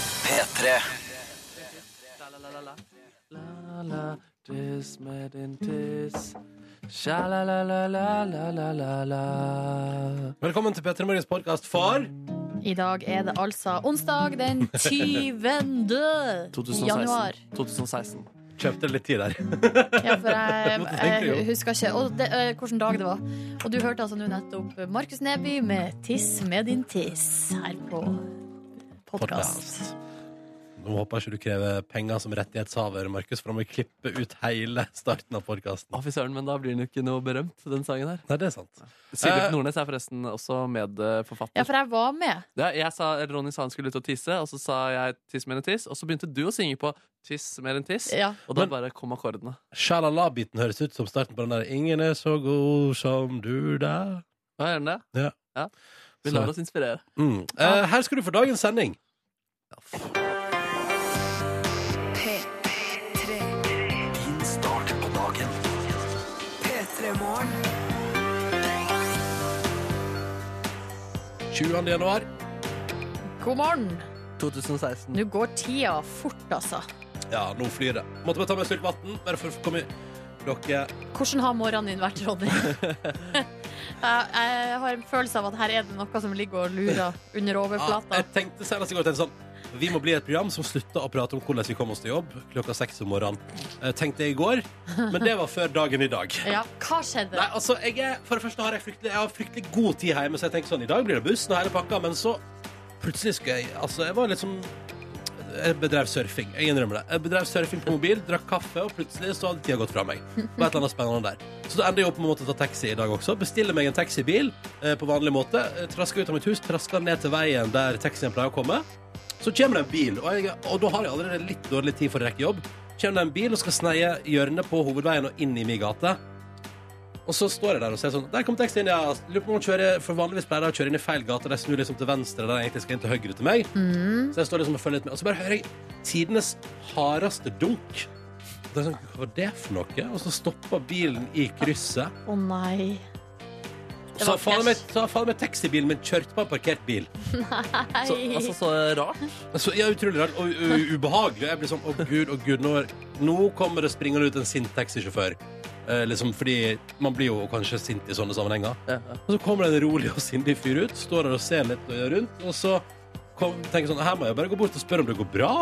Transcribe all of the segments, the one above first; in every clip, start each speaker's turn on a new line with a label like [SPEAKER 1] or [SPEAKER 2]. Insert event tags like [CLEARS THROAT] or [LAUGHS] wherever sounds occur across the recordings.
[SPEAKER 1] P3
[SPEAKER 2] La-la, tiss med din tiss. Sja-la-la-la-la-la-la.
[SPEAKER 3] Velkommen til P3 Morgens podkast for
[SPEAKER 4] I dag er det altså onsdag den 20.
[SPEAKER 2] 2016.
[SPEAKER 4] januar.
[SPEAKER 2] 2016.
[SPEAKER 3] Kjøpte litt tid der.
[SPEAKER 4] Ja, for
[SPEAKER 3] [LAUGHS]
[SPEAKER 4] jeg,
[SPEAKER 3] Måtte tenke
[SPEAKER 4] jeg
[SPEAKER 3] deg om.
[SPEAKER 4] husker ikke og det, eh, hvilken dag det var. Og du hørte altså nå nettopp Markus Neby med 'Tiss med din tiss' her på podkast.
[SPEAKER 3] Podcast. Nå håper jeg ikke du krever penger som rettighetshaver, Markus, for da må vi klippe ut hele starten av podkasten.
[SPEAKER 2] Å, fy søren, men da blir den jo ikke noe berømt, den sangen her.
[SPEAKER 3] Nei, det er sant. Eh.
[SPEAKER 2] Sivert Nordnes er forresten også medforfatter.
[SPEAKER 4] Ja, for jeg var med.
[SPEAKER 2] Ja, jeg sa, eller Ronny sa han skulle ut og tisse, og så sa jeg 'tiss mer enn tiss', og så begynte du å synge på 'tiss mer enn tiss',
[SPEAKER 4] Ja.
[SPEAKER 2] og da
[SPEAKER 3] Men-
[SPEAKER 2] bare kom akkordene.
[SPEAKER 3] Sjalala-biten høres ut som starten på den der 'Ingen er så god som du der'.
[SPEAKER 2] Hva gjør den det?
[SPEAKER 3] Ja.
[SPEAKER 2] Vi
[SPEAKER 3] Så-
[SPEAKER 2] lar oss inspirere.
[SPEAKER 3] Mm. Eh, her skal du få dagens sending.
[SPEAKER 1] Din start på dagen
[SPEAKER 5] P3 Morgen.
[SPEAKER 3] 20. januar.
[SPEAKER 4] God morgen.
[SPEAKER 2] 2016.
[SPEAKER 4] Nå går tida fort, altså.
[SPEAKER 3] Ja, nå flyr det. Måtte bare ta med en slurk vann, bare for å komme i Dere
[SPEAKER 4] Hvordan har morgenen din vært, Ronny?
[SPEAKER 3] [LAUGHS]
[SPEAKER 4] [LAUGHS] Jeg, jeg har en følelse av at her er det noe som ligger og lurer under
[SPEAKER 3] Ja,
[SPEAKER 4] overflata.
[SPEAKER 3] jeg tenkte senest i går tenkte jeg sånn Vi må bli et program som slutter å prate om hvordan vi kommer oss til jobb klokka seks om morgenen. Eh, tenkte jeg i går, men det var før dagen i dag.
[SPEAKER 4] Ja, hva skjedde?
[SPEAKER 3] Nei, altså, jeg er, for det første har jeg fryktelig, jeg har fryktelig god tid hjemme, så jeg tenker sånn, i dag blir det buss, nå er det pakka, men så plutselig skulle jeg, altså, jeg var litt som, jeg bedrev surfing, jeg innrømmer det. Jeg bedrev surfing på mobil, drakk kaffe, og plutselig så hadde tida gått fra meg. Det var et eller annet spennende der. Så da ender jeg opp med å måtte ta taxi i dag også. Bestille meg en taxibil eh, på vanlig måte, eh, trasker ut av mitt hus, trasker ned til veien der taxien pleier å komme. Så kommer det en bil, og, jeg, og da har jeg allerede litt dårlig tid for å rekke jobb. Kommer det en bil og skal sneie hjørnet på hovedveien og inn i min gate. Og så står jeg der og ser sånn Der kom teksten inn, ja. Lurer på om hun kjører For vanligvis pleier jeg å kjøre inn i feil gate. De snur liksom til venstre der jeg egentlig skal inn til høyre til meg.
[SPEAKER 4] Mm.
[SPEAKER 3] Så jeg står liksom og følger litt med. Og så bare hører jeg tidenes hardeste dunk. Og Det er sånn, Hva var det for noe? Og så stopper bilen i krysset.
[SPEAKER 4] Å nei.
[SPEAKER 3] Og så
[SPEAKER 4] Det var
[SPEAKER 3] har faen meg
[SPEAKER 4] krasj.
[SPEAKER 3] så har faen meg taxibilen min kjørt på en parkert bil.
[SPEAKER 2] Så, altså, så rart.
[SPEAKER 3] Så ja, Utrolig rart og u- u- ubehagelig. Jeg blir sånn Å, gud, å, gud. Nå, er- nå kommer det springende ut en sint taxisjåfør. Eh, liksom fordi man blir jo kanskje sint i sånne sammenhenger.
[SPEAKER 2] Ja, ja.
[SPEAKER 3] Og så kommer det en rolig og sindig fyr ut, står der og ser litt og gjør rundt, og så kom, tenker jeg sånn, her må jeg bare gå bort og spørre om det går bra.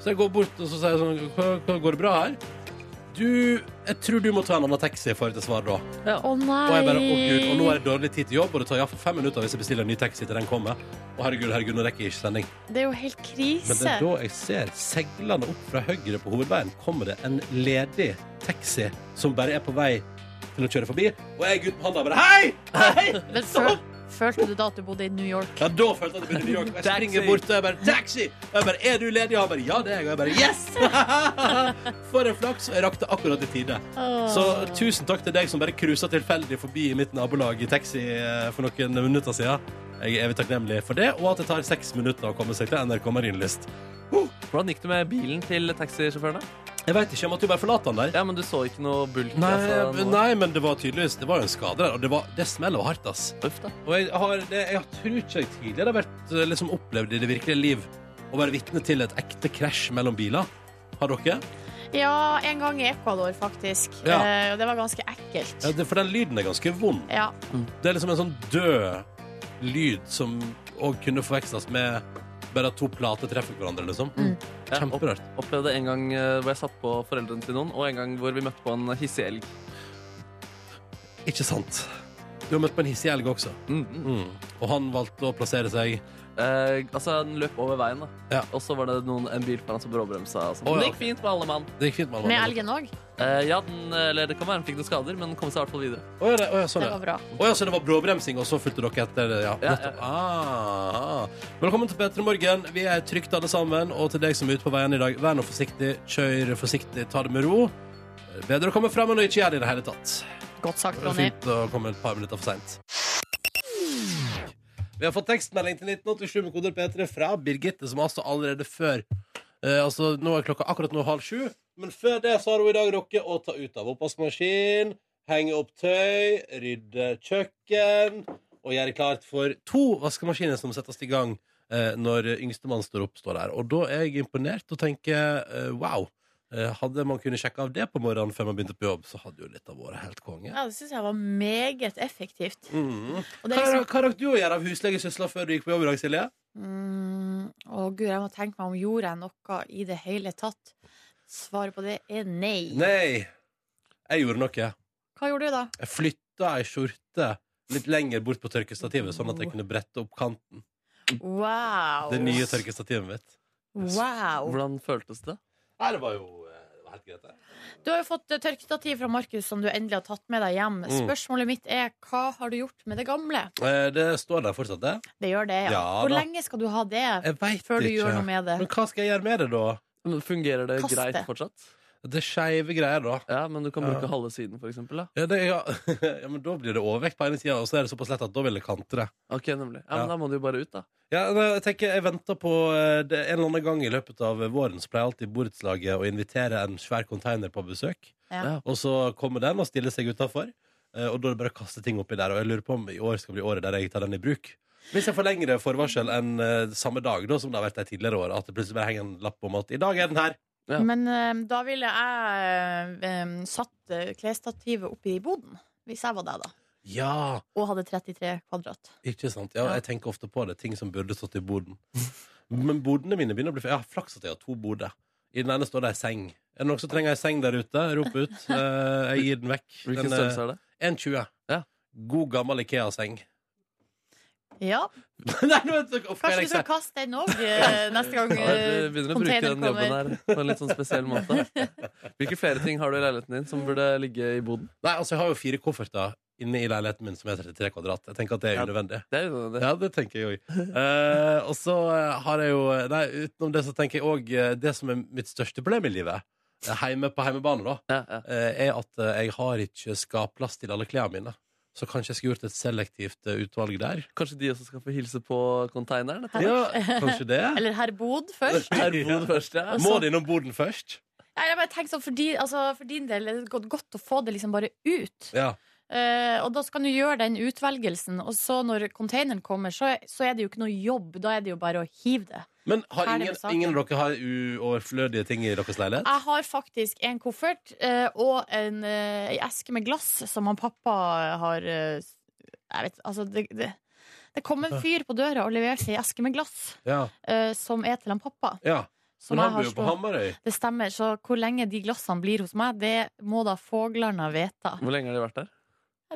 [SPEAKER 3] Så jeg går bort og så sier jeg sånn, hva, hva går det bra her? Du, jeg tror du må ta en annen taxi for et svar da.
[SPEAKER 4] Å nei.
[SPEAKER 3] Og jeg bare, å gud, og nå er det dårlig tid til jobb, og det tar i hvert fall fem minutter hvis jeg bestiller en ny taxi til den kommer. Å herregud, herregud, nå rekker jeg ikke sending.
[SPEAKER 4] Det er jo helt
[SPEAKER 3] Men det
[SPEAKER 4] krise.
[SPEAKER 3] er da jeg ser seglende opp fra høyre på hovedveien kommer det en ledig taxi som bare er på vei til å kjøre forbi, og jeg gutt på handa bare, hei, hei,
[SPEAKER 4] Men føl, følte du da at du bodde i New York?
[SPEAKER 3] Ja, da følte jeg at jeg begynte i New York. Jeg springer bort og jeg bare 'Taxi!' Og jeg bare 'Er du ledig?' Og han bare 'Ja, det er jeg'. Og jeg bare 'Yes!' [LAUGHS] For en flaks. Og jeg rakk det akkurat i tide. Så tusen takk til deg som bare cruisa tilfeldig forbi i mitt nabolag i taxi eh, for noen minutter siden. Jeg er evig takknemlig for det, og at det tar seks minutter å komme seg til NRK Marienlyst.
[SPEAKER 2] Hvordan gikk det med bilen til taxisjåførene?
[SPEAKER 3] Jeg veit ikke om at du bare forlater han der.
[SPEAKER 2] Ja, men du så ikke noe bulk?
[SPEAKER 3] Nei,
[SPEAKER 2] altså,
[SPEAKER 3] men-
[SPEAKER 2] noe-
[SPEAKER 3] nei, men det var tydeligvis Det var jo en skade der, og det, var, det smeller hardt, ass.
[SPEAKER 2] Uff, da.
[SPEAKER 3] Og jeg, har, det, jeg tror ikke jeg tidligere har vært eh, liksom, opplevd i det virkelige liv å være vitne til et ekte krasj mellom biler. Har dere?
[SPEAKER 4] Ja, en gang i Ecuador, faktisk.
[SPEAKER 3] Ja.
[SPEAKER 4] Eh, Og det var ganske ekkelt.
[SPEAKER 3] Ja, det, for den lyden er ganske vond.
[SPEAKER 4] Ja.
[SPEAKER 3] Det er liksom en sånn død lyd som òg kunne forveksles med bare at to plater treffer hverandre, liksom.
[SPEAKER 4] Mm.
[SPEAKER 2] Jeg opp,
[SPEAKER 3] Kjemperart.
[SPEAKER 2] opplevde en gang eh, hvor jeg satt på foreldrene til noen, og en gang hvor vi møtte på en hissig elg.
[SPEAKER 3] Ikke sant? Du har møtt på en hissig elg også,
[SPEAKER 2] Mm, mm.
[SPEAKER 3] og han valgte å plassere seg
[SPEAKER 2] Eh, altså, den løp over veien, da.
[SPEAKER 3] Ja.
[SPEAKER 2] Og så var det noen, en bil foran som bråbremsa. Og sånn.
[SPEAKER 3] Å, ja.
[SPEAKER 2] Det gikk fint med alle mann.
[SPEAKER 3] Det gikk fint med han.
[SPEAKER 4] Med elgen òg?
[SPEAKER 2] Eh, ja, den, eller det kan være den fikk noen skader, men den kom seg i hvert fall videre.
[SPEAKER 3] Å ja, det- å ja, sånn,
[SPEAKER 4] Det
[SPEAKER 3] ja.
[SPEAKER 4] var bra.
[SPEAKER 3] Å ja, så det var bråbremsing, og så fulgte dere etter? Ja,
[SPEAKER 2] Ja,
[SPEAKER 3] nettopp. Ah, ah. Velkommen til P3 Morgen. Vi er trygt alle sammen. Og til deg som er ute på veien i dag, vær nå forsiktig, kjør forsiktig, ta det med ro. Bedre å komme fram enn å ikke gjøre det i det hele tatt.
[SPEAKER 4] Godt
[SPEAKER 3] Det
[SPEAKER 4] sagt,
[SPEAKER 3] er
[SPEAKER 4] Ronny.
[SPEAKER 3] Fint å komme et par minutter for seint. Vi har fått tekstmelding til 1987 med koder P3 fra Birgitte, som altså allerede før eh, Altså, nå er klokka akkurat nå halv sju, men før det så har hun i dag rukket å ta ut av oppvaskmaskin, henge opp tøy, rydde kjøkken og gjøre klart for to vaskemaskiner som settes i gang eh, når yngstemann står opp, står der. Og da er jeg imponert og tenker eh, wow. Eh, hadde man kunnet sjekke av det på morgenen før man begynte på jobb, så hadde jo dette vært helt konge.
[SPEAKER 4] Ja, det syns jeg var meget effektivt.
[SPEAKER 3] Mm.
[SPEAKER 4] Og
[SPEAKER 3] Hva,
[SPEAKER 4] det er liksom
[SPEAKER 3] hva rakk du å gjøre av huslegesøsla før du gikk på jobb i dag, Silje?
[SPEAKER 4] mm, Å gud, jeg må tenke meg om gjorde jeg noe i det hele tatt. Svaret på det er nei.
[SPEAKER 3] Nei. Jeg gjorde noe.
[SPEAKER 4] Hva gjorde du da?
[SPEAKER 3] Jeg flytta ei skjorte litt lenger bort på tørkestativet, sånn at jeg kunne brette opp kanten.
[SPEAKER 4] Wow!
[SPEAKER 3] Det nye tørkestativet mitt.
[SPEAKER 4] Wow!
[SPEAKER 2] Hvordan føltes det?
[SPEAKER 3] Nei, det var jo eh, det var helt greit, det.
[SPEAKER 4] Du har jo fått eh, tørkestativ fra Markus som du endelig har tatt med deg hjem.
[SPEAKER 3] Mm.
[SPEAKER 4] Spørsmålet mitt er hva har du gjort med det gamle?
[SPEAKER 3] Eh, Det står der fortsatt, det.
[SPEAKER 4] Det gjør det, ja.
[SPEAKER 3] Ja,
[SPEAKER 4] Hvor
[SPEAKER 3] da.
[SPEAKER 4] lenge skal du ha det
[SPEAKER 3] Jeg veit ikke.
[SPEAKER 4] før du gjør noe med det?
[SPEAKER 3] Men hva skal jeg gjøre med det, da?
[SPEAKER 2] Men Fungerer det
[SPEAKER 4] Kaste.
[SPEAKER 2] greit fortsatt?
[SPEAKER 3] Det er skeive greier, da.
[SPEAKER 2] Ja, men du kan bruke
[SPEAKER 3] Ja.
[SPEAKER 2] halve siden, for eksempel. Da.
[SPEAKER 3] Ja, det, ja. [LAUGHS] ja, men Da blir det overvekt på ene sida, og så er det såpass lett at da vil det kantre.
[SPEAKER 2] Ok, nemlig. Ja, men
[SPEAKER 3] Ja.
[SPEAKER 2] da må du jo bare ut, da.
[SPEAKER 3] Ja, men jeg tenker jeg venter på eh, det, En eller annen gang i løpet av våren så pleier jeg alltid borettslaget å invitere en svær container på besøk.
[SPEAKER 4] Ja.
[SPEAKER 3] Og så kommer den og stiller seg utafor. Og da er det bare å kaste ting oppi der. Og jeg lurer på om i år skal bli året der jeg tar den i bruk. Hvis jeg forlenger det forvarsel en eh, samme dag da, som det har vært de tidligere åra, at det plutselig bare henger en lapp om at i dag er den her.
[SPEAKER 2] Ja.
[SPEAKER 4] Men eh, da ville jeg eh, satt eh, klesstativet oppi boden, hvis jeg var deg, da.
[SPEAKER 3] Ja,
[SPEAKER 4] Og hadde 33 kvadrat.
[SPEAKER 3] ikke sant? Ja,
[SPEAKER 4] Ja.
[SPEAKER 3] jeg tenker ofte på det. Ting som burde stått i boden. Men bodene mine begynner å bli Jeg har flaks at jeg har to boder. I den ene står det ei seng. Er det noen som trenger ei seng der ute? Rop ut. Eh, jeg gir den eh, vekk.
[SPEAKER 2] Hvilken størrelse er det?
[SPEAKER 3] 1,20.
[SPEAKER 2] Ja.
[SPEAKER 3] God, gammel Ikea-seng. [LAUGHS]
[SPEAKER 4] Ja,
[SPEAKER 3] Nei, nå vet du hvorfor
[SPEAKER 4] Kanskje
[SPEAKER 3] jeg
[SPEAKER 4] du skal kaste den
[SPEAKER 2] [LAUGHS]
[SPEAKER 4] òg eh, neste gang
[SPEAKER 2] Ja, du
[SPEAKER 4] eh,
[SPEAKER 2] begynner å bruke
[SPEAKER 4] containeren
[SPEAKER 2] den jobben
[SPEAKER 4] kommer.
[SPEAKER 2] her på en litt sånn spesiell måte. Hvilke flere ting har du i leiligheten din som burde ligge i boden?
[SPEAKER 3] Nei, altså jeg har jo fire kofferter inne i leiligheten min som er 33 kvadrat. Jeg tenker at det er
[SPEAKER 2] Ja.
[SPEAKER 3] unødvendig.
[SPEAKER 2] Det er unødvendig.
[SPEAKER 3] Ja, det tenker jeg òg. [LAUGHS] Eh, og så eh, har jeg jo Nei, utenom det så tenker jeg òg eh, det som er mitt største problem i livet, eh, heime på heimebane, da,
[SPEAKER 2] Ja, ja.
[SPEAKER 3] eh, er at eh, jeg har ikke skapplass til alle klærne mine. Så kanskje jeg skulle gjort et selektivt eh, utvalg der.
[SPEAKER 2] Kanskje de også skal få hilse på containeren? etter
[SPEAKER 3] Ja, kanskje det?
[SPEAKER 4] Eller herr Bod først.
[SPEAKER 2] hvert? Er boden først, ja.
[SPEAKER 3] Må det innom boden først?
[SPEAKER 4] Nei, jeg bare tenker sånn, for, din- altså, for din del er det godt, godt å få det liksom bare ut.
[SPEAKER 3] Ja.
[SPEAKER 4] Eh, og da skal du gjøre den utvelgelsen, og så når containeren kommer, så, så er det jo ikke noe jobb. Da er det jo bare å hive det.
[SPEAKER 3] Men har
[SPEAKER 4] Ferdig med
[SPEAKER 3] ingen,
[SPEAKER 4] saken. Ah.
[SPEAKER 3] ingen av dere har uoverflødige ting i deres leilighet?
[SPEAKER 4] Jeg har faktisk en koffert eh, og en, eh, ei eske med glass som han pappa har eh, Jeg vet altså det, det, det kom en fyr på døra og leverte ei eske med glass
[SPEAKER 3] Ja.
[SPEAKER 4] eh, som er til han pappa.
[SPEAKER 3] ja.
[SPEAKER 4] Som
[SPEAKER 3] Men
[SPEAKER 4] jeg
[SPEAKER 3] han bor
[SPEAKER 4] har
[SPEAKER 3] jo på
[SPEAKER 4] stå-
[SPEAKER 3] Hamarøy.
[SPEAKER 4] det stemmer. Så hvor lenge de glassene blir hos meg, det må da foglarna vite.
[SPEAKER 2] Hvor lenge har de vært der?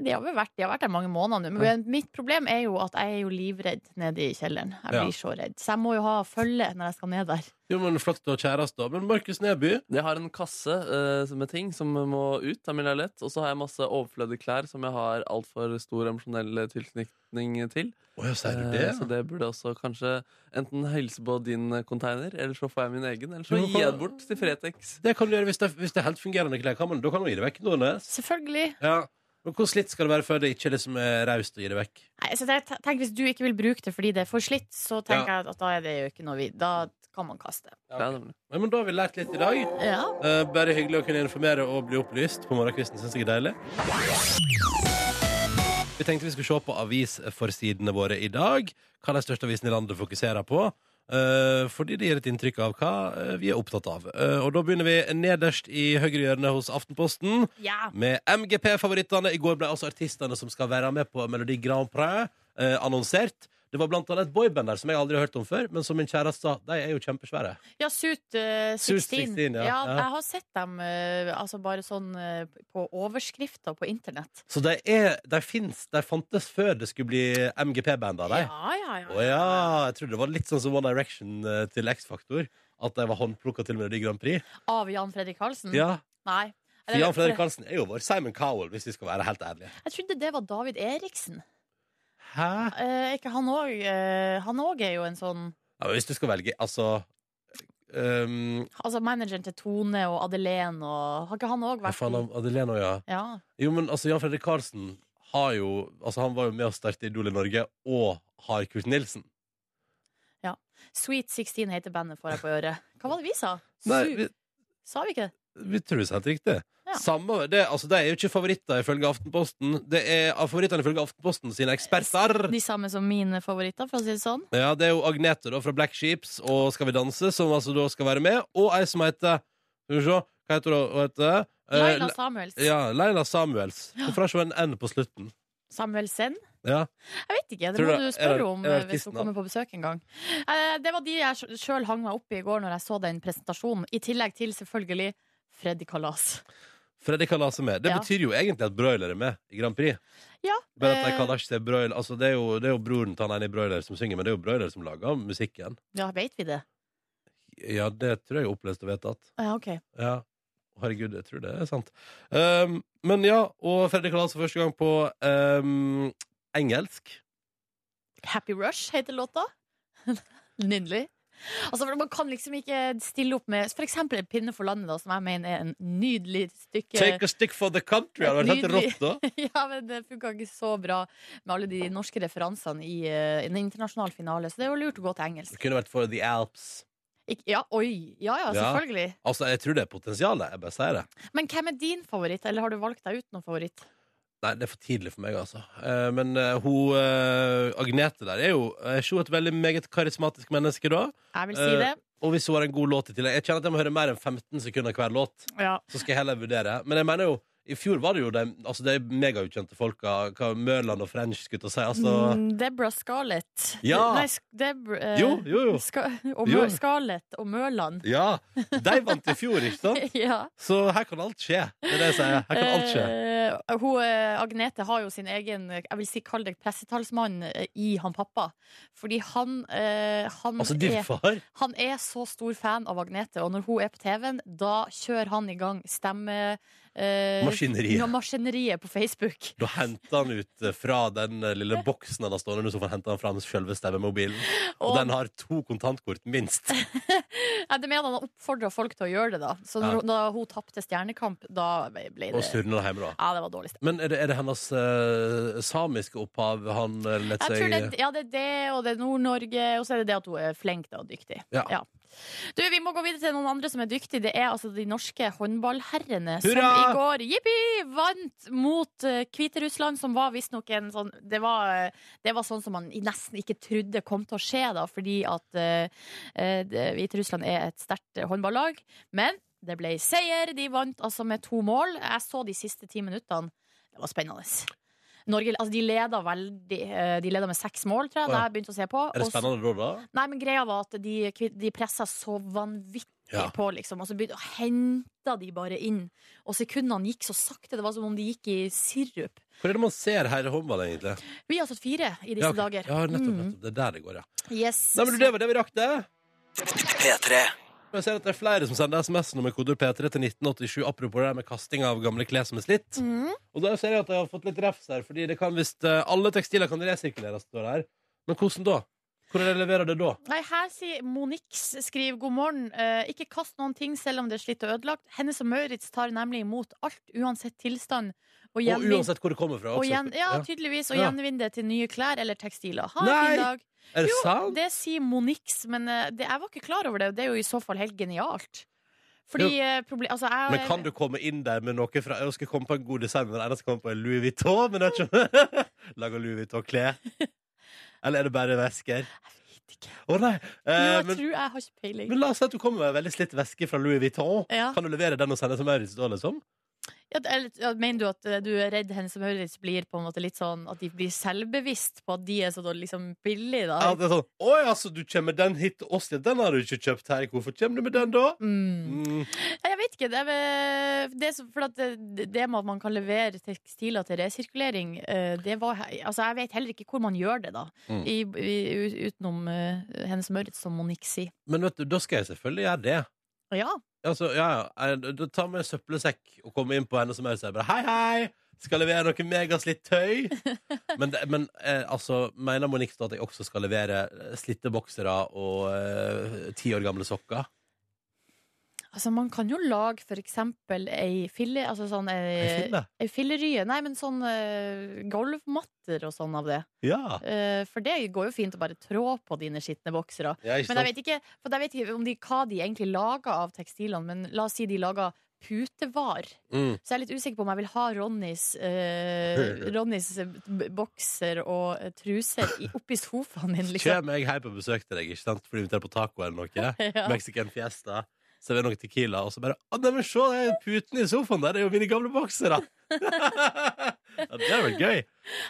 [SPEAKER 4] De har, vel vært, de har vært der mange måneder nå. Men mitt problem er jo at jeg er jo livredd nede i kjelleren. Jeg
[SPEAKER 3] Ja.
[SPEAKER 4] blir så redd. Så jeg må jo ha følge når jeg skal ned der.
[SPEAKER 3] Jo, men flaks du har kjæreste, da. Men Markus Neby
[SPEAKER 2] Jeg har en kasse eh, med ting som må ut av min leilighet. Og så har jeg masse overflødige klær som jeg har altfor stor emosjonell tilknytning til.
[SPEAKER 3] Å ja, sier du
[SPEAKER 2] Eh,
[SPEAKER 3] det?
[SPEAKER 2] Så det burde også kanskje enten hilse på din eh, container, eller så får jeg min egen. Eller så
[SPEAKER 3] Jo,
[SPEAKER 2] gir jeg
[SPEAKER 3] hva-
[SPEAKER 2] den bort til Fretex.
[SPEAKER 3] Det kan du gjøre hvis det, hvis det er helt fungerende klær. Kan man, da kan man gi det vekk. Nordnes.
[SPEAKER 4] Selvfølgelig.
[SPEAKER 3] Ja. Men hvor slitt skal det være før det ikke liksom er raust å gi det vekk?
[SPEAKER 4] Nei, så jeg tenker Hvis du ikke vil bruke det fordi det er for slitt, så tenker
[SPEAKER 3] Ja.
[SPEAKER 4] jeg at da er det jo ikke noe vi Da kan man kaste.
[SPEAKER 2] Ja, nemlig.
[SPEAKER 3] Nei, men da har vi lært litt i dag.
[SPEAKER 4] Ja.
[SPEAKER 3] Eh, bare hyggelig å kunne informere og bli opplyst på morgenkvisten. Syns jeg er deilig. Vi tenkte vi skulle se på avisforsidene våre i dag. Hva de største avisene i landet fokuserer på. eh, fordi det gir et inntrykk av hva eh, vi er opptatt av. Eh, og da begynner vi nederst i høyre hjørne hos Aftenposten. Med MGP-favorittene. I går ble altså artistene som skal være med på Melodi Grand Prix, eh, annonsert. Det var blant annet et boyband der som jeg aldri har hørt om før, men som min kjæreste sa, de er jo kjempesvære.
[SPEAKER 4] Ja, Suit eh, 16.
[SPEAKER 3] Suit 16, ja.
[SPEAKER 4] ja.
[SPEAKER 3] Ja.
[SPEAKER 4] Jeg har sett dem eh, altså bare sånn eh, på overskrifter på internett.
[SPEAKER 3] Så de, er, de, finnes, de fantes før det skulle bli MGP-band av dem.
[SPEAKER 4] Ja, ja, ja.
[SPEAKER 3] Å ja! Jeg trodde det var litt sånn som One Direction eh, til X-Faktor. At de var håndplukka til Melodi Grand Prix.
[SPEAKER 4] Av Jan Fredrik Karlsen?
[SPEAKER 3] Mm. Ja,
[SPEAKER 4] Nei.
[SPEAKER 3] for Jan Fredrik Karlsen er jo vår Simon Cowell, hvis vi skal være helt ærlige.
[SPEAKER 4] Jeg trodde det var David Eriksen.
[SPEAKER 3] Hæ?
[SPEAKER 4] Eh, ikke han òg? han òg er jo en sånn
[SPEAKER 3] Ja, men hvis du skal velge, altså um,
[SPEAKER 4] Altså manageren til Tone og Adelén og Har ikke han òg
[SPEAKER 3] Hva
[SPEAKER 4] vært
[SPEAKER 3] faen
[SPEAKER 4] i-
[SPEAKER 3] om Adelena, ja.
[SPEAKER 4] ja.
[SPEAKER 3] Jo, men altså, Jan Fredrik Karlsen har jo Altså, han var jo med å starte Idol i Norge, og har Kurt Nilsen.
[SPEAKER 4] Sweet 16 heter bandet, får jeg på øret. Hva var det vi sa?
[SPEAKER 3] Nei,
[SPEAKER 4] Su-
[SPEAKER 3] vi,
[SPEAKER 4] Sa vi ikke det?
[SPEAKER 3] vi tror det er helt riktig.
[SPEAKER 4] Ja.
[SPEAKER 3] Samme, det, altså, de er jo ikke favoritter ifølge Aftenposten. Det er av favorittene ifølge Aftenposten sine eksperter.
[SPEAKER 4] De samme som mine favoritter, for å si det sånn.
[SPEAKER 3] Ja, Det er jo Agnete da, fra Black Sheeps og Skal vi danse, som altså da skal være med. Og ei som heter Skal vi se, hva heter hun? Hun heter eh,
[SPEAKER 4] Laila
[SPEAKER 3] Le-
[SPEAKER 4] Samuels.
[SPEAKER 3] ja, Leila Samuels. Hvorfor har ikke hun altså en N på slutten?
[SPEAKER 4] Samuelsen.
[SPEAKER 3] Ja.
[SPEAKER 4] Jeg vet ikke, det
[SPEAKER 3] Tror
[SPEAKER 4] må
[SPEAKER 3] du det
[SPEAKER 4] du
[SPEAKER 3] er- er det
[SPEAKER 4] spørre om eh, hvis
[SPEAKER 3] artisten,
[SPEAKER 4] hun
[SPEAKER 3] da?
[SPEAKER 4] kommer på besøk en gang. Eh, Det var de jeg sjøl hang meg opp i i går når jeg så den presentasjonen. I tillegg til selvfølgelig Freddy Kalas.
[SPEAKER 3] Freddy Kalas er med. Det
[SPEAKER 4] Ja.
[SPEAKER 3] betyr jo egentlig at broiler er med i Grand Prix.
[SPEAKER 4] Ja,
[SPEAKER 3] Bare at de
[SPEAKER 4] eh,
[SPEAKER 3] kaller ikke seg broiler. Altså, det, er jo, det er jo broren til han ene i broiler som synger, men det er jo broiler som lager musikken.
[SPEAKER 4] ja, veit vi det?
[SPEAKER 3] Ja, det tror jeg er opplest og vedtatt.
[SPEAKER 4] Ja, ok.
[SPEAKER 3] Ja. Herregud, jeg tror det er sant. Um, men ja, og Freddy Kalas for første gang på um, engelsk.
[SPEAKER 4] Happy Rush heter låta. [LAUGHS] Nydelig. Altså, for Man kan liksom ikke stille opp med f.eks. En pinne for landet, da, som jeg mener er en nydelig stykke [LAUGHS]
[SPEAKER 3] Take a stick for the country hadde vært helt
[SPEAKER 4] Nydelig.
[SPEAKER 3] rått, da.
[SPEAKER 4] Ja, men Det funka ikke så bra med alle de norske referansene i eh, en internasjonal finale, så det er jo lurt å gå til
[SPEAKER 3] Det
[SPEAKER 4] engelsk.
[SPEAKER 3] kunne vært for The Alps.
[SPEAKER 4] Ik ja, oi, ja, ja,
[SPEAKER 3] Ja.
[SPEAKER 4] selvfølgelig.
[SPEAKER 3] Altså, jeg tror det er potensial, jeg bare sier det.
[SPEAKER 4] Men hvem er din favoritt, eller har du valgt deg ut noen favoritt?
[SPEAKER 3] Nei, det er for tidlig for meg, altså. Eh, men eh, hun eh, Agnete der er jo er ikke hun et veldig meget karismatisk menneske, da.
[SPEAKER 4] Jeg vil si
[SPEAKER 3] Eh,
[SPEAKER 4] det.
[SPEAKER 3] Og hvis hun har en god låt i tillegg Jeg kjenner at jeg må høre mer enn 15 sekunder hver låt.
[SPEAKER 4] Ja.
[SPEAKER 3] Så skal jeg heller vurdere. Men jeg mener jo i fjor var det jo de, altså de megaukjente folka. Hva Mørland og French skulle til å si. Altså,
[SPEAKER 4] Mm, Deborah Scarlett.
[SPEAKER 3] Ja.
[SPEAKER 4] Nei, sk- Debra, eh,
[SPEAKER 3] Jo, jo, jo.
[SPEAKER 4] Ska og
[SPEAKER 3] Jo.
[SPEAKER 4] Mø Scarlett og Mørland.
[SPEAKER 3] Ja! De vant i fjor, ikke sant?
[SPEAKER 4] [LAUGHS] ja.
[SPEAKER 3] Så her kan alt skje. Det er det jeg sier. Her kan alt skje.
[SPEAKER 4] Eh, hun, eh, Agnete har jo sin egen eh, Jeg vil si kall det pressetalsmann eh, i han pappa. Fordi han, eh, han,
[SPEAKER 3] Altså, din
[SPEAKER 4] er,
[SPEAKER 3] far
[SPEAKER 4] han er så stor fan av Agnete, og når hun er på TV-en, da kjører han i gang stemme... eh,
[SPEAKER 3] Maskineriet.
[SPEAKER 4] ja, maskineriet på Facebook.
[SPEAKER 3] Da henter han ut eh, fra den eh, lille boksen han har stående nå, så får han hente han fram selve stemmemobilen. [LAUGHS] Og
[SPEAKER 4] Og-
[SPEAKER 3] den har to kontantkort, minst.
[SPEAKER 4] Ja, det mener han oppfordra folk til å gjøre det, da. Så
[SPEAKER 3] Ja.
[SPEAKER 4] når, hun- da hun tapte Stjernekamp, da ble det
[SPEAKER 3] Og surner hjemme, da.
[SPEAKER 4] Ja, det var dårlig stemning.
[SPEAKER 3] Men er det, er det hennes eh, samiske opphav han uh, lett
[SPEAKER 4] Jeg
[SPEAKER 3] seg
[SPEAKER 4] tror det, er- ja, det er det, og det er Nord-Norge, og så er det det at hun er flink da, og dyktig.
[SPEAKER 3] Ja.
[SPEAKER 4] Du, Vi må gå videre til noen andre som er dyktige. Det er altså de norske håndballherrene som
[SPEAKER 3] Hurra!
[SPEAKER 4] i går jippi, vant mot eh, Hviterussland, som var visstnok en sånn det var, eh, det var sånn som man nesten ikke trodde kom til å skje, da, fordi at eh, eh, det- Hviterussland er et sterkt eh, håndballag. Men det ble seier. De vant altså med to mål. Jeg så de siste ti minuttene. Det var spennende. Norge, altså De leda veldig eh, De leda med seks mål, tror jeg, da jeg begynte å se på.
[SPEAKER 3] Er det
[SPEAKER 4] Og så-
[SPEAKER 3] spennende da, da?
[SPEAKER 4] Nei, men greia var at de, kvi- de pressa så vanvittig
[SPEAKER 3] Ja.
[SPEAKER 4] på, liksom. Og så begynte, og henta de bare inn. Og sekundene gikk så sakte. Det var som om de gikk i sirup.
[SPEAKER 3] Hvor er det man ser her i håndball, egentlig?
[SPEAKER 4] Vi har satt fire i disse
[SPEAKER 3] Ja, ok.
[SPEAKER 4] dager.
[SPEAKER 3] Ja, nettopp,
[SPEAKER 4] Mm.
[SPEAKER 3] nettopp. Det er der det går, ja.
[SPEAKER 4] Yes.
[SPEAKER 3] Nei, men du, Det var det vi rakk, det.
[SPEAKER 1] P3
[SPEAKER 3] Og Jeg ser at det er flere som sender SMS-nummer med koder P3 til 1987 apropos det der med kasting av gamle klær som er slitt.
[SPEAKER 4] Mm.
[SPEAKER 3] Og da ser jeg at jeg har fått litt refs her, fordi det kan visst eh, Alle tekstiler kan resirkuleres, står det her. Men hvordan da? Hvordan leverer det da?
[SPEAKER 4] Nei, her sier Monix skriver god morgen. Eh, ikke kast noen ting selv om det er slitt og ødelagt. Hennes og Maurits tar nemlig imot alt, uansett tilstand. Og
[SPEAKER 3] Og
[SPEAKER 4] gjenvin-
[SPEAKER 3] uansett hvor det kommer fra.
[SPEAKER 4] og
[SPEAKER 3] også.
[SPEAKER 4] gjen, ja,
[SPEAKER 3] Ja.
[SPEAKER 4] tydeligvis. Og
[SPEAKER 3] Ja.
[SPEAKER 4] gjenvinn det til nye klær eller tekstiler. Ha en
[SPEAKER 3] Nei!
[SPEAKER 4] fin dag.
[SPEAKER 3] Er det
[SPEAKER 4] Jo,
[SPEAKER 3] sant?
[SPEAKER 4] det sier Monix, men eh, det, jeg var ikke klar over det. Og det er jo i så fall helt genialt. Fordi eh, proble- altså, jeg,
[SPEAKER 3] Men kan du komme inn der med noe fra Jeg skal komme på en god designer, den eneste som kommer på er Louis Vuitton, men jeg ikke [LAUGHS] Lager Louis
[SPEAKER 4] [LAUGHS]
[SPEAKER 3] Vuitton-klær? Eller er det bare væsker?
[SPEAKER 4] vet ikke.
[SPEAKER 3] Å nei!
[SPEAKER 4] Jo,
[SPEAKER 3] Eh,
[SPEAKER 4] jeg
[SPEAKER 3] men,
[SPEAKER 4] tror jeg har ikke peiling.
[SPEAKER 3] men la oss si at du kommer med en veldig slitt væske fra Louis Vuitton.
[SPEAKER 4] Ja.
[SPEAKER 3] Kan du levere den og sende til Maurits da, liksom?
[SPEAKER 4] Ja, eller, ja, mener du at eh, du er redd henne som Maurits blir på en måte litt sånn At de blir selvbevisst på at de er så da liksom billige, da?
[SPEAKER 3] Ja, det er sånn Oi, altså, du kommer med den hit til oss, ja. Den har du ikke kjøpt her. Hvorfor kommer du med den da?
[SPEAKER 4] Mm.
[SPEAKER 3] Mm.
[SPEAKER 4] Nei, Jeg vet ikke. Det, er, vel- det, er så- for at det, det med at man kan levere tekstiler til resirkulering eh, det var, he- altså, Jeg vet heller ikke hvor man gjør det, da.
[SPEAKER 3] Mm.
[SPEAKER 4] I, i, u- utenom uh, Hennes Maurits, som Monique sier.
[SPEAKER 3] Men vet du, da skal jeg selvfølgelig gjøre det.
[SPEAKER 4] Ja.
[SPEAKER 3] Altså, ja, ja. Jeg- Da tar vi en søppelsekk og kommer inn på henne som er og sier bare hei, hei, skal levere noe megaslitt
[SPEAKER 4] [LAUGHS]
[SPEAKER 3] tøy. men det, men eh, altså, mener Monique da at jeg også skal levere eh, slitte boksere og eh, ti år gamle sokker?
[SPEAKER 4] Altså, man kan jo lage for eksempel ei fille... Altså sånn
[SPEAKER 3] Jeg
[SPEAKER 4] ei,
[SPEAKER 3] finner det.
[SPEAKER 4] ei fillerye. Nei, men sånn eh, golvmatter og sånn av det.
[SPEAKER 3] Ja.
[SPEAKER 4] Eh, for det går jo fint å bare trå på dine skitne boksere.
[SPEAKER 3] ja ikke
[SPEAKER 4] Men jeg
[SPEAKER 3] sant?
[SPEAKER 4] vet ikke, for jeg vet ikke om de, hva de egentlig lager av tekstilene, men la oss si de lager putevar.
[SPEAKER 3] Mm.
[SPEAKER 4] Så jeg er litt usikker på om jeg vil ha Ronnys, eh, Ronnys eh, b- bokser og eh, truser i, oppi sofaen din, [LAUGHS] liksom.
[SPEAKER 3] Kjem jeg her på besøk til deg, ikke sant? Fordi vi tar på taco eller noe.
[SPEAKER 4] [LAUGHS]
[SPEAKER 3] [LAUGHS]
[SPEAKER 4] Ja.
[SPEAKER 3] Mexican fiesta. Serverer noe tequila, og så bare Å, neimen, se, det er putene i sofaen der! Det er jo mine gamle boksere! [LAUGHS] ja, det er vel gøy.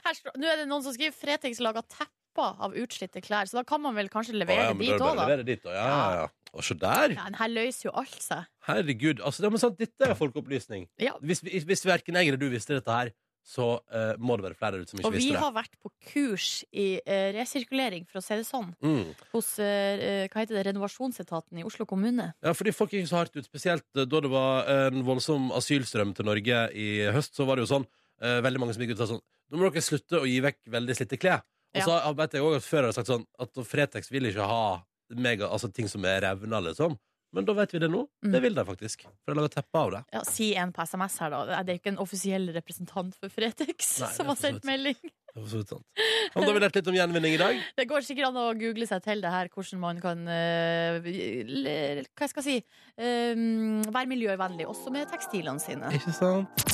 [SPEAKER 4] Her står- Nå er det noen som skriver Fretex lager tepper av utslitte klær, så da kan man vel kanskje
[SPEAKER 3] Å,
[SPEAKER 4] levere
[SPEAKER 3] ja, men
[SPEAKER 4] dit
[SPEAKER 3] da er det
[SPEAKER 4] òg,
[SPEAKER 3] bare å
[SPEAKER 4] da.
[SPEAKER 3] levere dit, da. Ja, ja, ja. Og se der!
[SPEAKER 4] Ja, men her løser jo alt seg.
[SPEAKER 3] Herregud. Altså, det er, men sant, dette er folkeopplysning.
[SPEAKER 4] Ja.
[SPEAKER 3] Hvis, hvis, hvis verken jeg eller du visste dette her, så eh, må det være flere der ute som ikke
[SPEAKER 4] Og vi
[SPEAKER 3] visste det.
[SPEAKER 4] har vært på kurs i eh, resirkulering, for å si det sånn,
[SPEAKER 3] Mm.
[SPEAKER 4] hos eh, hva heter det, renovasjonsetaten i Oslo kommune.
[SPEAKER 3] Ja, fordi folk gikk så hardt ut, spesielt eh, da det var en voldsom asylstrøm til Norge i høst, så var det jo sånn, eh, veldig mange som gikk ut og sa sånn, nå må dere slutte å gi vekk veldig slitte klær. Og så vet jeg også at før har jeg sagt sånn, at Fretex vil ikke ha mega, altså ting som er revna, liksom. Men da vet vi det nå.
[SPEAKER 4] Mm.
[SPEAKER 3] Det vil de faktisk. For de lager teppe av det.
[SPEAKER 4] Ja, si en på SMS her, da. Det er jo ikke en offisiell representant for Fretex
[SPEAKER 3] Nei, det er
[SPEAKER 4] [LAUGHS] som har
[SPEAKER 3] for så vidt.
[SPEAKER 4] sendt melding.
[SPEAKER 3] Det var så vidt sant. Ja, Men da har vi lært litt om gjenvinning i dag.
[SPEAKER 4] Det går sikkert an å google seg til det her, hvordan man kan eh, le- Hva skal jeg si eh, Være miljøvennlig, også med tekstilene sine.
[SPEAKER 3] Ikke sant?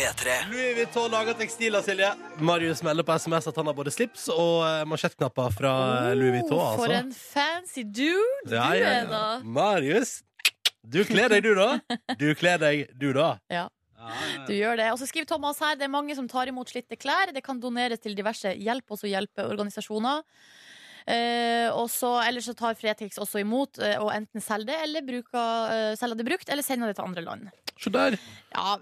[SPEAKER 1] P3.
[SPEAKER 3] Louis Vuitton lager tekstiler, Silje. Marius melder på SMS at han har både slips og eh, mansjettknapper fra eh, Louis Vuitton,
[SPEAKER 4] Oh,
[SPEAKER 3] altså.
[SPEAKER 4] For en fancy dude du
[SPEAKER 3] Ja, ja,
[SPEAKER 4] er,
[SPEAKER 3] ja.
[SPEAKER 4] da!
[SPEAKER 3] Marius, du kler deg, du, da. Du kler deg, du, da.
[SPEAKER 4] Ja. Du gjør det. Og så skriver Thomas her det er mange som tar imot slitte klær. Det kan doneres til diverse hjelp oss å hjelpe organisasjoner. Eh, og så, Ellers så tar Fretex også imot eh, og enten selger det, eller bruker, eh, selger det brukt, eller sender det til andre land.
[SPEAKER 3] Se der.
[SPEAKER 4] Ja,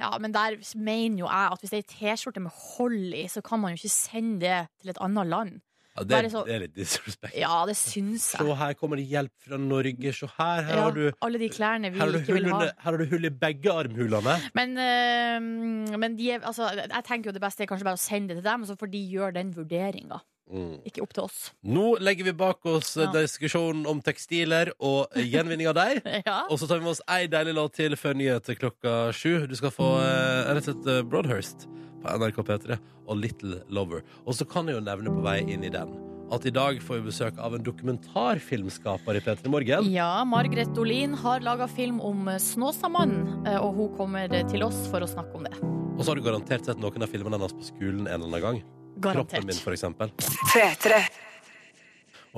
[SPEAKER 4] ja, men der mener jo jeg at hvis det er ei T-skjorte med hold i, så kan man jo ikke sende det til et annet land.
[SPEAKER 3] Ja, det,
[SPEAKER 4] Bare
[SPEAKER 3] er,
[SPEAKER 4] så-
[SPEAKER 3] det er litt disrespekt.
[SPEAKER 4] Ja, det syns
[SPEAKER 3] Se,
[SPEAKER 4] jeg.
[SPEAKER 3] her kommer det hjelp fra Norge. Se her. Her
[SPEAKER 4] Ja,
[SPEAKER 3] har du
[SPEAKER 4] alle de klærne vi
[SPEAKER 3] her har du,
[SPEAKER 4] ikke
[SPEAKER 3] hull
[SPEAKER 4] vil ha.
[SPEAKER 3] under, her har du hull i begge armhulene.
[SPEAKER 4] Men, eh, men de er, altså, jeg tenker jo det beste er kanskje bare å sende det til dem, og så får de gjøre den vurderinga.
[SPEAKER 3] Mm.
[SPEAKER 4] Ikke opp til oss.
[SPEAKER 3] Nå legger vi bak oss eh,
[SPEAKER 4] Ja.
[SPEAKER 3] diskusjonen om tekstiler og eh, gjenvinning av deg.
[SPEAKER 4] [LAUGHS] [LAUGHS] Ja.
[SPEAKER 3] Og så tar vi med oss ei deilig låt til før nyheter klokka sju. Du skal få eh, rett og slett eh, Broadhurst på NRK P3 og Little Lover. Og så kan jeg jo nevne på vei inn i den at i dag får vi besøk av en dokumentarfilmskaper i P3 Morgen.
[SPEAKER 4] Ja, Margret Olin har laga film om eh, Snåsamannen, eh, og hun kommer eh, til oss for å snakke om det.
[SPEAKER 3] Og så har du garantert sett noen av filmene hennes på skolen en eller annen gang. Kroppen min,
[SPEAKER 4] Garantert.
[SPEAKER 3] for eksempel.
[SPEAKER 5] P3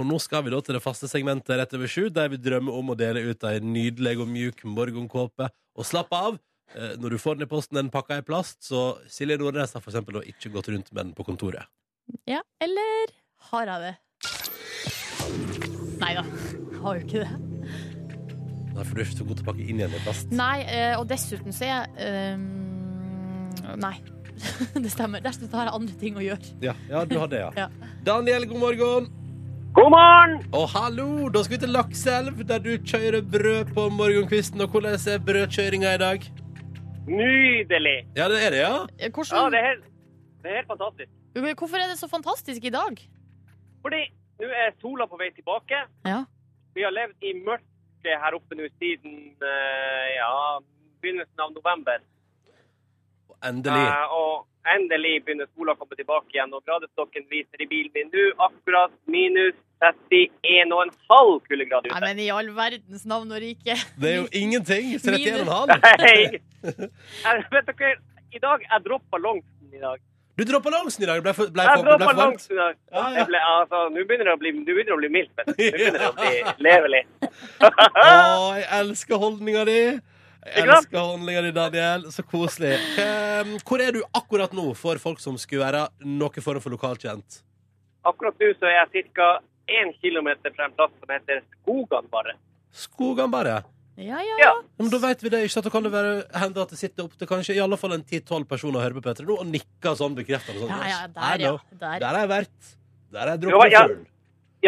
[SPEAKER 3] Og nå skal vi da til det faste segmentet rett over sju, der vi drømmer om å dele ut ei nydelig og mjuk morgenkåpe. Og slapp av! eh, Når du får den i posten, den pakka i plast, så Silje Nordnes har for eksempel da ikke gått rundt med den på kontoret.
[SPEAKER 4] Ja, eller har jeg det? Nei da, har jo ikke det.
[SPEAKER 3] Nei, for du er ikke så god til å pakke inn igjen i plast.
[SPEAKER 4] Nei, eh, og dessuten så er jeg eh, Nei. [LAUGHS] Det stemmer. Dessuten har jeg andre ting å gjøre.
[SPEAKER 3] Ja, ja du har det, ja.
[SPEAKER 4] Ja.
[SPEAKER 3] Daniel, god morgen!
[SPEAKER 6] God morgen!
[SPEAKER 3] Og hallo! Da skal vi til Lakselv, der du kjører brød på morgenkvisten. Og hvordan er brødkjøringa i dag?
[SPEAKER 6] Nydelig.
[SPEAKER 3] Ja, det er det, ja?
[SPEAKER 4] Eh,
[SPEAKER 6] Ja, det
[SPEAKER 4] Hvordan,
[SPEAKER 6] er helt, det er helt fantastisk.
[SPEAKER 4] hvorfor er det så fantastisk i dag?
[SPEAKER 6] Fordi nå er sola på vei tilbake.
[SPEAKER 4] Ja.
[SPEAKER 6] Vi har levd i mørket her oppe nå siden eh, ja, begynnelsen av november.
[SPEAKER 3] Endelig.
[SPEAKER 6] Eh, og endelig begynner sola å komme tilbake igjen. Og gradestokken viser i bilen min nå akkurat minus 31,5 kuldegrader
[SPEAKER 4] Nei,
[SPEAKER 6] ute.
[SPEAKER 4] men i all verdens navn og rike.
[SPEAKER 3] Det er jo ingenting. 31,5.
[SPEAKER 6] [LAUGHS] Nei. Eh, Vet dere, i dag jeg droppa longsen i dag.
[SPEAKER 3] Du droppa langsen i dag. Det ble for, ble
[SPEAKER 6] Jeg
[SPEAKER 3] for, ble for
[SPEAKER 6] droppa
[SPEAKER 3] varmt.
[SPEAKER 6] longsen i dag.
[SPEAKER 3] Ja, ja.
[SPEAKER 6] Jeg ble- altså, Nå begynner det å bli Nå begynner det å bli mildt. vet du. Nå begynner det å
[SPEAKER 3] [LAUGHS]
[SPEAKER 6] bli levelig.
[SPEAKER 3] Å, jeg elsker holdninga di! Jeg
[SPEAKER 6] Ikke sant?
[SPEAKER 3] elsker holdninga di, Daniel. Så koselig. Ehm, hvor er du akkurat nå, for folk som skulle være noe form for lokalkjent?
[SPEAKER 6] Akkurat nå så er jeg ca. 1 km fra en plass som heter Skogan bare.
[SPEAKER 3] Skogen, bare.
[SPEAKER 4] Ja, ja.
[SPEAKER 6] Ja.
[SPEAKER 3] Ja, Men da vet vi det ikke, at det kan det være hende at det sitter opp til kanskje i alle fall en 10-12 personer og hører på Petra nå og nikker sånn bekreftende. Sånn,
[SPEAKER 4] Ja, ja,
[SPEAKER 3] yes,
[SPEAKER 4] der,
[SPEAKER 3] I
[SPEAKER 4] ja.
[SPEAKER 3] know.
[SPEAKER 4] Der.
[SPEAKER 3] Der har jeg vært. Der har jeg
[SPEAKER 6] Jo,
[SPEAKER 3] drukket
[SPEAKER 6] ja.
[SPEAKER 3] full.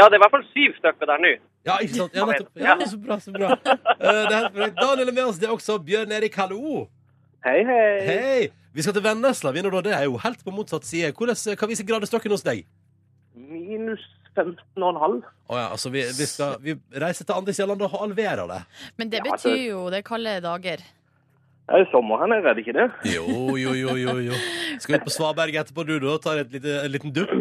[SPEAKER 6] Ja, det er i hvert fall syv stykker der nå.
[SPEAKER 3] Ja, ikke sant? Ja, nettopp. Ja,
[SPEAKER 6] Ja.
[SPEAKER 3] så bra, så bra.
[SPEAKER 6] [LAUGHS]
[SPEAKER 3] Eh, det er helt perfekt. Daniel er med oss, det er også Bjørn Erik, hallo.
[SPEAKER 6] Hei, hei.
[SPEAKER 3] Hei! Vi skal til Vennesla, vi nå da. Det er jo helt på motsatt side. Hvordan, eh, hva viser gradestokken hos deg?
[SPEAKER 6] Minus 15,5.
[SPEAKER 3] Å ja, altså vi, vi skal vi reiser til andre Sjælland og halverer det.
[SPEAKER 4] Men det
[SPEAKER 6] Ja, altså-
[SPEAKER 4] betyr jo det er kalde dager.
[SPEAKER 6] Det er jo sommer her nede, er det ikke det?
[SPEAKER 3] Jo, jo, jo, jo. jo. Skal ut på Svaberg etterpå, du, da? Tar et lite, en liten dupp?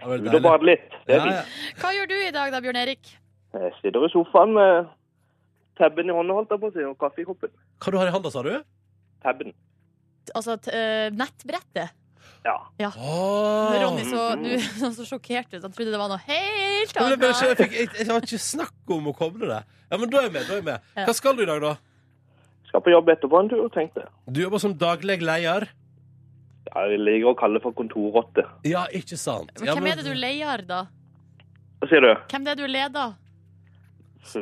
[SPEAKER 3] Ja, vel,
[SPEAKER 6] Ut og bade litt. Det er
[SPEAKER 3] Ja, ja.
[SPEAKER 4] Hva gjør du i dag da, Bjørn Erik?
[SPEAKER 6] fint. Jeg sitter i sofaen med
[SPEAKER 7] tabben i hånda, holdt jeg på å si, og kaffe i koppen.
[SPEAKER 3] Hva du har i handa, sa du?
[SPEAKER 7] Tabben.
[SPEAKER 4] Altså t eh, nettbrettet.
[SPEAKER 7] Ja.
[SPEAKER 3] Oh.
[SPEAKER 4] Ronny så, du, [LAUGHS] så, så sjokkert ut. Han trodde det var noe helt
[SPEAKER 3] Men jeg, bare, skjønner,
[SPEAKER 4] annet.
[SPEAKER 3] jeg, fikk, jeg, jeg har ikke snakk om å koble det. Ja, men da er jeg med. da er jeg med
[SPEAKER 4] Ja.
[SPEAKER 3] Hva skal du i dag, da?
[SPEAKER 7] Skal på jobb etterpå en tur, tenkte jeg.
[SPEAKER 3] Du jobber som daglig leder.
[SPEAKER 7] Ja, jeg liker å kalle det for kontorrotte.
[SPEAKER 3] Ja, ikke sant?
[SPEAKER 4] Men
[SPEAKER 3] ja,
[SPEAKER 4] hvem er det du leier, da?
[SPEAKER 7] Hva sier du?
[SPEAKER 4] Hvem er det du leder?
[SPEAKER 7] Så,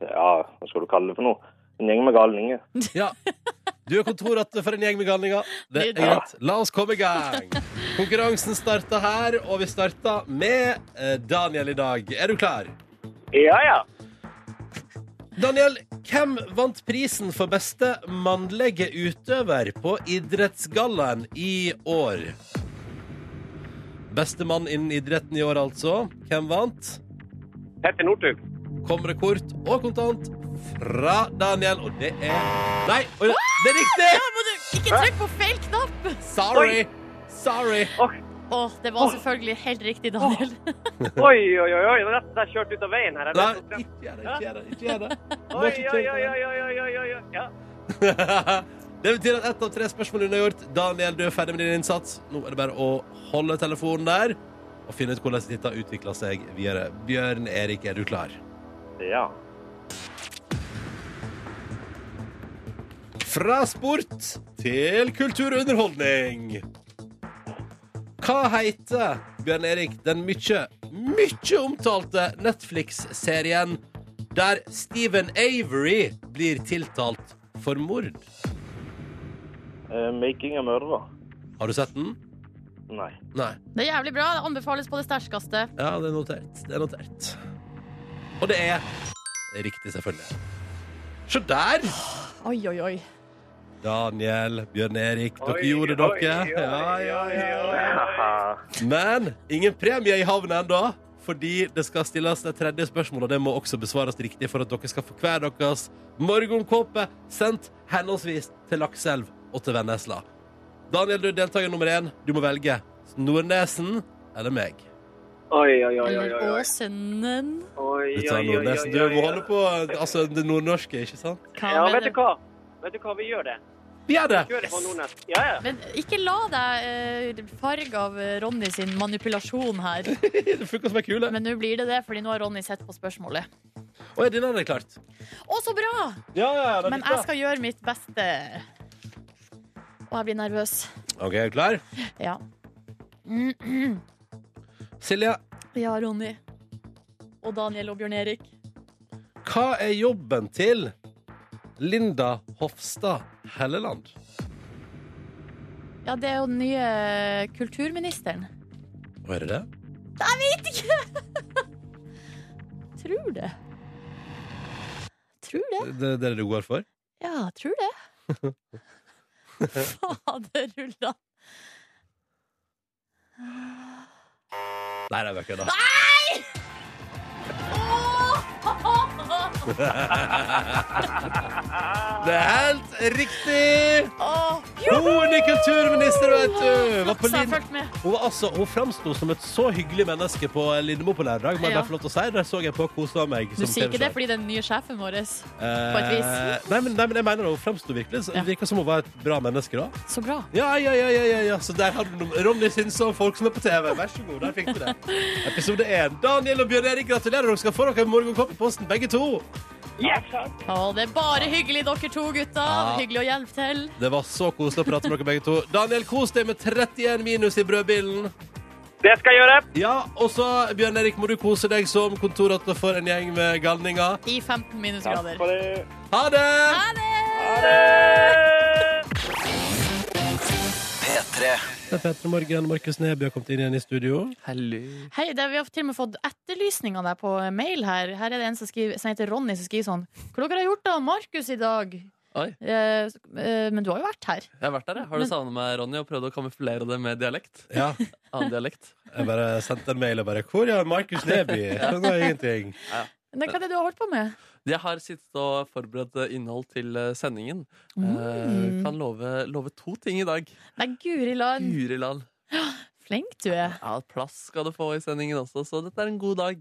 [SPEAKER 7] ja, hva skal du kalle det for noe? En gjeng med galninger.
[SPEAKER 3] Ja. Du er kontorratte for en gjeng med galninger. Det er
[SPEAKER 4] Nydelig.
[SPEAKER 3] greit. La oss komme i gang. Konkurransen starter her, og vi starter med eh, Daniel i dag. Er du klar?
[SPEAKER 6] Ja, ja.
[SPEAKER 3] Daniel, hvem vant prisen for beste mannlige utøver på Idrettsgallaen i år? Beste mann innen idretten i år, altså. Hvem vant?
[SPEAKER 7] [LAUGHS]
[SPEAKER 6] Petter Northug.
[SPEAKER 3] Kommer det kort og kontant fra Daniel, og det er Nei, oi, det er riktig!
[SPEAKER 4] Ja, må du ikke trykk på feil knapp!
[SPEAKER 3] Sorry. Sorry.
[SPEAKER 4] Å, det var selvfølgelig helt riktig, Daniel. [LAUGHS]
[SPEAKER 6] Oi, oi, oi, oi. Nå er nesten jeg kjørt ut av veien her. Jeg
[SPEAKER 3] Nei,
[SPEAKER 6] vet ikke.
[SPEAKER 3] ikke gjør det. Ikke gjør det. Ikke gjør det. [LAUGHS]
[SPEAKER 6] Oi, oi, oi, oi, oi, oi, oi, oi. Ja.
[SPEAKER 3] [LAUGHS] Det betyr at ett av tre spørsmål er unnagjort. Daniel, du er ferdig med din innsats. Nå er det bare å holde telefonen der og finne ut hvordan dette utvikler seg videre. Bjørn Erik, er du klar?
[SPEAKER 7] Ja.
[SPEAKER 3] Fra sport til kulturunderholdning. Hva heter Bjørn Erik den mykje, mykje omtalte Netflix-serien der Stephen Avery blir tiltalt for mord?
[SPEAKER 7] Eh, making a murderer.
[SPEAKER 3] Har du sett den?
[SPEAKER 7] Nei.
[SPEAKER 3] Nei.
[SPEAKER 4] Det er jævlig bra. Det anbefales på det sterkeste.
[SPEAKER 3] Ja, det er notert. Det er notert. Og det er riktig, selvfølgelig. Se der!
[SPEAKER 4] Oi, oi, oi.
[SPEAKER 3] Daniel, Bjørn Erik, dere
[SPEAKER 6] Oi,
[SPEAKER 3] gjorde
[SPEAKER 6] oi,
[SPEAKER 3] dere.
[SPEAKER 6] oi,
[SPEAKER 3] Ja, ja,
[SPEAKER 6] oi,
[SPEAKER 3] ja.
[SPEAKER 6] oi.
[SPEAKER 7] Haha.
[SPEAKER 3] Men ingen premie i havn ennå, fordi det skal stilles et tredje spørsmål, og det må også besvares riktig for at dere skal få hver deres morgenkåpe sendt henholdsvis til Lakselv og til Vennesla. Daniel, du er deltaker nummer én. Du må velge Nordnesen eller meg.
[SPEAKER 6] Oi, oi, oi, oi,
[SPEAKER 4] Eller
[SPEAKER 6] oi, oi.
[SPEAKER 4] Åsenen.
[SPEAKER 3] Du
[SPEAKER 6] Oi, oi,
[SPEAKER 3] tar
[SPEAKER 6] oi, oi,
[SPEAKER 3] Nordnesen. Du
[SPEAKER 6] oi,
[SPEAKER 3] må
[SPEAKER 6] oi.
[SPEAKER 3] holde på altså, det nordnorske, ikke sant?
[SPEAKER 4] Hva
[SPEAKER 6] Ja,
[SPEAKER 4] med
[SPEAKER 6] vet
[SPEAKER 4] det?
[SPEAKER 6] du hva? Vet du hva, vi gjør det.
[SPEAKER 3] Vi gjør det!
[SPEAKER 6] Kjører på Nordnes. Ja, ja.
[SPEAKER 4] Men ikke la deg eh, farge av eh, Ronny sin manipulasjon her.
[SPEAKER 3] [LAUGHS] Det funker som ei kule.
[SPEAKER 4] Men nå blir det det, fordi nå har Ronny sett på spørsmålet.
[SPEAKER 3] Og er din andre klart?
[SPEAKER 4] Å, så bra!
[SPEAKER 3] Ja, ja, ja.
[SPEAKER 4] Men jeg skal gjøre mitt beste. Og jeg blir nervøs.
[SPEAKER 3] OK, er du klar?
[SPEAKER 4] Ja.
[SPEAKER 3] Silje,
[SPEAKER 4] Ja, Ronny. Og Daniel og Bjørn Erik.
[SPEAKER 3] hva er jobben til Linda Hofstad Helleland?
[SPEAKER 4] Ja, det er jo den nye eh, kulturministeren.
[SPEAKER 3] Hva er det det?
[SPEAKER 4] Tror det. Tror det.
[SPEAKER 3] Det, det er det du går for?
[SPEAKER 4] Ja, tror det. Faderullan.
[SPEAKER 3] Nei, det er ikke det.
[SPEAKER 4] Ah! Åh! [LAUGHS]
[SPEAKER 3] Det er helt riktig!
[SPEAKER 4] Åh!
[SPEAKER 3] Hun er kulturminister, vet du! Var på
[SPEAKER 4] Flaks jeg har
[SPEAKER 3] Lin-
[SPEAKER 4] fulgt med.
[SPEAKER 3] Hun, var altså, hun framsto som et så hyggelig menneske på Lindemo på lørdag. må jeg
[SPEAKER 4] Ja.
[SPEAKER 3] bare få lov til å si. Der så jeg på og kosa meg.
[SPEAKER 4] Du
[SPEAKER 3] som
[SPEAKER 4] sier ikke det
[SPEAKER 3] TV-sjef.
[SPEAKER 4] fordi det er den nye sjefen vår,
[SPEAKER 3] Eh,
[SPEAKER 4] på et vis.
[SPEAKER 3] Nei, men, nei, men jeg mener det. Hun framsto virkelig. Så,
[SPEAKER 4] Ja.
[SPEAKER 3] Det virka som hun var et bra menneske da.
[SPEAKER 4] Så bra.
[SPEAKER 3] Ja, ja, ja, ja, ja, ja. Så der hadde du Ronny syns om folk som er på TV. Vær så god, der fikk du det. Episode 1. Daniel og Bjørn Erik, gratulerer. Dere skal få dere en morgenkopp i posten, begge to.
[SPEAKER 4] Å, det er bare hyggelig, dere to gutta.
[SPEAKER 3] Ja.
[SPEAKER 4] Hyggelig å hjelpe til.
[SPEAKER 3] Det var så koselig å prate med dere begge to. Daniel, kos deg med 31 minus i brødbilen.
[SPEAKER 6] Det skal jeg gjøre.
[SPEAKER 3] Ja, og så, Bjørn Erik, må du kose deg som kontorhatter for en gjeng med galninger.
[SPEAKER 4] I 15 minusgrader.
[SPEAKER 7] For det
[SPEAKER 3] Ha det!
[SPEAKER 4] Ha det!
[SPEAKER 1] P3.
[SPEAKER 3] Det er Petter Morgen. Markus Neby har kommet inn igjen i studio.
[SPEAKER 2] Hello.
[SPEAKER 4] Hei, det, Vi har til og med fått etterlysning av deg på mail her. Her er det en som, skriver, som heter Ronny, som skriver sånn Hva dere har gjort da, Markus, i dag?
[SPEAKER 2] Oi,
[SPEAKER 4] Eh, så- eh, men du har jo vært her.
[SPEAKER 2] jeg har vært der, jeg. Har du
[SPEAKER 4] Men-
[SPEAKER 2] savnet meg, Ronny, og prøvd å kamuflere det med dialekt?
[SPEAKER 3] Ja,
[SPEAKER 2] Annen dialekt?
[SPEAKER 3] jeg bare sendte en mail og bare Hvor er Markus [LAUGHS] Neby? Skjønner ingenting.
[SPEAKER 4] Men hva er det du har holdt på med?
[SPEAKER 2] Jeg har sittet og forberedt eh, innhold til eh, sendingen. Eh,
[SPEAKER 4] Mm.
[SPEAKER 2] kan love, love to ting i dag.
[SPEAKER 4] Nei, guri land.
[SPEAKER 2] Guri land.
[SPEAKER 4] Flink du er.
[SPEAKER 2] Ja, plass skal du få i sendingen også, så dette er en god dag.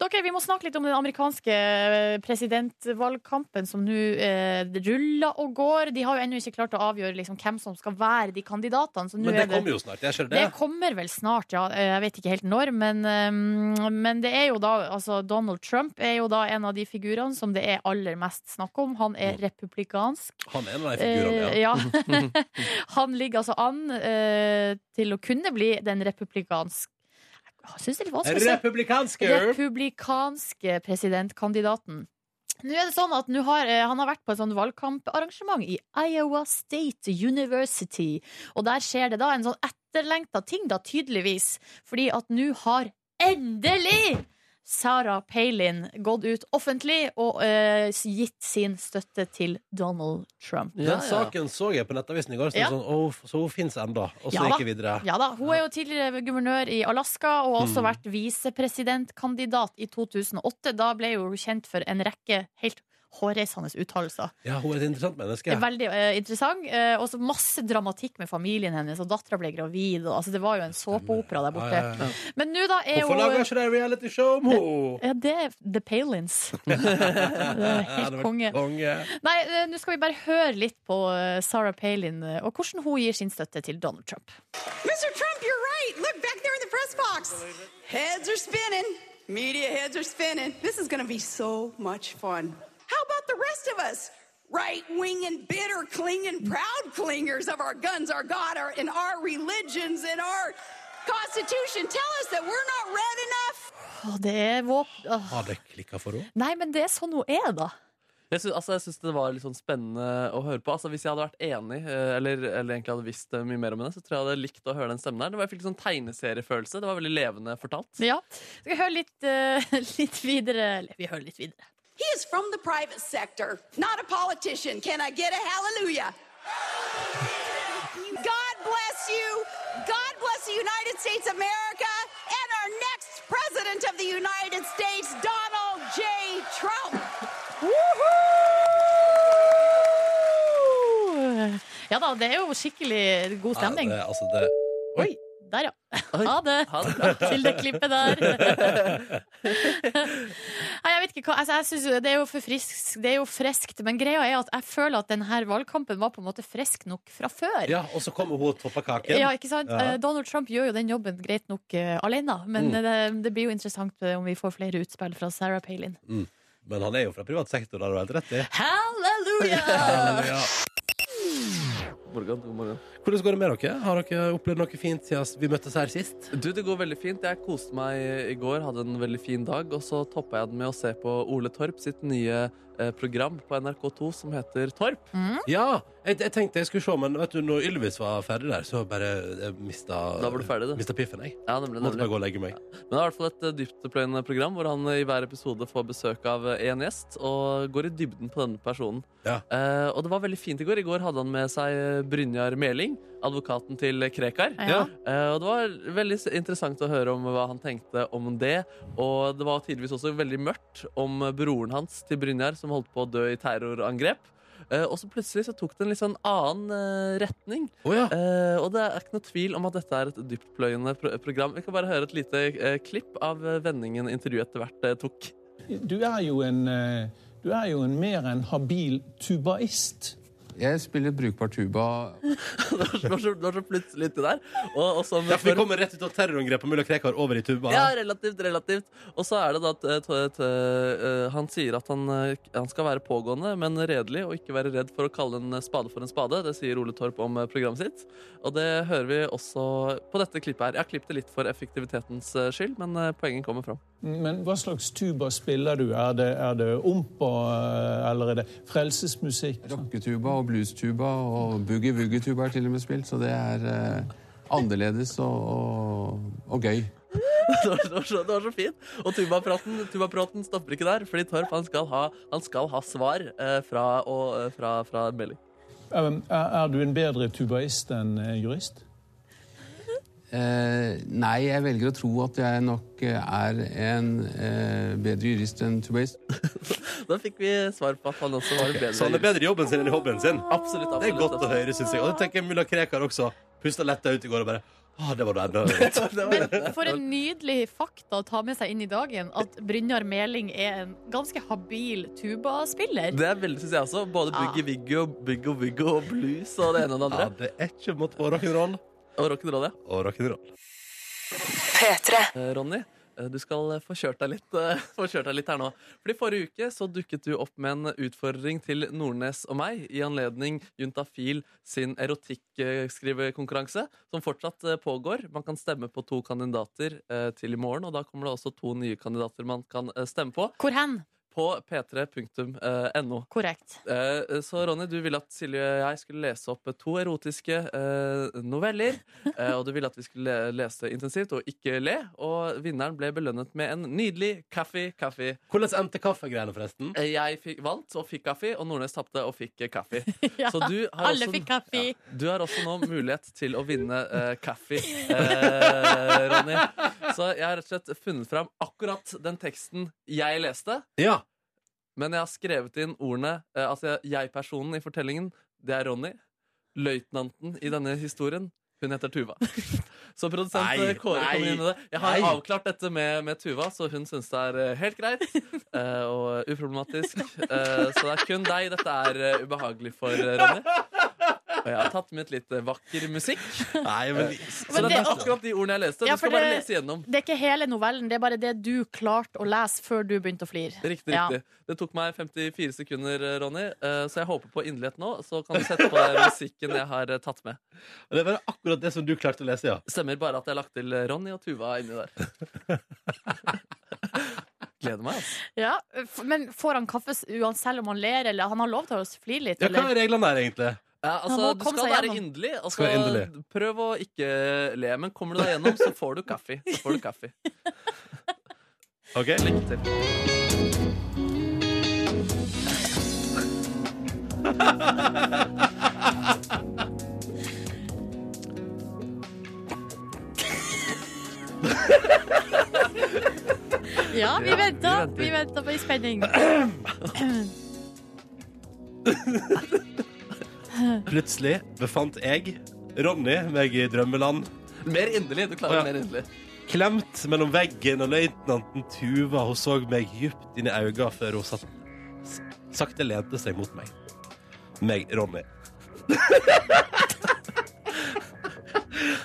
[SPEAKER 4] Dere, vi må snakke litt om den amerikanske eh, presidentvalgkampen som nå eh, ruller og går. De har jo ennå ikke klart å avgjøre liksom, hvem som skal være de kandidatene. Så nå
[SPEAKER 3] Men det
[SPEAKER 4] er det
[SPEAKER 3] kommer jo snart. Jeg skjønner
[SPEAKER 4] det
[SPEAKER 3] det.
[SPEAKER 4] kommer vel snart, ja. Eh, Jeg vet ikke helt når. Men, eh, men det er jo da altså Donald Trump er jo da en av de figurene som det er aller mest snakk om. Han er republikansk.
[SPEAKER 3] Han er Mm. en av de figurene.
[SPEAKER 4] Eh,
[SPEAKER 3] Ja.
[SPEAKER 4] ja. [LAUGHS] Han ligger altså an eh, til å kunne bli den republikansk Jeg synes det er litt vanskelig å si.
[SPEAKER 3] Republikansk, girl!
[SPEAKER 4] Republikanske presidentkandidaten. Nå er det sånn at nå har, eh, Han har vært på et sånn valgkamparrangement i Iowa State University. Og der skjer det da en sånn etterlengta ting, da, tydeligvis. Fordi at nå har endelig Sarah Palin gått ut offentlig og eh, gitt sin støtte til Donald Trump.
[SPEAKER 2] Ja, ja.
[SPEAKER 3] Den saken så jeg på Nettavisen i går. Så,
[SPEAKER 4] Ja.
[SPEAKER 3] sånn, «Åh, så hun fins ennå. Og så
[SPEAKER 4] Ja da.
[SPEAKER 3] gikk jeg videre.
[SPEAKER 4] Ja da, Hun er jo tidligere guvernør i Alaska og har også
[SPEAKER 3] Mm.
[SPEAKER 4] vært visepresidentkandidat i 2008. Da ble jo hun kjent for en rekke helt hårreisende uttalelser.
[SPEAKER 3] Ja, hun er et interessant
[SPEAKER 4] Det
[SPEAKER 3] menneske.
[SPEAKER 4] er Veldig eh, interessant. eh, og så masse dramatikk med familien hennes, og dattera ble gravid. Og, altså, det var jo en såpeopera der borte.
[SPEAKER 3] Ja, ja, ja.
[SPEAKER 4] Men nå da er
[SPEAKER 3] Hvorfor
[SPEAKER 4] hun
[SPEAKER 3] lager ikke de realityshow om henne?
[SPEAKER 4] [LAUGHS] ja, det er The Palins.
[SPEAKER 3] [LAUGHS]
[SPEAKER 4] det er
[SPEAKER 3] Ja,
[SPEAKER 4] helt
[SPEAKER 3] det var
[SPEAKER 4] konge.
[SPEAKER 3] konge.
[SPEAKER 4] Nei, eh, nå skal vi bare høre litt på eh, Sarah Palin eh, og hvordan hun gir sin støtte til Donald Trump.
[SPEAKER 5] Mr. Trump, you're right. Look back there in the press box. Heads are spinning. Media heads are spinning. This is going to be so much fun. How about the rest of us? Right wing and bitter clinging, proud clingers of our guns, our God, our, and our religions and our Constitution tell us that we're not red enough.
[SPEAKER 4] Å, det er våp... Åh.
[SPEAKER 3] Har det klikka for henne?
[SPEAKER 4] Nei, men det er sånn hun er, da.
[SPEAKER 2] Jeg syns, altså, jeg synes det var litt sånn spennende å høre på. Altså, hvis jeg hadde vært enig, eh, eller, eller egentlig hadde visst eh, mye mer om henne, så tror jeg jeg hadde likt å høre den stemmen der. Det var, jeg fikk litt sånn tegneseriefølelse. Det var veldig levende fortalt.
[SPEAKER 4] Ja. Skal vi høre litt, eh, [LAUGHS] litt videre? Eller, vi hører litt videre.
[SPEAKER 5] He is from the private sector, not a politician. Can I get a hallelujah? God bless you. God bless the United States of America and our next president of the United States, Donald J. Trump.
[SPEAKER 4] Ja da, det er jo skikkelig god
[SPEAKER 3] Ja,
[SPEAKER 4] stemning.
[SPEAKER 3] det, altså det
[SPEAKER 4] Oi, der, ja.
[SPEAKER 2] Oi.
[SPEAKER 4] Ha det.
[SPEAKER 2] Ha det bra.
[SPEAKER 4] [LAUGHS] Til det klippet der. Nei, jeg vet ikke hva altså, jeg synes, jo- Det er jo for friskt, det er jo freskt, men greia er at jeg føler at denne valgkampen var på en måte frisk nok fra før.
[SPEAKER 3] Ja, og så kommer hun og topper kaken.
[SPEAKER 4] Ja, ikke sant?
[SPEAKER 3] Ja.
[SPEAKER 4] Eh, Donald Trump gjør jo den jobben greit nok eh, alene, men eh, det, det blir jo interessant eh, om vi får flere utspill fra Sarah Palin.
[SPEAKER 3] Men han er jo fra privat sektor, det har du helt rett i.
[SPEAKER 4] [LAUGHS] Halleluja!
[SPEAKER 3] Ja.
[SPEAKER 2] Morgan, god morgen.
[SPEAKER 3] Hvordan går det med dere? Har dere opplevd noe fint siden vi møttes her sist?
[SPEAKER 2] Du, det går veldig fint. Jeg koste meg i går, hadde en veldig fin dag. Og så toppa jeg den med å se på Ole Torp sitt nye eh, program på NRK2 som heter Torp.
[SPEAKER 3] Ja, jeg, jeg tenkte jeg skulle se, men vet du, når Ylvis var ferdig der, så bare jeg mista,
[SPEAKER 2] Da var du ferdig, du.
[SPEAKER 3] mista piffen, jeg.
[SPEAKER 2] Ja, nemlig,
[SPEAKER 3] Måtte
[SPEAKER 2] nemlig.
[SPEAKER 3] bare gå og legge meg.
[SPEAKER 2] Men det er i hvert fall et eh, dyptpløyende program hvor han eh, i hver episode får besøk av eh, en gjest og går i dybden på denne personen.
[SPEAKER 3] Ja.
[SPEAKER 2] Eh, og det var veldig fint i går. I går hadde han med seg eh, Brynjar Meling, advokaten til eh, Krekar.
[SPEAKER 4] Ja.
[SPEAKER 2] Eh, og det var veldig s- interessant å høre om hva han tenkte om det. Og det var tidvis også veldig mørkt om eh, broren hans til Brynjar, som holdt på å dø i terrorangrep. Eh, og så plutselig så tok det en litt sånn annen eh, retning.
[SPEAKER 3] Å ja.
[SPEAKER 2] Eh, og det er ikke noe tvil om at dette er et dyptpløyende pro program. Vi kan bare høre et lite eh, klipp av eh, vendingen intervjuet etter hvert eh, tok. [LAUGHS]
[SPEAKER 8] Du er jo en, eh, du er jo en mer enn habil tubaist.
[SPEAKER 9] Jeg spiller brukbar tuba.
[SPEAKER 2] det, var så, det var så- det var så plutselig uti der. Og, og som
[SPEAKER 3] Ja, for vi kommer rett ut av terrorangrepet mulla Krekar over i tuba.
[SPEAKER 2] Ja, relativt, relativt. Og så er det da at eh, t- t- eh, han sier at han, eh, han skal være pågående, men redelig, og ikke være redd for å kalle en spade for en spade. Det sier Ole Torp om eh, programmet sitt. Og det hører vi også på dette klippet her. Jeg har klippet det litt for effektivitetens eh, skyld, men eh, poenget kommer fram. [LAUGHS]
[SPEAKER 8] Men hva slags tuba spiller du? Er det, er det ompa, eh, eller er det frelsesmusikk?
[SPEAKER 9] Rocketuba og bluestuba og boogie-woogie-tuba er til og med spilt, så det er eh, annerledes og, og, og gøy.
[SPEAKER 2] det, var, det, var så, det var så fint. Og tubapraten, tubapraten stopper ikke der, fordi Torp han skal ha, han skal ha svar eh, fra, og, eh, fra, fra Melling.
[SPEAKER 8] Um, Er, er du en bedre tubaist enn eh, jurist?
[SPEAKER 9] Eh, nei, jeg velger å tro at jeg nok eh, er en eh, bedre jurist enn tubaist.
[SPEAKER 2] Da fikk vi svar på at han også var en sånn bedre
[SPEAKER 3] Så han er
[SPEAKER 2] jurist.
[SPEAKER 3] bedre i jobben sin Ah, enn i hobbyen sin.
[SPEAKER 2] Absolutt, absolutt.
[SPEAKER 3] Det er godt å høre, syns jeg. Og det tenker jeg mulla Krekar også. pusta letta ut i går og bare Å, det var da enda litt.
[SPEAKER 2] [LAUGHS]
[SPEAKER 4] Men for en nydelig fakta å ta med seg inn i dagen, at Brynjar Meling er en ganske habil tubaspiller.
[SPEAKER 2] Det er veldig, synes jeg også. Både Boogie Wiggy og Byggo Wiggo og blues og det ene og det
[SPEAKER 3] Ja,
[SPEAKER 2] andre.
[SPEAKER 3] det er ikke mot og rock'n'roll.
[SPEAKER 2] Og rock'n'roll, ja.
[SPEAKER 3] Og rock'n'roll.
[SPEAKER 2] Eh, Ronny, eh, du skal eh, få kjørt deg litt, eh, [LAUGHS] få kjørt deg litt her nå. Fordi forrige uke så dukket du opp med en utfordring til Nordnes og meg i anledning Juntafil sin erotikkskrivekonkurranse, som fortsatt eh, pågår. Man kan stemme på to kandidater eh, til i morgen, og da kommer det også to nye kandidater man kan eh, stemme på
[SPEAKER 4] Hvor hen?
[SPEAKER 2] på p3.no.
[SPEAKER 4] Korrekt.
[SPEAKER 2] Eh, Så Ronny, du ville at Silje og jeg skulle lese opp to erotiske eh,
[SPEAKER 4] [LAUGHS]
[SPEAKER 2] noveller. eh, Og du ville at vi skulle le- lese intensivt og ikke le. Og vinneren ble belønnet med en nydelig kaffe. kaffe.
[SPEAKER 3] Hvordan endte kaffegreiene, forresten?
[SPEAKER 2] Eh, Jeg fikk, vant og fikk kaffe, og Nordnes tapte og fikk eh, kaffe.
[SPEAKER 4] [LAUGHS] Ja,
[SPEAKER 2] Så du har
[SPEAKER 4] alle
[SPEAKER 2] også-
[SPEAKER 4] fikk kaffe.
[SPEAKER 2] Ja, du har også nå mulighet til å vinne eh,
[SPEAKER 4] [LAUGHS]
[SPEAKER 2] kaffe, eh, Ronny. Så jeg har rett og slett funnet fram akkurat den teksten jeg leste.
[SPEAKER 3] Ja.
[SPEAKER 2] Men jeg har skrevet inn ordene eh, Altså jeg-personen i fortellingen, det er Ronny. Løytnanten i denne historien, hun heter
[SPEAKER 4] [LAUGHS]
[SPEAKER 2] Tuva. Så produsent
[SPEAKER 3] Nei,
[SPEAKER 2] eh, Kåre
[SPEAKER 3] nei,
[SPEAKER 2] kommer inn med det. Jeg har
[SPEAKER 3] nei.
[SPEAKER 2] avklart dette med, med Tuva, så hun syns det er eh, helt
[SPEAKER 4] [LAUGHS]
[SPEAKER 2] greit. eh, og uproblematisk. Eh, så det er kun deg dette er eh, ubehagelig for, eh, Ronny. Og jeg har tatt med litt eh, vakker musikk.
[SPEAKER 3] Nei, men
[SPEAKER 2] Så
[SPEAKER 4] Men
[SPEAKER 2] dette
[SPEAKER 4] det-
[SPEAKER 2] er akkurat de ordene jeg leste.
[SPEAKER 4] Ja,
[SPEAKER 2] du skal
[SPEAKER 4] for
[SPEAKER 2] bare
[SPEAKER 4] det-
[SPEAKER 2] lese gjennom.
[SPEAKER 4] Det er ikke hele novellen, det er bare det du klarte å lese før du begynte å flire.
[SPEAKER 2] Riktig,
[SPEAKER 4] Ja.
[SPEAKER 2] riktig. Det tok meg 54 sekunder, Ronny, eh, så jeg håper på inderlighet nå. Så kan du sette på den musikken jeg har eh, tatt med.
[SPEAKER 3] det var akkurat det som du klarte å lese, ja.
[SPEAKER 2] Stemmer bare at jeg har lagt til eh, Ronny og Tuva inni der.
[SPEAKER 3] [LAUGHS]
[SPEAKER 2] Gleder meg, altså.
[SPEAKER 4] Ja, f- men får han kaffe s- uansett selv om han ler, eller han har lov til å flire litt?
[SPEAKER 3] ja hva
[SPEAKER 4] Eller?
[SPEAKER 3] er reglene her, egentlig?
[SPEAKER 2] Ja, altså
[SPEAKER 4] må
[SPEAKER 2] du
[SPEAKER 4] komme
[SPEAKER 2] skal
[SPEAKER 4] seg
[SPEAKER 2] være
[SPEAKER 4] gjennom.
[SPEAKER 2] inderlig. Altså,
[SPEAKER 3] Skal være inderlig.
[SPEAKER 2] prøv å ikke le, men kommer du deg gjennom, så får du kaffe. Så får du kaffe.
[SPEAKER 3] Ok
[SPEAKER 2] Lykke til.
[SPEAKER 4] Ja, vi
[SPEAKER 2] Ja, vi
[SPEAKER 4] venter.
[SPEAKER 2] venter.
[SPEAKER 4] Vi venter på i spenning.
[SPEAKER 2] [CLEARS THROAT]
[SPEAKER 3] Plutselig befant jeg, Ronny, meg i drømmeland.
[SPEAKER 2] Mer inderlig. Du klarer
[SPEAKER 3] Ja.
[SPEAKER 2] mer inderlig.
[SPEAKER 3] Klemt mellom veggen og løytnanten Tuva. Hun så meg djupt inn i øynene før hun satt, s- sakte lente seg mot meg. Meg, Ronny. [LAUGHS]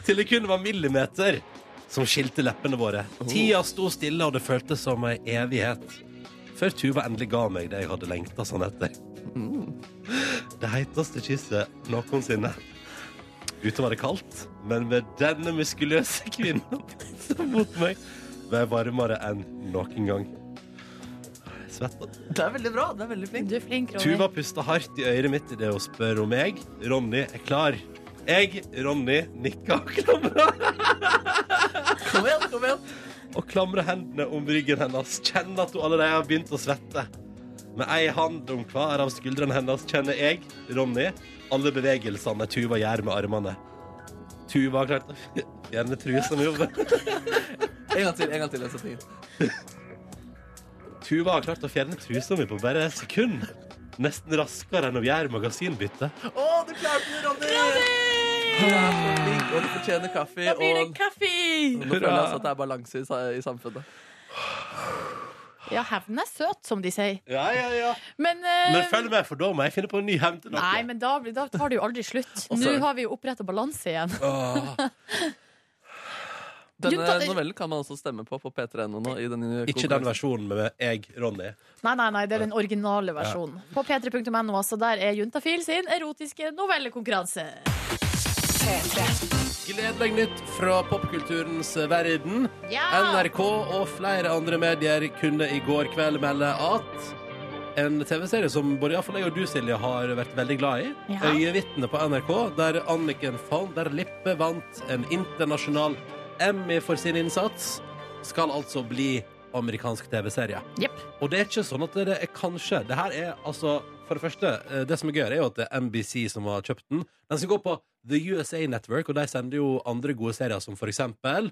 [SPEAKER 3] Til det kun var millimeter som skilte leppene våre. Tida sto stille, og det føltes som ei evighet. Før Tuva endelig ga meg det jeg hadde lengta sånn etter. Det heiteste kysset noensinne. Ute var det kaldt, men med denne muskuløse [LAUGHS] kvinnen som mot meg var jeg varmere enn noen gang. Jeg Svetta.
[SPEAKER 2] Det er veldig bra. Det er veldig flink.
[SPEAKER 4] Du er flink, Ronny.
[SPEAKER 3] Tuva pusta hardt i øret mitt idet hun spør om jeg, Ronny, er klar. Jeg, Ronny, nikka og klamra
[SPEAKER 2] Kom igjen, kom igjen.
[SPEAKER 3] og klamra hendene om ryggen hennes. Kjenner at hun allerede har begynt å svette. Med ei hand om hver av skuldrene hennes kjenner jeg, Ronny, alle bevegelsene Tuva gjør med armene. Tuva har klart å [LAUGHS] fjerne trusa mi over.
[SPEAKER 2] En gang til. en gang til den setningen.
[SPEAKER 3] Tuva har klart å fjerne trusa mi på bare et sekund. Nesten raskere enn å gjøre magasinbytte.
[SPEAKER 2] Å, du klarte det, Ronny! Du er så flink, og du fortjener kaffe.
[SPEAKER 4] Da blir det
[SPEAKER 2] og...
[SPEAKER 4] kaffe!
[SPEAKER 2] Nå føler jeg altså at det er balanse i, sa- i samfunnet.
[SPEAKER 4] Ja, hevnen er søt, som de sier.
[SPEAKER 3] Ja, ja, ja.
[SPEAKER 4] Men, eh,
[SPEAKER 3] Men følg med, for da må jeg finne på en ny hevn til
[SPEAKER 4] Nei,
[SPEAKER 3] dere.
[SPEAKER 4] men da, blir- da tar det jo aldri slutt. Nå har vi jo oppretta balanse igjen.
[SPEAKER 2] Denne
[SPEAKER 4] Junta-
[SPEAKER 2] novellen kan man også stemme på på p3.no nå. I den nye
[SPEAKER 3] Ikke den
[SPEAKER 2] konkurransen.
[SPEAKER 3] versjonen med jeg, Ronny.
[SPEAKER 4] Nei, nei, nei, det er den originale versjonen. På p3.no, altså. Der er Juntafil sin erotiske novellekonkurranse.
[SPEAKER 3] Gled deg nytt fra popkulturens verden.
[SPEAKER 4] Ja!
[SPEAKER 3] NRK og flere andre medier kunne i går kveld melde at en TV-serie som både iallfall jeg og du, Silje, har vært veldig glad i,
[SPEAKER 4] Ja.
[SPEAKER 3] 'Øyevitne' på NRK, der Anniken van der Lippe vant en internasjonal Emmy for sin innsats, skal altså bli amerikansk TV-serie.
[SPEAKER 4] Jepp.
[SPEAKER 3] Og det er ikke sånn at det er kanskje Det her er altså For det første, eh, det som er gøy, er jo at det er NBC som har kjøpt den. Den skal gå på The USA Network, og de sender jo [LAUGHS] andre gode serier som for eksempel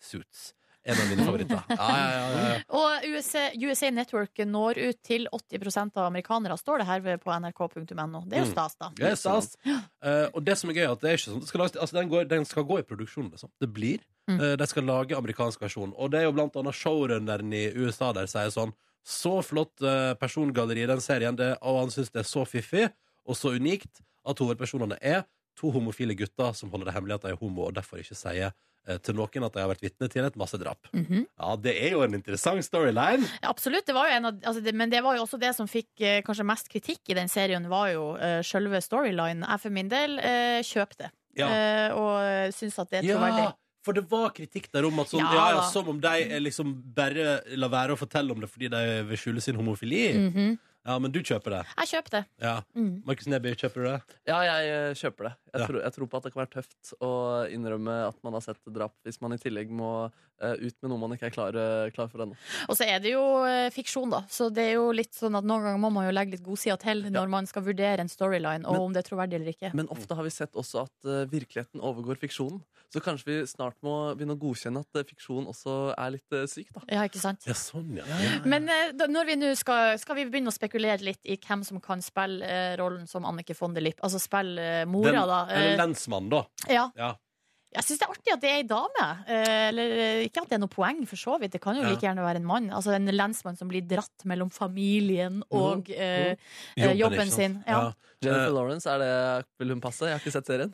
[SPEAKER 3] Suits. En av mine favoritter. Ja, ja, ja, ja, ja.
[SPEAKER 4] Og USA, USA Network når ut til 80 av amerikanere, står det her ved- på nrk.no. Det er jo
[SPEAKER 3] Mm.
[SPEAKER 4] stas, da.
[SPEAKER 3] Det er stas. Eh, og det som er gøy, er at det er ikke sånn det skal lages, altså, den, går, den skal gå i produksjon, liksom. Det blir.
[SPEAKER 4] Mm.
[SPEAKER 3] Eh, de skal lage amerikansk versjon. Og det er jo blant annet showrunneren i USA der sier sånn Så flott eh, persongalleri i den serien, det, og han syns det er så fiffig og så unikt at hovedpersonene er to homofile gutter som holder det hemmelig at de er homo, og derfor ikke sier eh, til noen at de har vært vitne til et massedrap.
[SPEAKER 4] Mhm.
[SPEAKER 3] Ja, det er jo en interessant storyline.
[SPEAKER 4] Ja, absolutt. Det var jo en av, altså det, men det var jo også det som fikk eh, kanskje mest kritikk i den serien, var jo eh, sjølve storylinen. Jeg for min del eh, kjøpte.
[SPEAKER 3] Ja.
[SPEAKER 4] Eh, og syns at det er troverdig.
[SPEAKER 3] Ja, for det var kritikk der om at sånn,
[SPEAKER 4] Ja,
[SPEAKER 3] ja, ja,
[SPEAKER 4] da.
[SPEAKER 3] som om de er liksom bare la være å fortelle om det fordi de vil skjule sin homofili.
[SPEAKER 4] Mhm.
[SPEAKER 3] Ja, men du kjøper det.
[SPEAKER 4] Jeg kjøpte.
[SPEAKER 3] Ja.
[SPEAKER 4] Mm.
[SPEAKER 3] Markus Neby, kjøper du det?
[SPEAKER 2] Ja, jeg eh, kjøper det. Jeg,
[SPEAKER 3] Ja.
[SPEAKER 2] tror, jeg tror på at det kan være tøft å innrømme at man har sett drap, hvis man i tillegg må eh, ut med noe man ikke er klar, eh, klar for ennå.
[SPEAKER 4] Og så er det jo eh, fiksjon, da. Så det er jo litt sånn at noen ganger må man jo legge litt godsida til når man skal vurdere en storyline, og
[SPEAKER 2] Men-
[SPEAKER 4] om det er troverdig eller ikke.
[SPEAKER 3] Mm.
[SPEAKER 2] Men ofte har vi sett også at eh, virkeligheten overgår fiksjonen. Så kanskje vi snart må begynne å godkjenne at eh, fiksjon også er litt eh, syk, da.
[SPEAKER 4] Ja, ikke sant?
[SPEAKER 3] Ja, sånn, ja.
[SPEAKER 4] Men eh, da, når vi nå skal, skal vi begynne å spekulere litt i hvem som kan spille eh, rollen som Annike von der Lipp? Altså spille eh, mora,
[SPEAKER 3] Den,
[SPEAKER 4] da. Eh,
[SPEAKER 3] eller lensmannen, da.
[SPEAKER 4] ja.
[SPEAKER 3] Ja.
[SPEAKER 4] Jeg syns det er artig at det er ei dame. Eh, eller eh, ikke at det er noe poeng, for så vidt. Det kan jo
[SPEAKER 3] Ja.
[SPEAKER 4] like gjerne være en mann. Altså en lensmann som blir dratt mellom familien og eh, eh,
[SPEAKER 3] ikke
[SPEAKER 4] jobben,
[SPEAKER 3] sant?
[SPEAKER 4] sin. Ja.
[SPEAKER 2] Jennifer Lawrence, er det, vil hun passe? Jeg har ikke sett serien.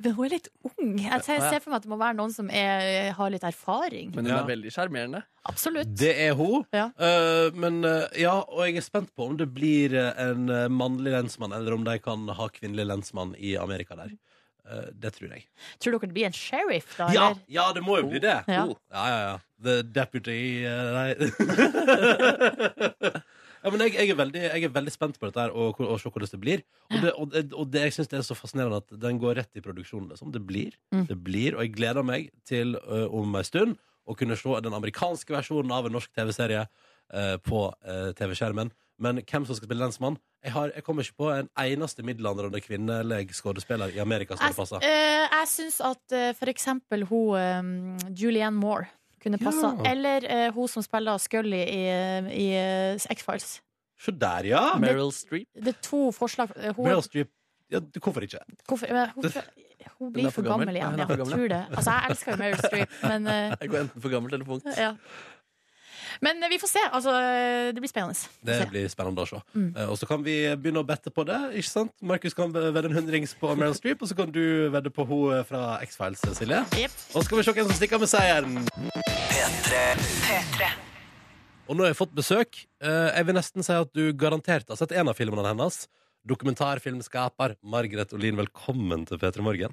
[SPEAKER 4] Men hun er litt ung. Jeg ser,
[SPEAKER 2] ja.
[SPEAKER 4] ser for meg at det må være noen som er, eh, har litt erfaring.
[SPEAKER 2] Men hun
[SPEAKER 3] Ja.
[SPEAKER 2] er veldig sjarmerende.
[SPEAKER 4] Absolutt.
[SPEAKER 3] Det er hun.
[SPEAKER 4] Ja.
[SPEAKER 3] Eh, men eh, ja, og jeg er spent på om det blir eh, en eh, mannlig lensmann, eller om de kan ha kvinnelig lensmann i Amerika der. Eh, det tror jeg.
[SPEAKER 4] Tror dere det blir en sheriff, da?
[SPEAKER 3] Ja,
[SPEAKER 4] eller? Oh,
[SPEAKER 3] ja, det må jo bli det.
[SPEAKER 4] Ja.
[SPEAKER 3] Ja, Oh, ja, ja. The deputy eh, Nei. [LAUGHS] ja, men jeg, jeg, er veldig, jeg er veldig spent på dette her og, hvor- og se hvordan det blir. Og, det, og, det- og det, jeg syns det er så fascinerende at den går rett i produksjonen. Liksom. Det blir.
[SPEAKER 4] Mm.
[SPEAKER 3] Det blir. Og jeg gleder meg til ø, om ei stund å kunne se den amerikanske versjonen av en norsk TV-serie eh, på eh, TV-skjermen. Men hvem som skal spille lensmann? Jeg, har, jeg kommer ikke på en eneste middelaldrende kvinnelig skuespiller i Amerika som
[SPEAKER 4] Jeg,
[SPEAKER 3] hadde passa.
[SPEAKER 4] eh, jeg syns at eh, for eksempel hun eh, Julianne Moore kunne passa.
[SPEAKER 3] Ja.
[SPEAKER 4] Eller eh, hun som spiller Scully i, i eh, X-Files.
[SPEAKER 3] Se der, ja!
[SPEAKER 2] Meryl Streep.
[SPEAKER 4] Det er to forslag. Eh, Hun,
[SPEAKER 3] Meryl Streep. Ja, du- hvorfor ikke?
[SPEAKER 4] hvorfor, men hun,
[SPEAKER 3] Det-
[SPEAKER 4] tror- hun blir
[SPEAKER 2] er
[SPEAKER 4] for
[SPEAKER 2] for gammel.
[SPEAKER 4] gammel
[SPEAKER 2] Ja,
[SPEAKER 4] igjen.
[SPEAKER 2] hun er
[SPEAKER 4] Ja,
[SPEAKER 2] for
[SPEAKER 4] jeg
[SPEAKER 2] gammel.
[SPEAKER 4] tror det. Altså, jeg elsker jo Meryl Streep, men, eh,
[SPEAKER 2] Jeg går enten for gammelt eller for ungt.
[SPEAKER 4] ja. men eh, vi får se. Altså, eh, det blir spennende. Vi får
[SPEAKER 3] Det
[SPEAKER 4] se.
[SPEAKER 3] blir spennende å se.
[SPEAKER 4] Mm.
[SPEAKER 3] Eh, Og så kan vi begynne å bette på det. ikke sant? Markus kan vedde en hundrings på Meryl Streep, og så kan du vedde på hun fra X-Files, eh, Silje.
[SPEAKER 4] Jep.
[SPEAKER 3] Og så skal vi se hvem som stikker med seieren. Og nå har jeg fått besøk. Eh, Jeg vil nesten si at du garantert har sett en av filmene hennes. Dokumentarfilmskaper Margaret Olin, velkommen til P3 Morgen.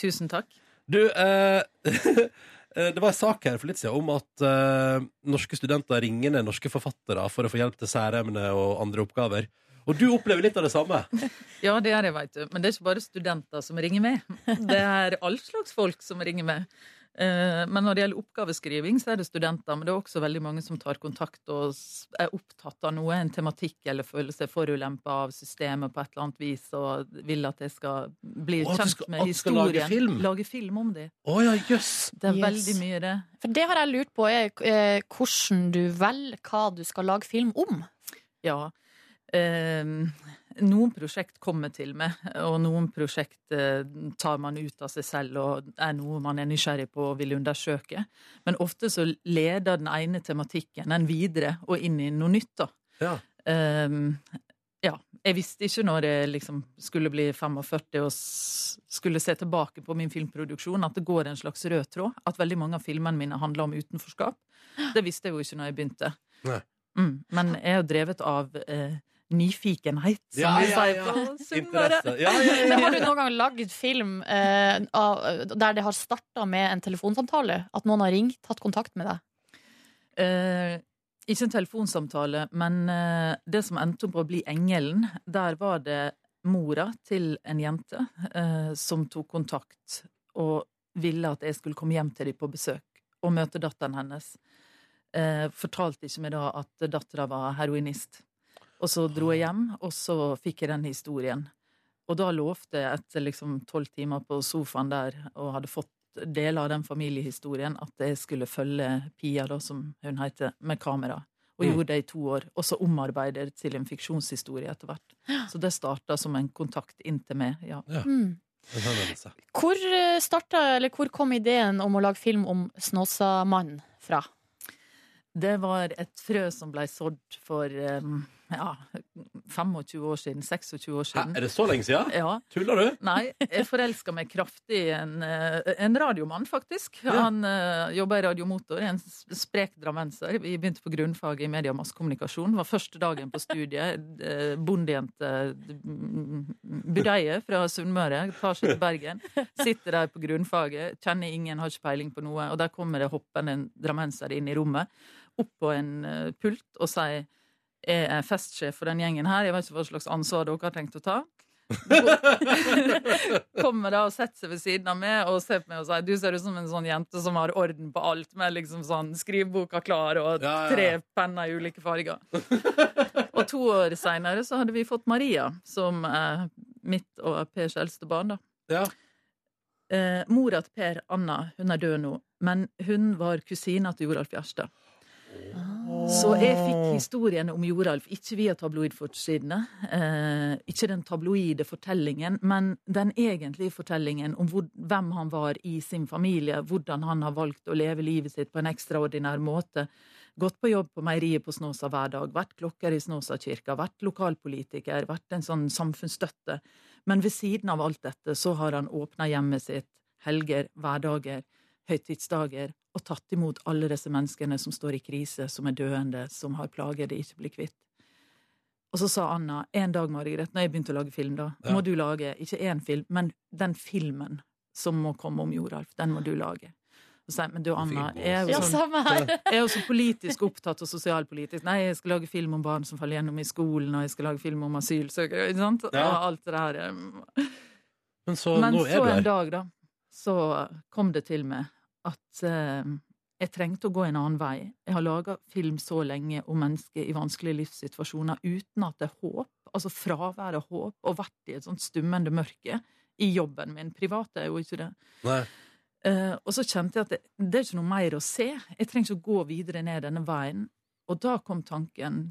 [SPEAKER 10] Tusen takk.
[SPEAKER 3] Du, eh, [LAUGHS] eh, det var en sak her for litt siden om at eh, norske studenter ringer ned norske forfattere for å få hjelp til særemne og andre oppgaver. Og du opplever litt av det samme.
[SPEAKER 10] Ja, det er det, veit du. Men det er ikke bare studenter som ringer med. Det er all slags folk som ringer med. Eh, Men når det gjelder oppgaveskriving, så er det studenter. Men det er også veldig mange som tar kontakt og s- er opptatt av noe, en tematikk, eller føler seg forulempa av systemet på et eller annet vis, og vil at jeg skal bli
[SPEAKER 3] Å, at du
[SPEAKER 10] kjent
[SPEAKER 3] skal-
[SPEAKER 10] med
[SPEAKER 3] at du skal lage
[SPEAKER 10] historien.
[SPEAKER 3] film?
[SPEAKER 10] Lage film om det.
[SPEAKER 3] Å ja, jøss!
[SPEAKER 10] Det er
[SPEAKER 4] Yes.
[SPEAKER 10] veldig mye, det.
[SPEAKER 4] For det har jeg lurt på, er eh, hvordan du velger hva du skal lage film om.
[SPEAKER 10] Ja. Eh, noen prosjekt kommer til meg, og noen prosjekt eh, tar man ut av seg selv og er noe man er nysgjerrig på og vil undersøke. Men ofte så leder den ene tematikken en videre og inn i noe nytt, da.
[SPEAKER 3] Ja.
[SPEAKER 10] Eh, ja. Jeg visste ikke når jeg liksom skulle bli 45 og s- skulle se tilbake på min filmproduksjon, at det går en slags rød tråd. At veldig mange av filmene mine handler om utenforskap. Det visste jeg jo ikke når jeg begynte.
[SPEAKER 3] Nei.
[SPEAKER 10] Mm, men jeg er jo drevet av eh, nyfikenhet, som
[SPEAKER 3] Ja,
[SPEAKER 10] vi
[SPEAKER 3] ja,
[SPEAKER 10] sier
[SPEAKER 3] ja.
[SPEAKER 10] på Sunnmøre.
[SPEAKER 3] Interesse. Ja, ja, ja.
[SPEAKER 4] Men har du noen gang lagd film eh, av, der det har starta med en telefonsamtale? At noen har ringt, tatt kontakt med deg?
[SPEAKER 10] Eh, ikke en telefonsamtale, men eh, det som endte opp å bli Engelen, der var det mora til en jente eh, som tok kontakt og ville at jeg skulle komme hjem til dem på besøk og møte datteren hennes. Eh, fortalte ikke meg da at dattera var heroinist. Og så dro jeg hjem, og så fikk jeg den historien. Og da lovte jeg etter liksom tolv timer på sofaen der og hadde fått deler av den familiehistorien at jeg skulle følge Pia, da, som hun heter, med kamera. og
[SPEAKER 11] Mm.
[SPEAKER 10] gjorde det i to år. Og så omarbeidet det til en fiksjonshistorie etter hvert. Så det starta som en kontakt inn til meg. Ja.
[SPEAKER 4] Mm.
[SPEAKER 3] Hva
[SPEAKER 4] Hvor eh, starta, eller hvor kom ideen om å lage film om Snåsamannen fra?
[SPEAKER 10] Det var et frø som ble sådd for um, ja, 25 år siden. 26 år siden.
[SPEAKER 3] Hæ, er det så lenge siden?
[SPEAKER 10] Ja.
[SPEAKER 3] Tuller du?
[SPEAKER 10] Nei. Jeg forelska meg kraftig i en, eh, en radiomann, faktisk. Han uh, jobba i Radiomotor, en s- sprek drammenser. Vi begynte på grunnfaget i media og massekommunikasjon. Var første dagen på studiet. eh, Bondejente mm, budeie fra Sunnmøre tar seg til Bergen. Sitter der på grunnfaget, kjenner ingen, har ikke peiling på noe. Og der kommer det hoppende en drammenser inn i rommet, opp på en eh, pult, og sier jeg er festsjef for den gjengen her. Jeg vet ikke hva slags ansvar dere har tenkt å ta. [LAUGHS] Kommer da og setter seg ved siden av meg og ser på meg og sier du ser ut som en sånn jente som har orden på alt, med liksom sånn skriveboka klar og
[SPEAKER 11] Ja, ja, ja.
[SPEAKER 10] tre penner i ulike farger. [LAUGHS] og to år seinere så hadde vi fått Maria, som er mitt og Pers eldste barn, da. Eh, Mora til Per, Anna, hun er død nå, men hun var kusina til Joralf Gjerstad. Så jeg fikk historien om Joralf, ikke via tabloidforsidene, eh, ikke den tabloide fortellingen, men den egentlige fortellingen om hvor, hvem han var i sin familie, hvordan han har valgt å leve livet sitt på en ekstraordinær måte. Gått på jobb på meieriet på Snåsa hver dag, vært klokker i Snåsakirka, vært lokalpolitiker, vært en sånn samfunnsstøtte. Men ved siden av alt dette så har han åpna hjemmet sitt helger, hverdager, høytidsdager og tatt imot alle disse menneskene som står i krise, som er døende, som har plager de ikke blir kvitt. Og så sa Anna en dag, Margaret, når jeg begynte å lage film, da
[SPEAKER 11] Ja.
[SPEAKER 10] må du lage ikke én film, men den filmen som må komme om Joralf, den må du lage. Og så sa jeg, men du, Anna, jeg er
[SPEAKER 4] Ja,
[SPEAKER 10] jo sånn,
[SPEAKER 4] samme her.
[SPEAKER 10] jeg er jo så politisk opptatt og sosialpolitisk. Nei, jeg skal lage film om barn som faller gjennom i skolen, og jeg skal lage film om asylsøkere, ikke sant?
[SPEAKER 3] Ja.
[SPEAKER 10] Og alt det der. eh,
[SPEAKER 3] Men så
[SPEAKER 10] men
[SPEAKER 3] nå er
[SPEAKER 10] så
[SPEAKER 3] du
[SPEAKER 10] en
[SPEAKER 3] her.
[SPEAKER 10] dag, da, så kom det til meg at eh, jeg trengte å gå en annen vei. Jeg har laga film så lenge om mennesker i vanskelige livssituasjoner uten at det er håp, altså fravær av håp, og vært i et sånt stummende mørke i jobben min. Privat er jeg jo ikke det.
[SPEAKER 3] Nei.
[SPEAKER 10] Eh, og så kjente jeg at det, det er ikke noe mer å se. Jeg trenger ikke å gå videre ned denne veien. Og da kom tanken,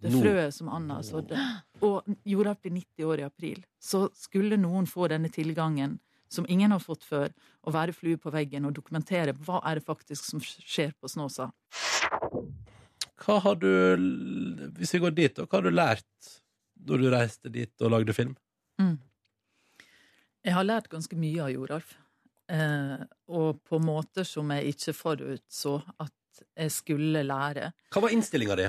[SPEAKER 10] det
[SPEAKER 11] Nå.
[SPEAKER 10] frøet som Anna sådde. Og Joralf blir 90 år i april. Så skulle noen få denne tilgangen, som ingen har fått før, å være flue på veggen og dokumentere hva er det faktisk som skjer på Snåsa.
[SPEAKER 3] Hva har du l- Hvis vi går dit, da, hva har du lært da du reiste dit og lagde film?
[SPEAKER 10] Jeg har lært ganske mye av Joralf. Eh, og på måter som jeg ikke forutså at jeg skulle lære.
[SPEAKER 3] Hva var innstillinga di?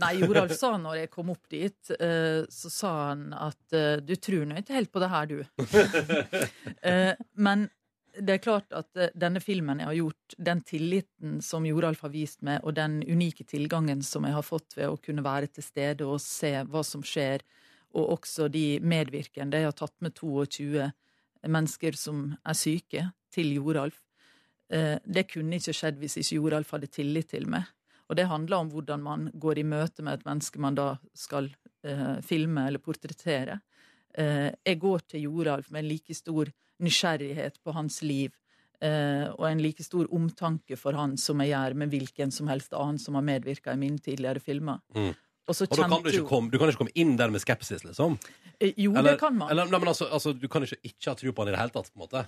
[SPEAKER 10] Nei, Joralf sa når jeg kom opp dit, eh, så sa han at eh, du tror nå ikke helt på det her, du. Eh, Men det er klart at eh, denne filmen jeg har gjort, den tilliten som Joralf har vist meg, og den unike tilgangen som jeg har fått ved å kunne være til stede og se hva som skjer, og også de medvirkende Jeg har tatt med 22 mennesker som er syke, til Joralf. Eh, Det kunne ikke skjedd hvis ikke Joralf hadde tillit til meg. Og det handler om hvordan man går i møte med et menneske man da skal eh, filme eller portrettere. Eh, jeg går til Joralf med en like stor nysgjerrighet på hans liv eh, og en like stor omtanke for han som jeg gjør med hvilken som helst annen som har medvirka i mine tidligere filmer.
[SPEAKER 3] Mm.
[SPEAKER 10] Og så
[SPEAKER 3] Og da kan du,
[SPEAKER 10] kjente
[SPEAKER 3] ikke
[SPEAKER 10] jo-
[SPEAKER 3] komme, du kan ikke komme inn der med skepsis, liksom?
[SPEAKER 10] Eh, Jo,
[SPEAKER 3] Eller-
[SPEAKER 10] det kan man.
[SPEAKER 3] Eller, nei, men altså, altså, du kan ikke ikke ha tro på han i det hele tatt, på en måte.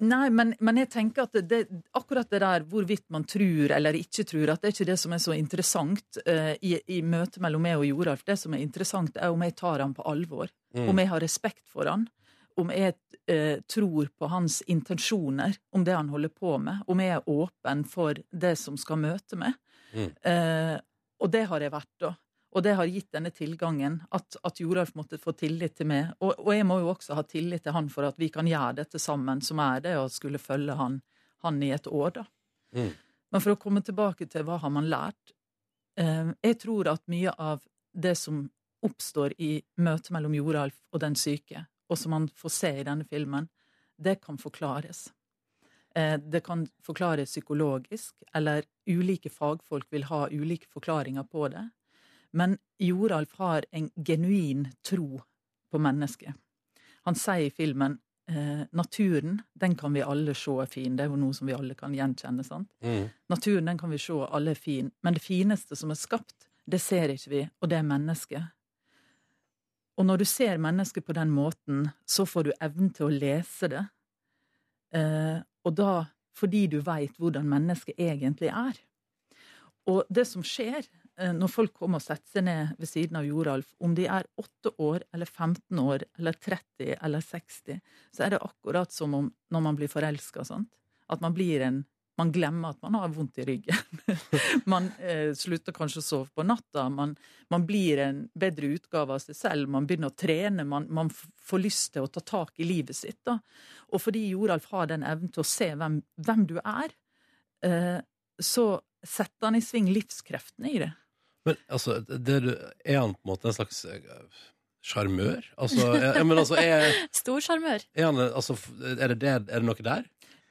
[SPEAKER 10] Nei, men, men jeg tenker at det, det, akkurat det der hvorvidt man tror eller ikke tror, at det er ikke det som er så interessant eh, i, i møtet mellom meg og Joralf. Det som er interessant, er om jeg tar han på alvor.
[SPEAKER 11] Mm.
[SPEAKER 10] Om jeg har respekt for han. Om jeg eh, tror på hans intensjoner, om det han holder på med. Om jeg er åpen for det som skal møte meg. Eh, og det har jeg vært, da. Og det har gitt denne tilgangen, at, at Joralf måtte få tillit til meg. Og, og jeg må jo også ha tillit til han for at vi kan gjøre dette sammen, som er det å skulle følge han, han i et år, da. Men for å komme tilbake til hva har man lært eh, Jeg tror at mye av det som oppstår i møtet mellom Joralf og den syke, og som man får se i denne filmen, det kan forklares. Eh, Det kan forklares psykologisk, eller ulike fagfolk vil ha ulike forklaringer på det. Men Joralf har en genuin tro på mennesket. Han sier i filmen eh, naturen, den kan vi alle se er fin. Det er jo noe som vi alle kan gjenkjenne. sant?
[SPEAKER 3] Mm.
[SPEAKER 10] Naturen, den kan vi se, alle er fin. Men det fineste som er skapt, det ser ikke vi, og det er mennesket. Og når du ser mennesket på den måten, så får du evnen til å lese det. Eh, og da fordi du veit hvordan mennesket egentlig er. Og det som skjer eh, når folk kommer og setter seg ned ved siden av Joralf, om de er 8 år eller 15 år eller 30 eller 60, så er det akkurat som om når man blir forelska, sant. At man blir en Man glemmer at man har vondt i ryggen. [LAUGHS] man eh, slutter kanskje å sove på natta. Man, man blir en bedre utgave av seg selv. Man begynner å trene. Man, man f- får lyst til å ta tak i livet sitt. Da. Og fordi Joralf har den evnen til å se hvem, hvem du er, eh, så setter han i sving livskreftene i det.
[SPEAKER 3] Men altså, det, du- er han på en måte en slags eh, sjarmør? Altså, ja, men altså, er,
[SPEAKER 4] Stor sjarmør.
[SPEAKER 3] er, han, altså f- er, det det, er det noe der?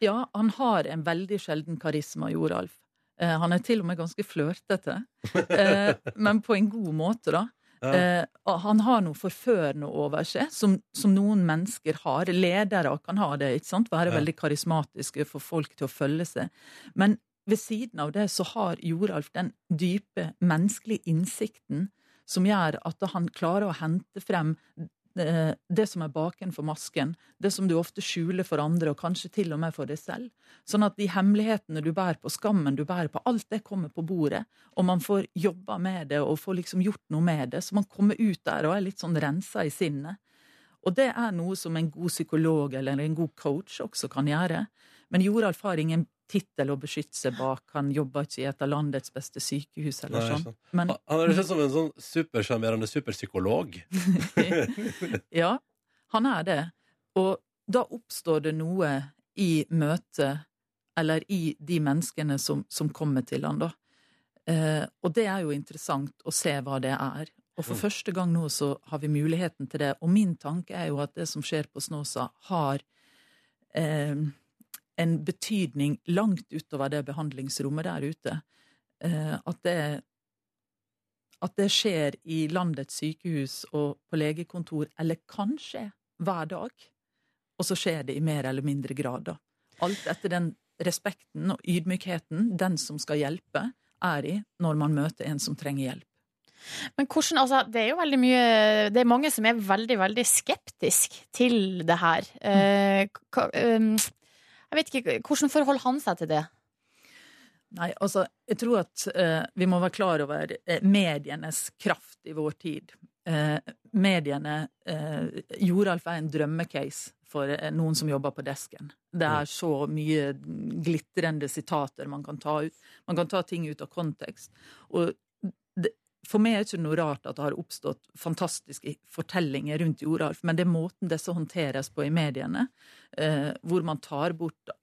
[SPEAKER 10] Ja, han har en veldig sjelden karisma, Joralf. Eh, han er til og med ganske
[SPEAKER 11] [LAUGHS]
[SPEAKER 10] flørtete, eh, men på en god måte, da.
[SPEAKER 11] Ja.
[SPEAKER 10] Eh, og han har noe forførende over seg, som, som noen mennesker har. Ledere kan ha det, ikke sant? være
[SPEAKER 11] Ja.
[SPEAKER 10] veldig karismatiske, få folk til å følge seg. Men ved siden av det så har Joralf den dype menneskelige innsikten som gjør at han klarer å hente frem eh, det som er bakenfor masken, det som du ofte skjuler for andre, og kanskje til og med for deg selv. Sånn at de hemmelighetene du bærer på, skammen du bærer på, alt det kommer på bordet, og man får jobba med det og får liksom gjort noe med det. Så man kommer ut der og er litt sånn rensa i sinnet. Og det er noe som en god psykolog eller en god coach også kan gjøre. Men Joralf har ingen tittel å beskytte seg bak. Han jobber ikke i et av landets beste sykehus eller
[SPEAKER 3] Nei,
[SPEAKER 10] sånn.
[SPEAKER 3] sant. Ah,
[SPEAKER 10] Men,
[SPEAKER 3] Han høres ut som en sånn supersjarmerende superpsykolog.
[SPEAKER 10] Ja, han er det. Og da oppstår det noe i møtet, eller i de menneskene som, som kommer til han, da. Eh, og det er jo interessant å se hva det er. Og for
[SPEAKER 11] Mm.
[SPEAKER 10] første gang nå så har vi muligheten til det. Og min tanke er jo at det som skjer på Snåsa, har eh, en betydning langt utover det behandlingsrommet der ute. Eh, at det at det skjer i landets sykehus og på legekontor, eller kan skje hver dag. Og så skjer det i mer eller mindre grad, da. Alt etter den respekten og ydmykheten den som skal hjelpe, er i når man møter en som trenger hjelp.
[SPEAKER 4] Men hvordan, altså, det er jo veldig mye Det er mange som er veldig, veldig skeptisk til det her. Eh, hva- um, jeg vet ikke, Hvordan forholder han seg til det?
[SPEAKER 10] Nei, altså, jeg tror at eh, vi må være klar over eh, medienes kraft i vår tid. Eh, mediene eh, Joralf er en drømmecase for eh, noen som jobber på desken. Det er så mye glitrende sitater man kan ta ut. Man kan ta ting ut av kontekst. Og det, for meg er det ikke noe rart at det har oppstått fantastiske fortellinger rundt Joralf, men det er måten disse håndteres på i mediene, eh, hvor man tar bort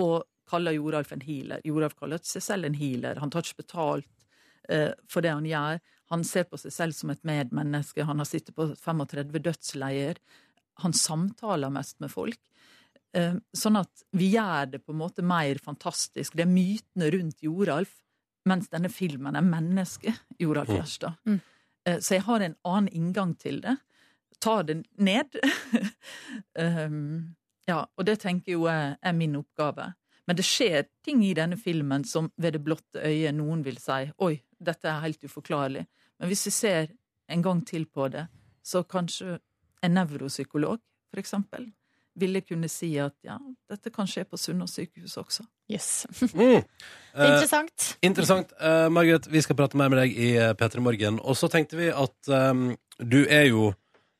[SPEAKER 10] og kaller Joralf en healer. Joralf kaller seg selv en healer. Han tar ikke betalt eh, for det han gjør. Han ser på seg selv som et medmenneske. Han har sittet på 35 dødsleier. Han samtaler mest med folk. Eh, sånn at vi gjør det på en måte mer fantastisk. Det er mytene rundt Joralf, mens denne filmen er mennesket Joralf
[SPEAKER 11] Mm.
[SPEAKER 10] Gjerstad. Eh, så jeg har en annen inngang til det. Ta det ned. [LAUGHS] Um, ja, og det tenker jo jeg er min oppgave. Men det skjer ting i denne filmen som ved det blotte øyet noen vil si oi, dette er helt uforklarlig. Men hvis vi ser en gang til på det, så kanskje en nevropsykolog, for eksempel, ville kunne si at ja, dette kan skje på Sunnaas sykehus også.
[SPEAKER 4] Yes.
[SPEAKER 3] Mm.
[SPEAKER 10] er interessant.
[SPEAKER 3] Eh, interessant. Eh, Margaret, vi skal prate mer med deg i eh, P3 Morgen. Og så tenkte vi at ehm, du er jo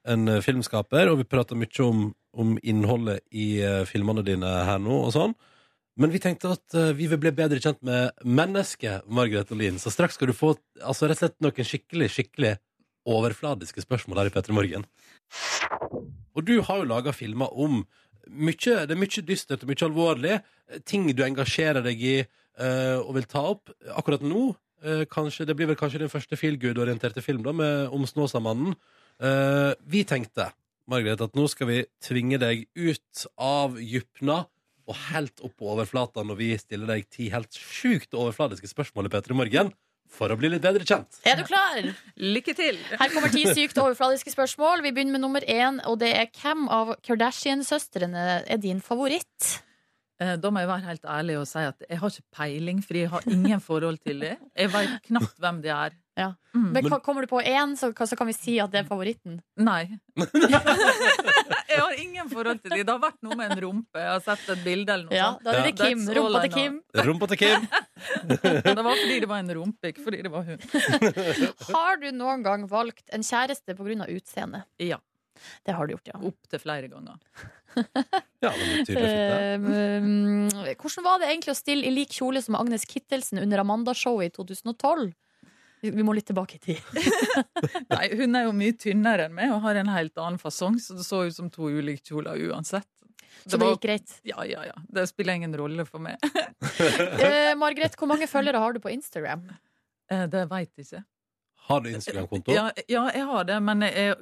[SPEAKER 3] en eh, filmskaper, og vi prater mye om, om innholdet i eh, filmene dine her nå og sånn. Men vi tenkte at eh, vi vil bli bedre kjent med mennesket Margaret Olin. Så straks skal du få altså, rett og slett noen skikkelig, skikkelig overfladiske spørsmål her i P3 Morgen. Og du har jo laga filmer om mye, Det er mye dystert og mye alvorlig. eh, Ting du engasjerer deg i eh, og vil ta opp. Akkurat nå eh, kanskje, Det blir vel kanskje din første feelgood-orienterte film da, med, om Snåsamannen. Eh, vi tenkte Margaret, at nå skal vi tvinge deg ut av dypna og helt opp på overflata når vi stiller deg ti helt sjukt overfladiske spørsmål i P3 Morgen. for å bli litt bedre kjent.
[SPEAKER 4] Er du klar?
[SPEAKER 10] Lykke til.
[SPEAKER 4] Her kommer ti sykt overfladiske spørsmål. Vi begynner med nummer én, og det er hvem av Kardashian-søstrene er din favoritt?
[SPEAKER 10] Eh, Da må jeg være helt ærlig og si at jeg har ikke peiling, for jeg har ingen forhold til dem. Jeg veit knapt hvem de er. Mm.
[SPEAKER 4] Men hva- Kommer du på én, så, så kan vi si at det er favoritten.
[SPEAKER 10] Nei. jeg har ingen forhold til dem. Det har vært noe med en rumpe. Jeg har sett et bilde eller noe
[SPEAKER 4] Ja,
[SPEAKER 10] sånt.
[SPEAKER 4] da er det
[SPEAKER 10] That's
[SPEAKER 4] Kim.
[SPEAKER 10] all
[SPEAKER 4] Rumpa
[SPEAKER 10] I
[SPEAKER 4] til
[SPEAKER 10] know.
[SPEAKER 4] Kim.
[SPEAKER 3] Rumpa til Kim.
[SPEAKER 10] Det var fordi det var en rumpe, ikke fordi det var hun.
[SPEAKER 4] [LAUGHS] Har du noen gang valgt en kjæreste pga. utseendet?
[SPEAKER 10] Ja. Oh,
[SPEAKER 4] Det har du gjort, ja.
[SPEAKER 10] Opptil flere ganger.
[SPEAKER 3] Ja, det blir tydelig fint, det.
[SPEAKER 4] Ehm, hvordan var det egentlig å stille i lik kjole som Agnes Kittelsen under Amanda-showet i 2012? Vi vi må litt tilbake i tid.
[SPEAKER 10] Nei, hun er jo mye tynnere enn meg og har en helt annen fasong, så det så ut som to ulike kjoler uansett.
[SPEAKER 4] Så det,
[SPEAKER 10] var-
[SPEAKER 4] gikk greit.
[SPEAKER 10] Ja, ja, ja. Det spiller ingen rolle for meg.
[SPEAKER 4] Eh, Margrethe, hvor mange følgere har du på Instagram?
[SPEAKER 10] Eh, Det veit jeg ikke.
[SPEAKER 3] Har du Instagram-konto?
[SPEAKER 10] Ja, ja, jeg har det, men jeg, jeg,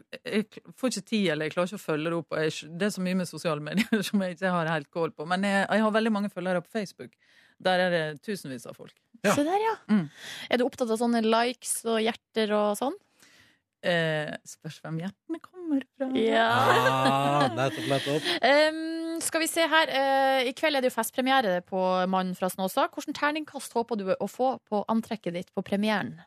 [SPEAKER 10] jeg får ikke tid, eller jeg klarer ikke å følge det opp. og Jeg, skj- det er så mye med sosiale medier [LAUGHS] som jeg ikke har helt kål på. Men jeg, jeg har veldig mange følgere på Facebook. Der er det tusenvis av folk.
[SPEAKER 3] Ja.
[SPEAKER 4] Se der, ja.
[SPEAKER 10] Mm.
[SPEAKER 4] Er du opptatt av sånne likes og hjerter og sånn?
[SPEAKER 10] Eh, spørs hvem hjertene kommer fra. [LAUGHS]
[SPEAKER 3] Ah, nettopp, nettopp.
[SPEAKER 4] Ehm, skal vi se her. eh, I kveld er det jo festpremiere på Mannen fra Snåsa. Hvilken terningkast håper du å få på antrekket ditt på premieren?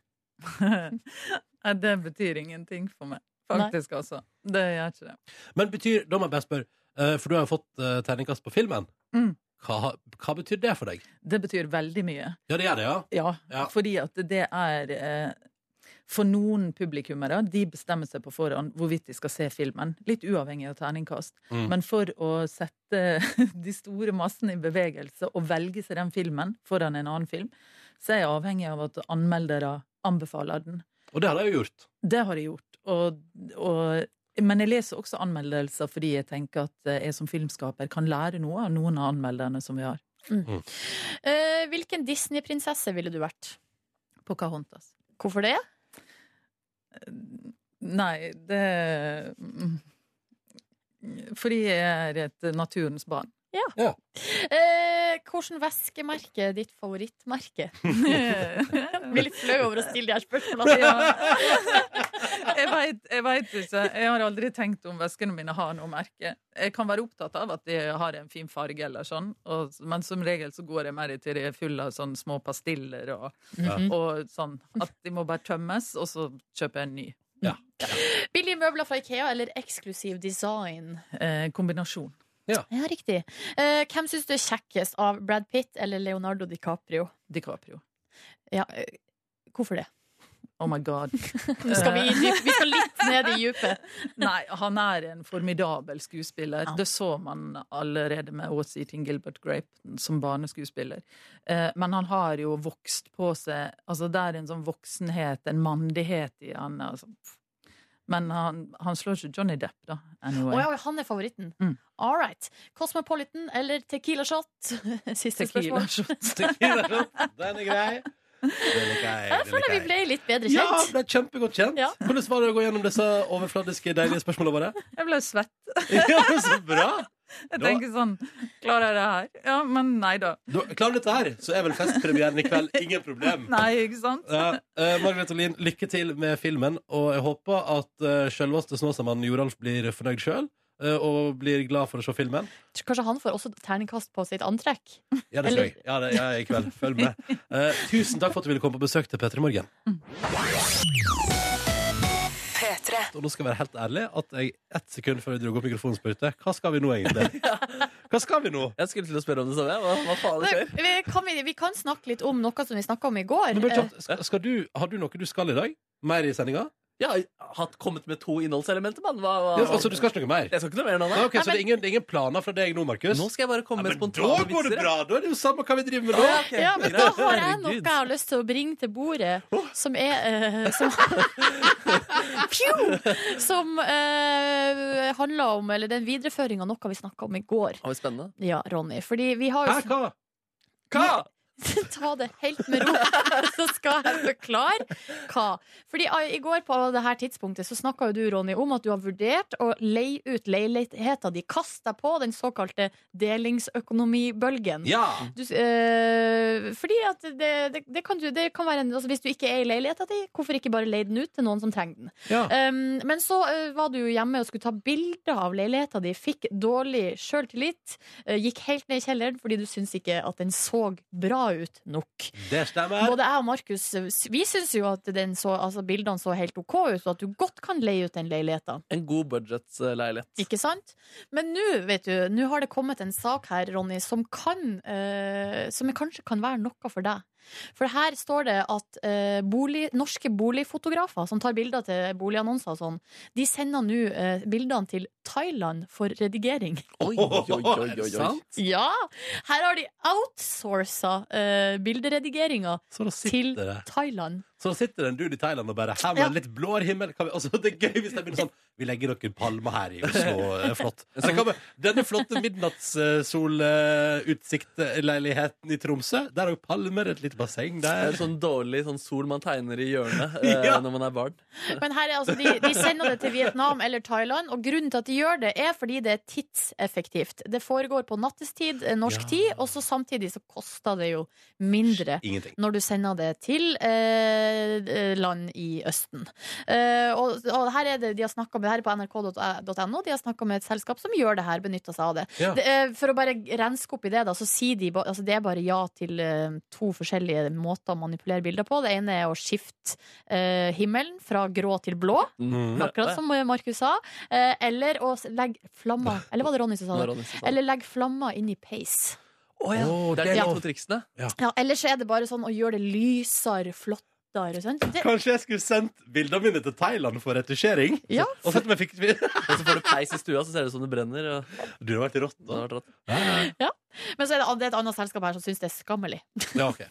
[SPEAKER 10] Nei, det betyr ingenting for meg. Faktisk, altså. Det gjør ikke det.
[SPEAKER 3] Men betyr, da må jeg bare spørre, eh, for du har jo fått eh, terningkast på filmen.
[SPEAKER 10] Mm.
[SPEAKER 3] Hva, hva betyr det for deg?
[SPEAKER 10] Det betyr veldig mye.
[SPEAKER 3] Ja, det gjør det, ja.
[SPEAKER 10] Ja,
[SPEAKER 3] Ja.
[SPEAKER 10] fordi at det er eh, For noen publikummere de bestemmer seg på forhånd hvorvidt de skal se filmen. Litt uavhengig av terningkast.
[SPEAKER 3] Mm.
[SPEAKER 10] Men for å sette [LAUGHS] de store massene i bevegelse og velge seg den filmen foran en annen film, så er jeg avhengig av at anmeldere anbefaler den.
[SPEAKER 3] Og det har jeg jo gjort.
[SPEAKER 10] Det har jeg gjort. Og, og, men jeg leser også anmeldelser fordi jeg tenker at jeg som filmskaper kan lære noe av noen av anmelderne som vi har.
[SPEAKER 4] Eh, hvilken Disney-prinsesse ville du vært?
[SPEAKER 10] Pocahontas.
[SPEAKER 4] Hvorfor det?
[SPEAKER 10] Nei, det mm, Fordi jeg er et naturens barn.
[SPEAKER 4] Eh, Hvilket veskemerke er ditt favorittmerke? Jeg blir litt flau over å stille de her spørsmålene.
[SPEAKER 10] Ja. Jeg veit jeg vet ikke. Jeg har aldri tenkt om veskene mine har noe merke. Jeg kan være opptatt av at de har en fin farge, eller sånn, og, men som regel så går jeg mer til de er fulle av sånn små pastiller og,
[SPEAKER 4] Mhm.
[SPEAKER 10] og sånn. At de må bare tømmes, og så kjøper jeg en ny.
[SPEAKER 4] Billige møbler fra Ikea eller eksklusiv design?
[SPEAKER 10] Eh, kombinasjon.
[SPEAKER 4] Ja, riktig. Eh, hvem syns du er kjekkest av Brad Pitt eller Leonardo DiCaprio?
[SPEAKER 10] DiCaprio.
[SPEAKER 4] Ja, eh, hvorfor det? Eh.
[SPEAKER 10] Oh my god.
[SPEAKER 4] Nå skal vi, inn dyp- vi skal litt ned i djupet.
[SPEAKER 10] Nei, han er en formidabel skuespiller.
[SPEAKER 4] Ja.
[SPEAKER 10] Det så man allerede med Åse Eating Gilbert Grape som barneskuespiller. Eh, men han har jo vokst på seg Altså, det er en sånn voksenhet, en mandighet i han. Altså. Men han, han slår ikke Johnny Depp, da.
[SPEAKER 4] [LAUGHS] Å
[SPEAKER 10] Anyway.
[SPEAKER 4] ja, han er favoritten.
[SPEAKER 10] Mm.
[SPEAKER 4] All right. Cosmopolitan eller Tequila Shot? [LAUGHS] Siste
[SPEAKER 10] Tequila
[SPEAKER 4] spørsmål.
[SPEAKER 10] shot.
[SPEAKER 3] Tequila, Den er grei. Den er grei.
[SPEAKER 4] Jeg føler vi ble litt bedre
[SPEAKER 3] Ja,
[SPEAKER 4] kjent.
[SPEAKER 3] ble kjempegodt kjent.
[SPEAKER 4] Ja.
[SPEAKER 3] Hvordan var det å gå gjennom disse overfladiske, deilige spørsmålene våre?
[SPEAKER 10] [LAUGHS]
[SPEAKER 4] [LAUGHS]
[SPEAKER 10] Jeg ble svett.
[SPEAKER 3] Ja, så bra!
[SPEAKER 10] Jeg
[SPEAKER 3] Da-
[SPEAKER 10] tenker sånn Klarer jeg det her? Ja, men nei da.
[SPEAKER 3] Du, klarer du dette her, så er vel festpremieren i kveld ingen problem.
[SPEAKER 10] [LAUGHS] Nei, ikke sant?
[SPEAKER 3] Ja, eh, Margrethe Lien, lykke til med filmen, og jeg håper at uh, selveste Snåsamannen Joralf blir fornøyd sjøl. Og blir glad for å se filmen.
[SPEAKER 4] Kanskje han får også terningkast på sitt antrekk?
[SPEAKER 3] Ja, det skal jeg. Ja, det, ja, i kveld. Følg med. Eh, tusen takk for at du ville komme på besøk til P3 Morgen. Og nå skal jeg være helt ærlig at jeg ett sekund før vi dro opp mikrofonen spurte hva skal vi nå egentlig? Hva skal vi nå?
[SPEAKER 2] Jeg skulle til å spørre om det samme. Hva, hva faen det skjer?
[SPEAKER 4] Vi kan, vi, vi kan snakke litt om noe som vi snakka om i går.
[SPEAKER 3] Men bare
[SPEAKER 4] Eh,
[SPEAKER 3] kjapt, skal, skal du, har du noe du skal i dag? Mer i sendinga?
[SPEAKER 2] Jeg har hatt kommet med to innholdselementer, mann. Hva, hva,
[SPEAKER 3] Ja, altså, du skal ikke noe mer?
[SPEAKER 2] Jeg skal ikke noe mer nå,
[SPEAKER 3] Nei,
[SPEAKER 2] nei.
[SPEAKER 3] ok, så det er, ingen, det er ingen planer fra deg nå, Markus?
[SPEAKER 2] Nå skal jeg bare komme med
[SPEAKER 3] men da
[SPEAKER 2] spontane
[SPEAKER 3] går det
[SPEAKER 2] vitser.
[SPEAKER 3] bra! Da er det jo samme hva vi driver med nå.
[SPEAKER 2] Ja, ok.
[SPEAKER 4] Eh, Ja, men da har jeg noe
[SPEAKER 2] Herregud.
[SPEAKER 4] jeg har lyst til å bringe til bordet, som er eh, Som, [LAUGHS] Pju! som eh, handler om Eller det er en videreføring av noe vi snakka om i går.
[SPEAKER 2] Å, spennende.
[SPEAKER 4] Ja, Ronny. Fordi vi har
[SPEAKER 3] Hæ,
[SPEAKER 4] jo
[SPEAKER 3] hva?
[SPEAKER 2] Hva?
[SPEAKER 4] [LAUGHS] Ta det helt med ro, [LAUGHS] så skal jeg forklare hva. Fordi ah, I går på det her tidspunktet så snakka jo du Ronny, om at du har vurdert å leie ut leiligheta di. Kast deg på den såkalte delingsøkonomibølgen.
[SPEAKER 3] Ja.
[SPEAKER 4] Du, s- eh, fordi at det, det, det, kan du, det kan være en, altså Hvis du ikke er i leiligheta di, hvorfor ikke bare leie den ut til noen som trenger den?
[SPEAKER 3] Ja.
[SPEAKER 4] Um, men så eh, var du jo hjemme og skulle ta bilder av leiligheta di, fikk dårlig sjøltillit, eh, gikk helt ned i kjelleren fordi du syns ikke at den så bra ut nok.
[SPEAKER 3] Det stemmer.
[SPEAKER 4] Både jeg og Markus eh, s- Vi syns jo at den så, altså, bildene så helt OK ut, og at du godt kan leie ut den leiligheta.
[SPEAKER 2] En god budgetleilighet.
[SPEAKER 4] Ikke sant? Men nå, vet du, nå har det kommet en sak her, Ronny, som kan eh, Som kanskje kan være noe for deg. For her står det at eh, bolig, norske boligfotografer som tar bilder til boligannonser og sånn, de sender nå eh, bildene til Thailand for redigering.
[SPEAKER 2] Oi, oi, oi, oi,
[SPEAKER 3] Er det
[SPEAKER 2] oi.
[SPEAKER 3] sant?
[SPEAKER 4] Ja! Her har de outsourca uh, bilderedigeringa
[SPEAKER 3] Så da sitter
[SPEAKER 4] til
[SPEAKER 3] det.
[SPEAKER 4] Thailand.
[SPEAKER 3] Så sitter det en dude i Thailand og bare Her med
[SPEAKER 4] Ja.
[SPEAKER 3] en litt blåere himmel kan vi, altså, Det er gøy hvis de begynner sånn Vi legger noen palmer her i Oslo eh, [LAUGHS] Flott Eller kan vi, Denne flotte midnattssolutsiktleiligheten i Tromsø Der har vi palmer, et litt basseng
[SPEAKER 2] Det er
[SPEAKER 3] der
[SPEAKER 2] en sånn dårlig sånn sol man tegner i hjørnet
[SPEAKER 3] [LAUGHS]
[SPEAKER 2] eh,
[SPEAKER 3] Ja.
[SPEAKER 2] når man er barn.
[SPEAKER 4] Men her er altså, de, de sender det til Vietnam eller Thailand, og grunnen til at de gjør det, er fordi det er tidseffektivt. Det foregår på nattestid, eh, norsk
[SPEAKER 3] Ja.
[SPEAKER 4] tid, og så samtidig så koster det jo mindre.
[SPEAKER 3] Ingenting
[SPEAKER 4] Når du sender det til eh, land i Østen. Eh, og, og her er det de har snakka med her er på eh, nrk.no, de har snakka med et selskap som gjør det her, benytter seg av det.
[SPEAKER 3] Ja.
[SPEAKER 4] det eh, for å bare renske opp i det, da, så sier de ba- altså det er bare ja til eh, to forskjellige måter å manipulere bilder på. Det ene er å skifte eh, himmelen fra grå til blå,
[SPEAKER 3] Mm.
[SPEAKER 4] akkurat som eh, Markus sa. Eh, eller å s- legge flammer Eller var det Ronny som sa det? Eller legge flammer inn i peis.
[SPEAKER 2] Å, ja.
[SPEAKER 3] Å,
[SPEAKER 2] Det er de
[SPEAKER 4] Ja.
[SPEAKER 2] to triksene.
[SPEAKER 4] Ja, ellers er det bare sånn å gjøre det lysere, flottere. Sant? Det,
[SPEAKER 3] Kanskje jeg skulle sendt bildene mine til Thailand for retusjering
[SPEAKER 4] Ja.
[SPEAKER 3] Og sett om jeg fikk [LAUGHS] Du
[SPEAKER 2] Og så får du peis i stua, så ser det ut som det brenner. Og
[SPEAKER 3] har vært rått
[SPEAKER 2] det
[SPEAKER 3] da
[SPEAKER 2] har vært rått.
[SPEAKER 4] men så er det, det er et annet selskap her som syns det er skammelig.
[SPEAKER 3] Ja, ok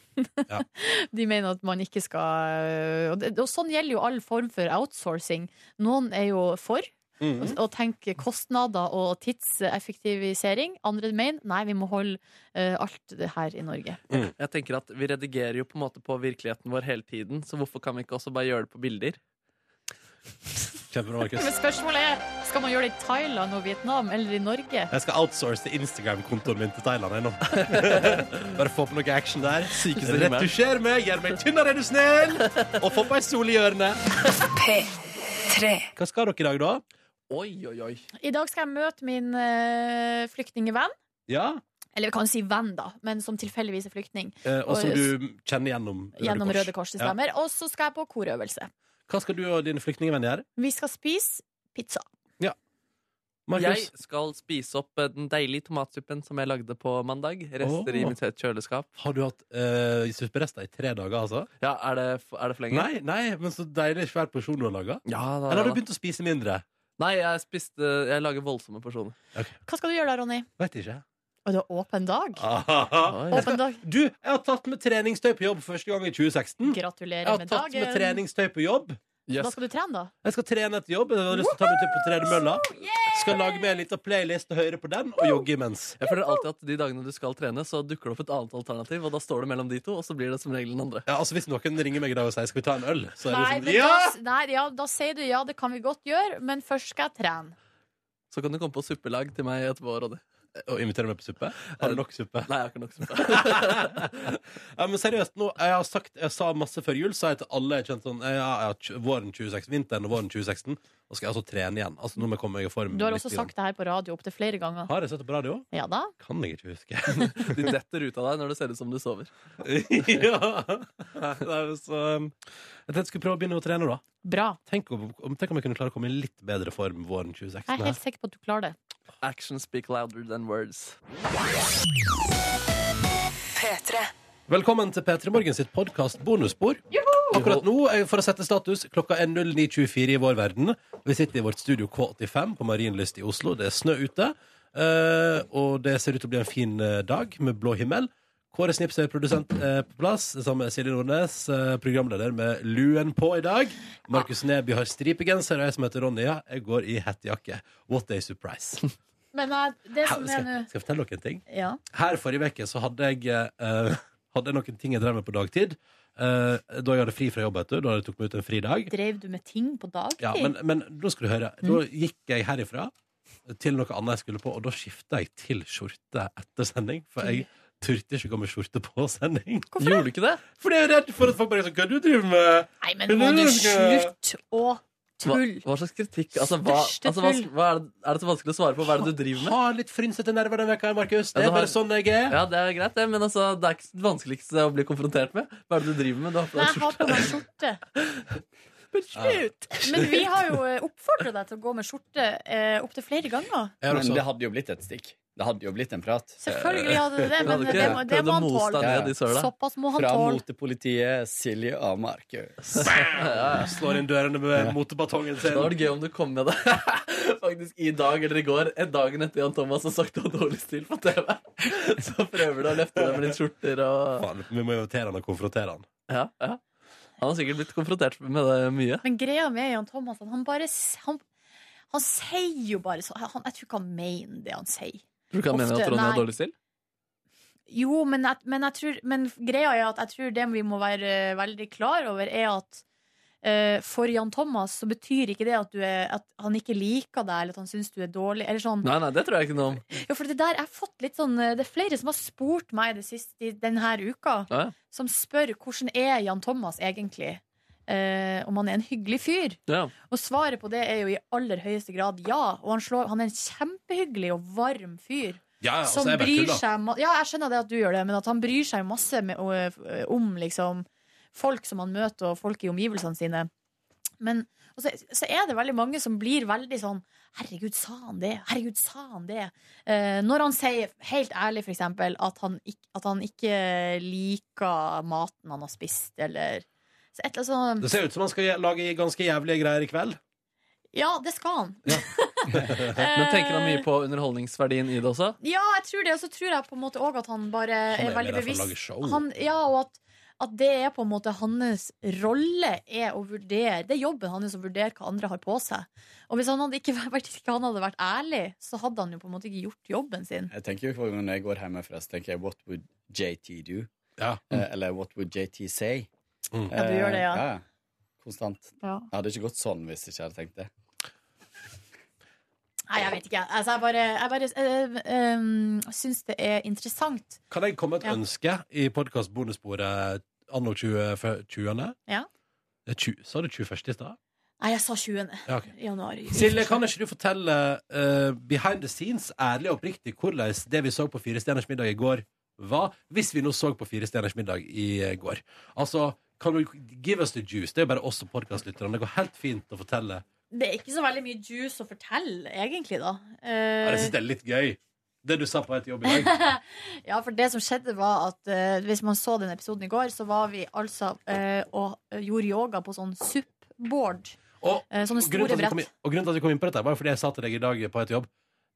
[SPEAKER 4] De mener at man ikke skal Og, det, og sånn gjelder jo all form for outsourcing. Noen er jo for.
[SPEAKER 3] Mhm.
[SPEAKER 4] å tenke kostnader og tidseffektivisering. Andre mener nei, vi må holde eh, alt det her i Norge.
[SPEAKER 2] Jeg tenker at Vi redigerer jo på en måte på virkeligheten vår hele tiden, så hvorfor kan vi ikke også bare gjøre det på bilder?
[SPEAKER 3] Kjempebra, Markus
[SPEAKER 4] Men spørsmålet er skal man gjøre det i Thailand og Vietnam eller i Norge.
[SPEAKER 3] Jeg skal outsource Instagram-kontoen min til Thailand [LAUGHS] jeg, nå. Bare få på noe action der.
[SPEAKER 2] Sykeste timen.
[SPEAKER 3] Retusjer meg, gjør meg tynnere, er du snill! Og få på ei sol i hjørnet. Hva skal dere i dag, da?
[SPEAKER 2] Oi, oi, oi.
[SPEAKER 4] I dag skal jeg møte min eh, flyktningevenn.
[SPEAKER 3] Ja,
[SPEAKER 4] Eller vi kan si venn, da, men som tilfeldigvis er flyktning.
[SPEAKER 3] eh, Og som du kjenner gjennom Røde
[SPEAKER 4] Gjennom
[SPEAKER 3] Kors.
[SPEAKER 4] Røde Kors, det stemmer. Og så skal jeg på korøvelse.
[SPEAKER 3] Ja. Hva skal du og dine flyktningvenn gjøre?
[SPEAKER 4] Vi skal spise pizza.
[SPEAKER 3] Markus?
[SPEAKER 2] Jeg skal spise opp eh, den deilige tomatsuppen som jeg lagde på mandag. Rester i
[SPEAKER 3] Åh.
[SPEAKER 2] mitt kjøleskap.
[SPEAKER 3] Har du hatt uh, supperester i tre dager, altså?
[SPEAKER 2] Ja, Er det, f- er det for lenge?
[SPEAKER 3] Nei, nei, men så deilig svær porsjon du har laga.
[SPEAKER 2] Ja, da,
[SPEAKER 3] Eller har
[SPEAKER 2] da,
[SPEAKER 3] du
[SPEAKER 2] da.
[SPEAKER 3] begynt å spise mindre?
[SPEAKER 2] Nei, jeg spiste Jeg lager voldsomme porsjoner.
[SPEAKER 4] Hva skal du gjøre da, Ronny?
[SPEAKER 3] Veit ikke.
[SPEAKER 4] Å, det er åpen dag.
[SPEAKER 2] Oi.
[SPEAKER 3] Jeg skal-
[SPEAKER 4] Åpen dag.
[SPEAKER 3] Du, jeg har tatt med treningstøy på jobb for første gang i 2016. Jeg
[SPEAKER 4] Gratulerer
[SPEAKER 3] har
[SPEAKER 4] med
[SPEAKER 3] tatt med
[SPEAKER 4] dagen.
[SPEAKER 3] treningstøy på jobb.
[SPEAKER 4] Hva
[SPEAKER 2] Yes.
[SPEAKER 4] skal du trene, da?
[SPEAKER 3] Jeg skal trene etter jobb. Jeg har lyst til å ta meg til på tredemølla. Skal lage med en liten playlist og høre på den, og jogge imens.
[SPEAKER 2] Jeg føler alltid at De dagene du skal trene, så dukker det opp et annet alternativ. Og da står det mellom de to, og så blir det som regel den andre.
[SPEAKER 3] Ja, altså Hvis noen ringer meg i dag og sier 'skal vi ta en øl', så er det
[SPEAKER 4] Nei,
[SPEAKER 3] sånn
[SPEAKER 4] men
[SPEAKER 3] Ja!
[SPEAKER 4] da, nei, ja, da sier du ja, det kan vi godt gjøre, men først skal jeg trene.
[SPEAKER 2] Så kan du komme på suppelag til meg etterpå, Ronny.
[SPEAKER 3] Og invitere meg på suppe. Har du nok
[SPEAKER 4] [LAUGHS]
[SPEAKER 3] suppe?
[SPEAKER 2] Nei, jeg har ikke nok
[SPEAKER 3] [LAUGHS]
[SPEAKER 2] suppe.
[SPEAKER 3] Ja, men seriøst, nå, jeg har sagt Jeg sa masse før jul, sa jeg til alle jeg kjente sånn ja, ja, tj- våren 2016, Vinteren og våren 2016. Og skal jeg altså trene igjen. Altså Nå må jeg komme meg i form.
[SPEAKER 4] Du har
[SPEAKER 3] litt
[SPEAKER 4] også
[SPEAKER 3] grann.
[SPEAKER 4] sagt det her på radio opptil flere ganger.
[SPEAKER 3] Har jeg sett det på radio?
[SPEAKER 4] Ja da.
[SPEAKER 3] Kan jeg ikke
[SPEAKER 4] [LAUGHS]
[SPEAKER 3] huske. [LAUGHS]
[SPEAKER 2] De detter ut av deg når det ser ut som du sover.
[SPEAKER 3] ja. Det er jo så um, Jeg tenkte jeg skulle prøve å begynne å trene, da.
[SPEAKER 4] Bra.
[SPEAKER 3] Tenk om, om- tenk om jeg kunne klare å komme i litt bedre form våren 2016.
[SPEAKER 4] Jeg er
[SPEAKER 3] her.
[SPEAKER 4] helt sikker på at du klarer det.
[SPEAKER 2] Action speak louder than words.
[SPEAKER 3] Velkommen til P3 Morgen sitt podkast Bonusspor. Akkurat nå, eh, for å sette status, klokka er 09.24 i vår verden. Vi sitter i vårt studio K85 på Marienlyst i Oslo. Det er snø ute, eh, og det ser ut til å bli en fin eh, dag med blå himmel. Kåre Snipsøy, produsent, er på plass, sammen med Silje Nordnes, eh, programleder med luen på i dag. Markus Neby har stripegenser, og jeg som heter Ronny, ja, jeg går i hettejakke. What a surprise.
[SPEAKER 4] Men nei, det
[SPEAKER 3] Her,
[SPEAKER 4] som er
[SPEAKER 3] skal,
[SPEAKER 4] nå
[SPEAKER 3] skal jeg fortelle dere en ting?
[SPEAKER 4] ja.
[SPEAKER 3] Her forrige veke så hadde jeg eh, [LAUGHS] hadde jeg noen ting jeg drev med på dagtid. eh, da jeg hadde fri fra jobb, vet du. Da jeg tok meg ut en fridag.
[SPEAKER 4] Drev du med ting på dagtid?
[SPEAKER 3] Ja, men, men da skal du høre. Da gikk jeg herifra til noe annet jeg skulle på, og da skifta jeg til skjorte etter sending. For jeg turte ikke å gå med skjorte på [LAUGHS] sending.
[SPEAKER 2] Hvorfor Gjorde du ikke det?
[SPEAKER 3] Fordi jeg er redd for at folk bare er sånn Hva du driver med?
[SPEAKER 4] Nei,
[SPEAKER 3] Hva
[SPEAKER 4] men må du
[SPEAKER 3] driver med?»
[SPEAKER 4] slutte å
[SPEAKER 2] Hva,
[SPEAKER 4] tulle?
[SPEAKER 2] hva slags kritikk? Altså, hva,
[SPEAKER 4] Største
[SPEAKER 2] altså, hva,
[SPEAKER 4] tull.
[SPEAKER 2] hva er, det, er det så vanskelig å svare på? Hva er det du driver med?
[SPEAKER 3] Ha litt frynsete nerver den veka her,
[SPEAKER 2] Ja,
[SPEAKER 3] Markus. Det
[SPEAKER 2] du
[SPEAKER 3] er
[SPEAKER 2] har-
[SPEAKER 3] bare sånn jeg er.
[SPEAKER 2] Ja, det er greit, det, men altså, det er ikke det vanskeligste å bli konfrontert med. Hva er det du driver med? Du har på
[SPEAKER 4] Nei,
[SPEAKER 2] deg
[SPEAKER 4] jeg har
[SPEAKER 2] skjorte.
[SPEAKER 4] på meg skjorte. Men vi har jo oppfordra deg til å gå med skjorte eh, opptil flere ganger.
[SPEAKER 3] Jeg har
[SPEAKER 11] Men
[SPEAKER 3] også-
[SPEAKER 11] det hadde jo blitt et stikk. Det hadde jo blitt en prat.
[SPEAKER 4] Selvfølgelig hadde du det,
[SPEAKER 2] Eh, hadde
[SPEAKER 4] men
[SPEAKER 2] ikke
[SPEAKER 4] det, må- det
[SPEAKER 2] prøvd
[SPEAKER 4] må
[SPEAKER 2] å
[SPEAKER 4] han
[SPEAKER 2] mose deg
[SPEAKER 4] tåle.
[SPEAKER 2] ned i søla.
[SPEAKER 4] Såpass må han
[SPEAKER 11] Fra
[SPEAKER 4] tåle.
[SPEAKER 11] motepolitiet Silje og Markus.
[SPEAKER 3] Slår inn dørene med motebatongen
[SPEAKER 2] Da var
[SPEAKER 3] sin.
[SPEAKER 2] det gøy om du kom med det [LAUGHS] Faktisk i dag eller i går, en dagen etter Jan Thomas har sagt du har dårlig stil på TV. [LAUGHS] Så prøver du å løfte deg med litt skjorter og
[SPEAKER 3] Faen, vi må invitere han og konfrontere han.
[SPEAKER 2] ja, ja. Han har sikkert blitt konfrontert med det mye.
[SPEAKER 4] Men greia med Jan Thomas han, bare, s- han, han sier jo bare så han, Jeg tror ikke han mener det han sier.
[SPEAKER 2] Tror du ikke han mener
[SPEAKER 4] Ofte,
[SPEAKER 2] at Ronny
[SPEAKER 4] nei.
[SPEAKER 2] har dårlig stil?
[SPEAKER 4] Jo, men, jeg, men, jeg tror, men greia er at jeg tror det vi må være eh, veldig klar over, er at eh, for Jan Thomas så betyr ikke det at, du er, at han ikke liker deg, eller at han syns du er dårlig. Eller sånn.
[SPEAKER 2] Nei, nei, det tror jeg ikke noe om.
[SPEAKER 4] Ja, for det der, jeg har fått litt sånn eh, Det er flere som har spurt meg det siste, denne uka,
[SPEAKER 2] Ja, ja.
[SPEAKER 4] som spør hvordan er Jan Thomas egentlig? Eh, om han er en hyggelig fyr?
[SPEAKER 2] Ja.
[SPEAKER 4] Og svaret på det er jo i aller høyeste grad ja. Og han, slår, han er en kjempehyggelig og varm fyr.
[SPEAKER 3] Ja, ja, altså,
[SPEAKER 4] som
[SPEAKER 3] jeg er bare
[SPEAKER 4] bryr
[SPEAKER 3] tull, da.
[SPEAKER 4] seg ma- Ja, jeg skjønner det at du gjør det, men at han bryr seg masse med, og- om liksom folk som han møter, og folk i omgivelsene sine. Men og så, så er det veldig mange som blir veldig sånn Herregud, sa han det? Herregud, sa han det? Eh, når han sier, helt ærlig for eksempel, at han, ikk- at han ikke liker maten han har spist, eller så et eller annet sånn
[SPEAKER 3] Det ser ut som han skal je- lage ganske jævlige greier i kveld.
[SPEAKER 4] Ja, det skal han. [LAUGHS]
[SPEAKER 2] Men tenker han
[SPEAKER 4] Eh.
[SPEAKER 2] mye på underholdningsverdien i det også?
[SPEAKER 4] Ja, jeg tror det. Og så tror jeg på en måte òg at han bare
[SPEAKER 3] Han
[SPEAKER 4] er,
[SPEAKER 3] er med
[SPEAKER 4] veldig
[SPEAKER 3] der for å lage
[SPEAKER 4] bevisst.
[SPEAKER 3] show.
[SPEAKER 4] Han, ja, og at, at det er på en måte hans rolle er å vurdere Det er jobben hans å vurdere hva andre har på seg. Og hvis han hadde ikke, [LAUGHS] vært- hvis ikke han hadde vært ærlig, så hadde han jo på en måte ikke gjort jobben sin.
[SPEAKER 11] Jeg tenker jo på Når jeg går hjemmefra, så tenker jeg 'What would JT do?'
[SPEAKER 3] Ja.
[SPEAKER 11] Eh, Eller 'What would JT say?'
[SPEAKER 3] Mm.
[SPEAKER 4] Ja, du gjør det, ja.
[SPEAKER 11] Eh, Konstant.
[SPEAKER 3] Eh,
[SPEAKER 4] Ja.
[SPEAKER 11] Det hadde ikke gått sånn hvis ikke jeg hadde tenkt det.
[SPEAKER 4] Nei, jeg vet ikke. Altså, jeg bare, jeg bare eh, eh, syns det er interessant.
[SPEAKER 3] Kan jeg komme med et
[SPEAKER 4] Ja.
[SPEAKER 3] ønske i podkast bonussporet anno 2020? 20.
[SPEAKER 4] Ja.
[SPEAKER 3] Det er 20, sa du 21. i stad?
[SPEAKER 4] Nei, jeg sa 20.
[SPEAKER 3] Ja, ok.
[SPEAKER 4] januar.
[SPEAKER 3] Silje, kan ikke du fortelle eh, behind the scenes, ærlig og oppriktig, hvordan det vi så på Fire stjerners middag i går, var? Hvis vi nå så på Fire stjerners middag i eh, går. Altså, kan du give us the juice? Det er jo bare oss og podkastlytterne. Det går helt fint å fortelle.
[SPEAKER 4] Det er ikke så veldig mye juice å fortelle, egentlig, da. Eh,
[SPEAKER 3] Jeg syns det er litt gøy, det du sa på vei til jobb i dag.
[SPEAKER 4] Ja, for det som skjedde var at eh, Hvis man så den episoden i går Så var vi altså eh, og gjorde yoga på sånn suppboard
[SPEAKER 3] Og,
[SPEAKER 4] Eh, sånne
[SPEAKER 3] og grunnen til
[SPEAKER 4] store
[SPEAKER 3] at vi kom
[SPEAKER 4] brett.
[SPEAKER 3] inn- og grunnen til at vi kom inn på dette, var jo fordi jeg sa til deg i dag på vei til jobb.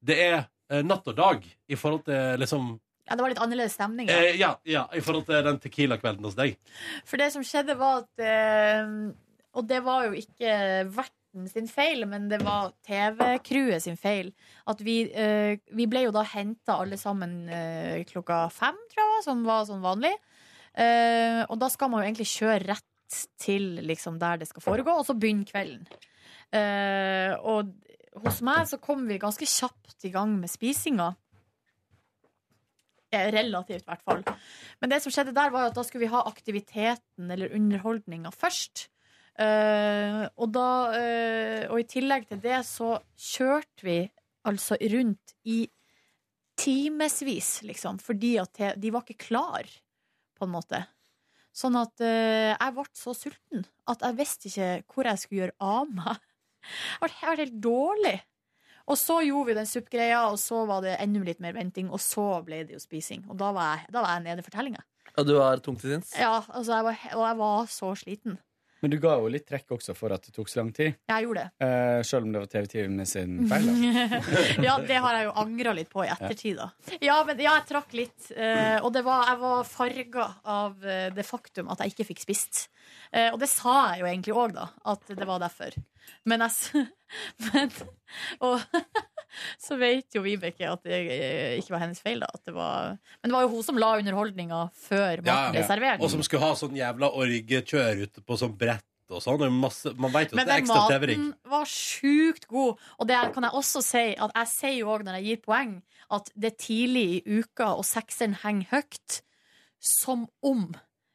[SPEAKER 3] Det er eh, natt og dag i forhold til liksom
[SPEAKER 4] Ja, det var litt annerledes stemning ja.
[SPEAKER 3] eh, Ja, ja, i forhold til den Tequila-kvelden hos deg.
[SPEAKER 4] For det som skjedde var at eh, Og det var jo ikke verten sin feil Men det var TV-crewet sin feil At vi, eh, vi ble jo da hentet alle sammen eh, klokka fem, tror jeg var, Som var sånn vanlig Eh, Og da skal man jo egentlig kjøre rett til liksom, der det skal foregå Og så begynne kvelden Eh, Og hos meg så kom vi ganske kjapt i gang med spisinga Eh, Relativt i hvert fall men det som skjedde der var jo at da skulle vi ha aktiviteten eller underholdninga først. Eh, og, da, eh, og i tillegg til det så kjørte vi altså rundt i timevis, liksom. Fordi at te- de var ikke klar, på en måte. Sånn at eh, jeg ble så sulten at jeg visste ikke hvor jeg skulle gjøre av meg. Jeg ble- Jeg ble helt dårlig. Og så gjorde vi den suppgreia, og så var det enda litt mer venting, og så ble det jo spising. Og da var jeg, da var jeg nede i fortellinga.
[SPEAKER 2] Og du er tung til sinns?
[SPEAKER 4] Ja, altså jeg var, og jeg var så sliten.
[SPEAKER 11] Men du ga jo litt trekk også for at det tok så lang tid.
[SPEAKER 4] Jeg gjorde det.
[SPEAKER 11] Eh, selv om det var TV-teamet sin feil. da.
[SPEAKER 4] [LAUGHS] ja, det har jeg jo angra litt på i ettertid, da. Ja, men ja, jeg trakk litt. eh, og det var, jeg var farga av eh, det faktum at jeg ikke fikk spist. Eh, og det sa jeg jo egentlig òg, da, at det var derfor. Men jeg, s- [LAUGHS] Men, og [LAUGHS] så vet jo Vibeke at det eh, ikke var hennes feil, da. At det var, men det var jo hun som la underholdninga før maten
[SPEAKER 3] Ja,
[SPEAKER 4] ble
[SPEAKER 3] ja.
[SPEAKER 4] servert.
[SPEAKER 3] Eh, Og som skulle ha sånn jævla orgekjør ute på sånn brett og sånn. og Masse, man veit jo at
[SPEAKER 4] Men
[SPEAKER 3] det er
[SPEAKER 4] den
[SPEAKER 3] ekstra TV-rigg.
[SPEAKER 4] maten var sjukt god. Og det kan jeg også si, at jeg sier jo òg når jeg gir poeng, at det er tidlig i uka, og sekseren henger høyt, som om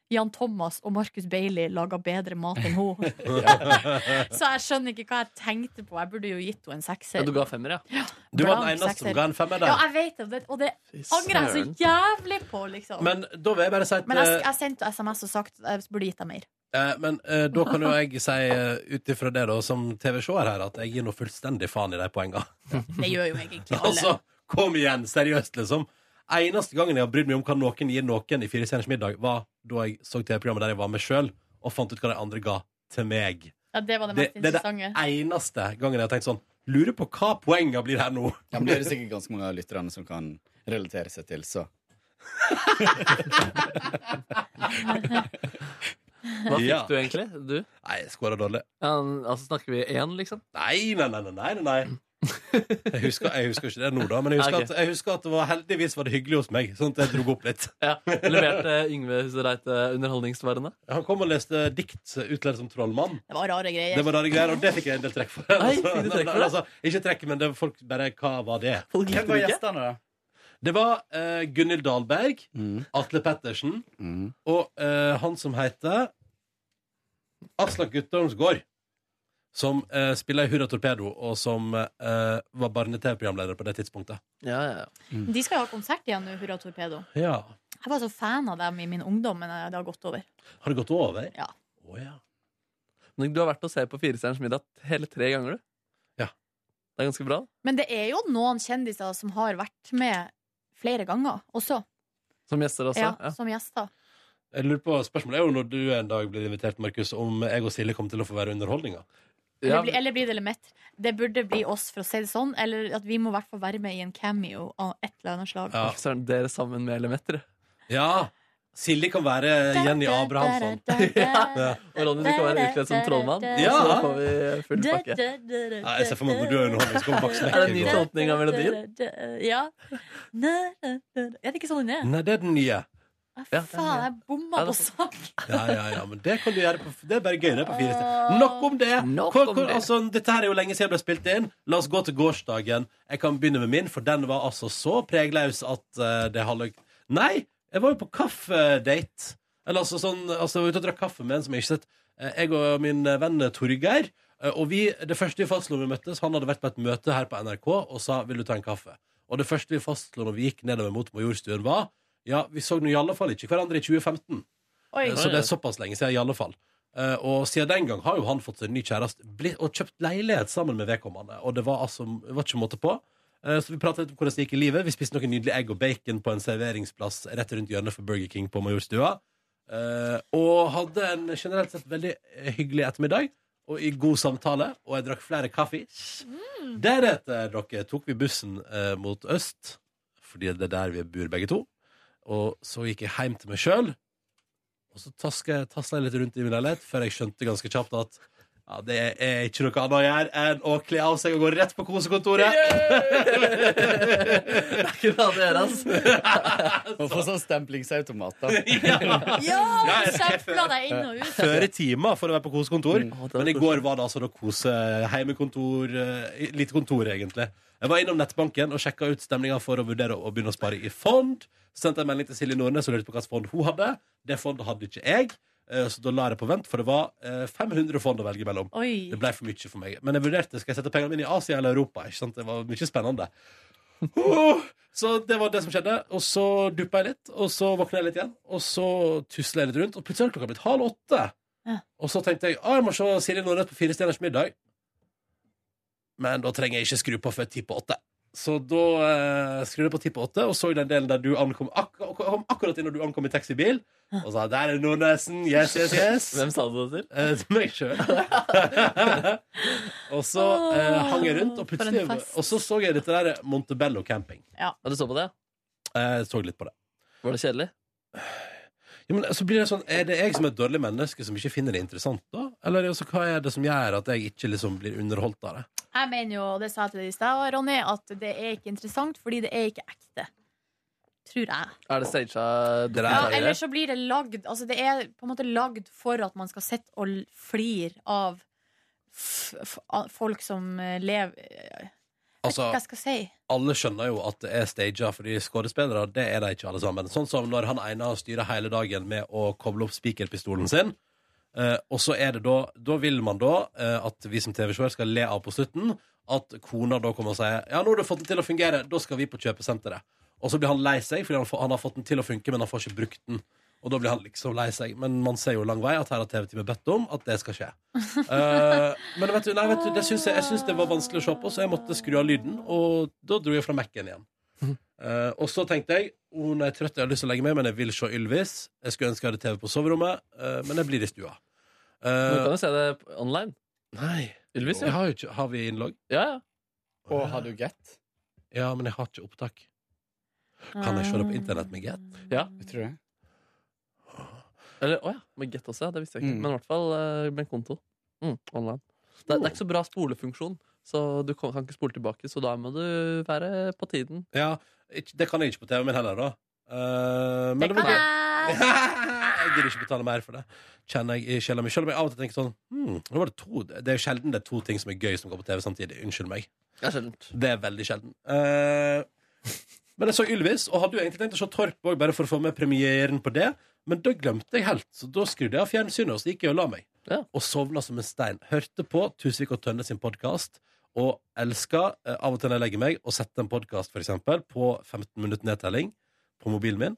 [SPEAKER 4] Jan Thomas og Marcus Bailey laga bedre mat enn
[SPEAKER 3] [LAUGHS]
[SPEAKER 4] hun. Så jeg skjønner ikke hva jeg tenkte på. Jeg burde jo gitt henne en sekser.
[SPEAKER 2] Ja, du ga femmer, ja?
[SPEAKER 3] Du var den
[SPEAKER 4] Blank
[SPEAKER 3] eneste som ga en femmer der.
[SPEAKER 4] Ja, jeg vet det, og det angrer jeg
[SPEAKER 3] søren.
[SPEAKER 4] så jævlig på, liksom.
[SPEAKER 3] Men da vil jeg bare si at
[SPEAKER 4] Men jeg,
[SPEAKER 3] eh,
[SPEAKER 4] jeg sendte SMS og sagt jeg burde gitt deg mer.
[SPEAKER 3] Eh, men eh, da kan jo jeg si, uh, ut ifra det da, som TV-seer her, at jeg gir nå fullstendig faen i de poenga.
[SPEAKER 4] Det gjør jo
[SPEAKER 3] [LAUGHS]
[SPEAKER 4] egentlig alle.
[SPEAKER 3] altså, kom igjen, seriøst, liksom. Eneste gangen jeg har brydd meg om hva noen gir noen i Fire stjerners middag, var da jeg så TV-programmet der jeg var med sjøl, og fant ut hva de andre ga til meg.
[SPEAKER 4] Ja, det var det
[SPEAKER 3] Det,
[SPEAKER 4] mest
[SPEAKER 3] det er det
[SPEAKER 4] interessante.
[SPEAKER 3] eneste gangen jeg har tenkt sånn Lurer på hva poenga blir her nå. [LAUGHS]
[SPEAKER 11] Ja, men det er det sikkert ganske mange av lytterne som kan relatere seg til, så
[SPEAKER 2] Hva fikk
[SPEAKER 3] Ja.
[SPEAKER 2] du egentlig? Du?
[SPEAKER 3] Nei, jeg skåra dårlig.
[SPEAKER 2] Ja, altså Snakker vi én, liksom?
[SPEAKER 3] Nei, nei, nei. nei, nei, nei. Jeg husker, jeg husker ikke det nå, da, men jeg husker,
[SPEAKER 2] Ok.
[SPEAKER 3] at, jeg husker at det var heldigvis var det hyggelig hos meg. Sånn at jeg dro opp litt.
[SPEAKER 2] Leverte eh, Yngve Husereite underholdningsværende?
[SPEAKER 3] Han kom og leste dikt utlært som trollmann.
[SPEAKER 4] Det var rare greier.
[SPEAKER 3] Det var rare greier, og det fikk jeg en del trekk for.
[SPEAKER 2] Nei, fikk du trekk for det?
[SPEAKER 3] Altså, ikke trekk, men det var folk bare Hva var det?
[SPEAKER 2] Folk likte Hvem var det ikke? gjestene,
[SPEAKER 3] Det var eh, Gunhild Dahlberg,
[SPEAKER 2] Mm.
[SPEAKER 3] Atle Pettersen og eh, han som heter Aslak Guttormsgård. Som eh, spiller i Hurra Torpedo, og som eh, var barne-TV-programleder på det tidspunktet.
[SPEAKER 2] Ja, ja,
[SPEAKER 3] ja.
[SPEAKER 4] De skal jo ha konsert igjen nå, Hurra Torpedo.
[SPEAKER 3] ja.
[SPEAKER 4] Jeg var så fan av dem i min ungdom, men eh, det har gått over.
[SPEAKER 3] Har det gått over?
[SPEAKER 4] Ja.
[SPEAKER 2] Men du har vært og sett på Firestjerners middag hele tre ganger, du.
[SPEAKER 3] Ja.
[SPEAKER 2] Det er ganske bra.
[SPEAKER 4] Men det er jo noen kjendiser som har vært med flere ganger også.
[SPEAKER 2] Som gjester også.
[SPEAKER 4] ja,
[SPEAKER 2] Ja.
[SPEAKER 4] Som gjester.
[SPEAKER 3] Jeg lurer på, Spørsmålet er jo når du en dag blir invitert, Markus, om jeg og Silje kommer til å få være underholdninga.
[SPEAKER 4] Eller, bli, eller blir det Lemaitre? Det burde bli oss, for å si det sånn. Eller at vi må i hvert fall være med i en cameo av et eller annet slag.
[SPEAKER 2] Fy søren, Dere sammen med Elemeter.
[SPEAKER 3] Ja! Silje kan være Jenny Abrahamsson. [LAUGHS]
[SPEAKER 2] ja. Og Ronny, du kan være utkledd som trollmann.
[SPEAKER 3] Ja.
[SPEAKER 2] Så da får vi full pakke.
[SPEAKER 3] Nei, jeg ser for meg at når du er underholdning, så kommer Max
[SPEAKER 2] Er det en ny
[SPEAKER 3] Bekker.
[SPEAKER 2] tolkning av melodien?
[SPEAKER 4] Ja. Er det ikke sånn den er?
[SPEAKER 3] Nei, det er den nye.
[SPEAKER 4] Ja, Faen, jeg bomma på sang.
[SPEAKER 3] ja, ja, ja, men det kan du gjøre på Det er bare gøy, det er på fire steder. Nok om det! Hvor,
[SPEAKER 2] om
[SPEAKER 3] hvor,
[SPEAKER 2] det.
[SPEAKER 3] altså, dette her er jo lenge siden jeg ble spilt inn. La oss gå til gårsdagen. Jeg kan begynne med min, for den var altså så pregløs at eh, det halve Nei! Jeg var jo på kaffedate. Eller altså sånn altså, jeg var ute og drakk kaffe med en som jeg ikke har sett. Eh, Jeg og min venn Torgeir. eh, Og vi, det første vi fastslo når vi møttes, han hadde vært på et møte her på NRK og sa 'vil du ta en kaffe'? Og det første vi fastslo når vi gikk nedover mot Majorstuen, var ja, vi så nå i alle fall ikke hverandre i 2015.
[SPEAKER 12] Oi.
[SPEAKER 3] Eh, Så det er såpass lenge siden, i alle fall. Eh, og siden den gang har jo han fått seg en ny kjæreste blitt- og kjøpt leilighet sammen med vedkommende. Og det var altså det var ikke måte på. Eh, så vi pratet litt om hvordan det gikk i livet. Vi spiste noe nydelig egg og bacon på en serveringsplass rett rundt hjørnet for Burger King på Majorstua. Eh, og hadde en generelt sett veldig hyggelig ettermiddag og i god samtale. Og jeg drakk flere kaffe. Deretter dere, tok vi bussen eh, mot øst, fordi det er der vi bor begge to. Og så gikk jeg hjem til meg sjøl. Og så taska jeg, tasla jeg litt rundt i min leilighet før jeg skjønte ganske kjapt at ja, det er ikke noe annet å gjøre enn å kle av seg og gå rett på kosekontoret. [LAUGHS]
[SPEAKER 4] [LAUGHS]
[SPEAKER 11] Man får sånn stemplingsautomat, da.
[SPEAKER 4] Ja,
[SPEAKER 11] Ja,
[SPEAKER 4] du
[SPEAKER 11] jeg skal
[SPEAKER 4] stempla deg inn og ut.
[SPEAKER 3] [LAUGHS] Før i timer for Mm, å være på kosekontor. Men i går var det altså da kose heimekontor eh, Lite kontor, egentlig. Jeg var innom nettbanken og sjekka ut stemninga for å vurdere å begynne å spare i fond. Sendte en melding til Silje Nordnes og lurte på hvilket fond hun hadde. Det fondet hadde ikke jeg, eh, så da la jeg det på vent, for det var eh, 500 fond å velge mellom.
[SPEAKER 4] Oi.
[SPEAKER 3] Det ble for mye for meg. Men jeg vurderte skal jeg sette pengene mine i Asia eller Europa. Ikke sant? Det var mye spennende. Oh, så det var det som skjedde. Og så duppa jeg litt, og så våkna jeg litt igjen. Og så tusla jeg litt rundt, og plutselig har klokka blitt halv åtte. Og så tenkte jeg ah, jeg må se Silje Nordnes på Fire stjerners middag. Men da trenger jeg ikke skru på før ti på åtte. Så da eh, skrudde jeg på ti på åtte og så den delen der du ankom ak ak- kom akkurat inn når du ankom i taxibil. Og sa 'der er Nordnesen'. Yes, yes, yes.
[SPEAKER 2] Hvem sa du det til?
[SPEAKER 3] Eh, til meg sjøl. [LAUGHS] og så eh, hang jeg rundt, og
[SPEAKER 2] For en
[SPEAKER 3] plutselig
[SPEAKER 2] fest.
[SPEAKER 3] Og så så jeg dette der Montebello camping.
[SPEAKER 4] Ja.
[SPEAKER 2] Du så på det?
[SPEAKER 3] Jeg så litt på det.
[SPEAKER 2] Var det kjedelig?
[SPEAKER 3] Ja, men så blir det sånn, Er det jeg som er et dårlig menneske som ikke finner det interessant, da? Eller altså, hva er det som gjør at jeg ikke liksom blir underholdt av det?
[SPEAKER 4] Jeg mener jo, og det sa jeg til deg i stad, Ronny, at det er ikke interessant fordi det er ikke ekte. Tror jeg.
[SPEAKER 2] Er det staged?
[SPEAKER 4] Ja, eller så blir det lagd Altså det er på en måte lagd for at man skal sitte og l- flire av f f av folk som eh, lever Jeg vet ikke
[SPEAKER 3] Altså-
[SPEAKER 4] hva jeg skal si.
[SPEAKER 3] Alle skjønner jo at det er staged, fordi skuespillere det er de ikke alle sammen. Sånn som når han ene styrer hele dagen med å koble opp spikerpistolen sin. Eh, og så er det da Da vil man da eh, at vi som TV-seere skal le av på slutten at kona da kommer og sier Ja, nå har du fått den til å fungere, da skal vi på kjøpesenteret. Og så blir han lei seg fordi han, får, han har fått den til å funke, men han får ikke brukt den. Og da blir han liksom lei seg. Men man ser jo lang vei at her har TV-teamet bedt om at det skal skje. Eh, men vet du, nei, vet du det syns jeg, jeg syns det var vanskelig å se på, så jeg måtte skru av lyden. Og da dro jeg fra Mac-en igjen. Eh, og så tenkte jeg oh, når jeg er trøtt, jeg har lyst til å legge meg, men jeg vil se Ylvis. Jeg skulle ønske jeg hadde TV på soverommet, eh, men jeg blir i stua.
[SPEAKER 2] Men du kan jo se det p- online.
[SPEAKER 3] Nei.
[SPEAKER 2] Ylvis,
[SPEAKER 3] Jeg
[SPEAKER 2] ja.
[SPEAKER 3] har, jo ikke, har vi innlogg?
[SPEAKER 2] ja, ja.
[SPEAKER 11] Og har du get?
[SPEAKER 3] Ja, men jeg har ikke opptak. Kan jeg se det på internett med get?
[SPEAKER 2] Ja.
[SPEAKER 11] Jeg tror det.
[SPEAKER 2] Eller, å ja, med Get også, ja. Det visste jeg ikke.
[SPEAKER 11] Mm.
[SPEAKER 2] Men i hvert fall eh, med en konto. Mm, online. Det, er- det er ikke så bra spolefunksjon, så du kan, kan ikke spole tilbake. Så da må du være på tiden.
[SPEAKER 3] Ja, ikke, det kan jeg ikke på TV-en min heller, da. Eh, men det, var
[SPEAKER 4] gøy.
[SPEAKER 3] [LAUGHS] jeg gidder ikke betale mer for det, kjenner jeg i sjela mi. Selv om jeg av og til tenker sånn hmm, nå var det, to, det er jo sjelden det er to ting som er gøy som går på TV samtidig. Unnskyld meg.
[SPEAKER 2] Det er sjeldent.
[SPEAKER 3] Det er veldig sjelden. Eh, men jeg så Ylvis, og hadde jo egentlig tenkt å se Torp òg, bare for å få med premieren på det. Men da glemte jeg helt, så da skrudde jeg av fjernsynet og så gikk jeg og la meg. Og sovna som en stein. Hørte på Tusvik og Tønne sin podkast. Og elska, eh, av og til når jeg legger meg, å sette en podkast på 15 minutter nedtelling på mobilen min.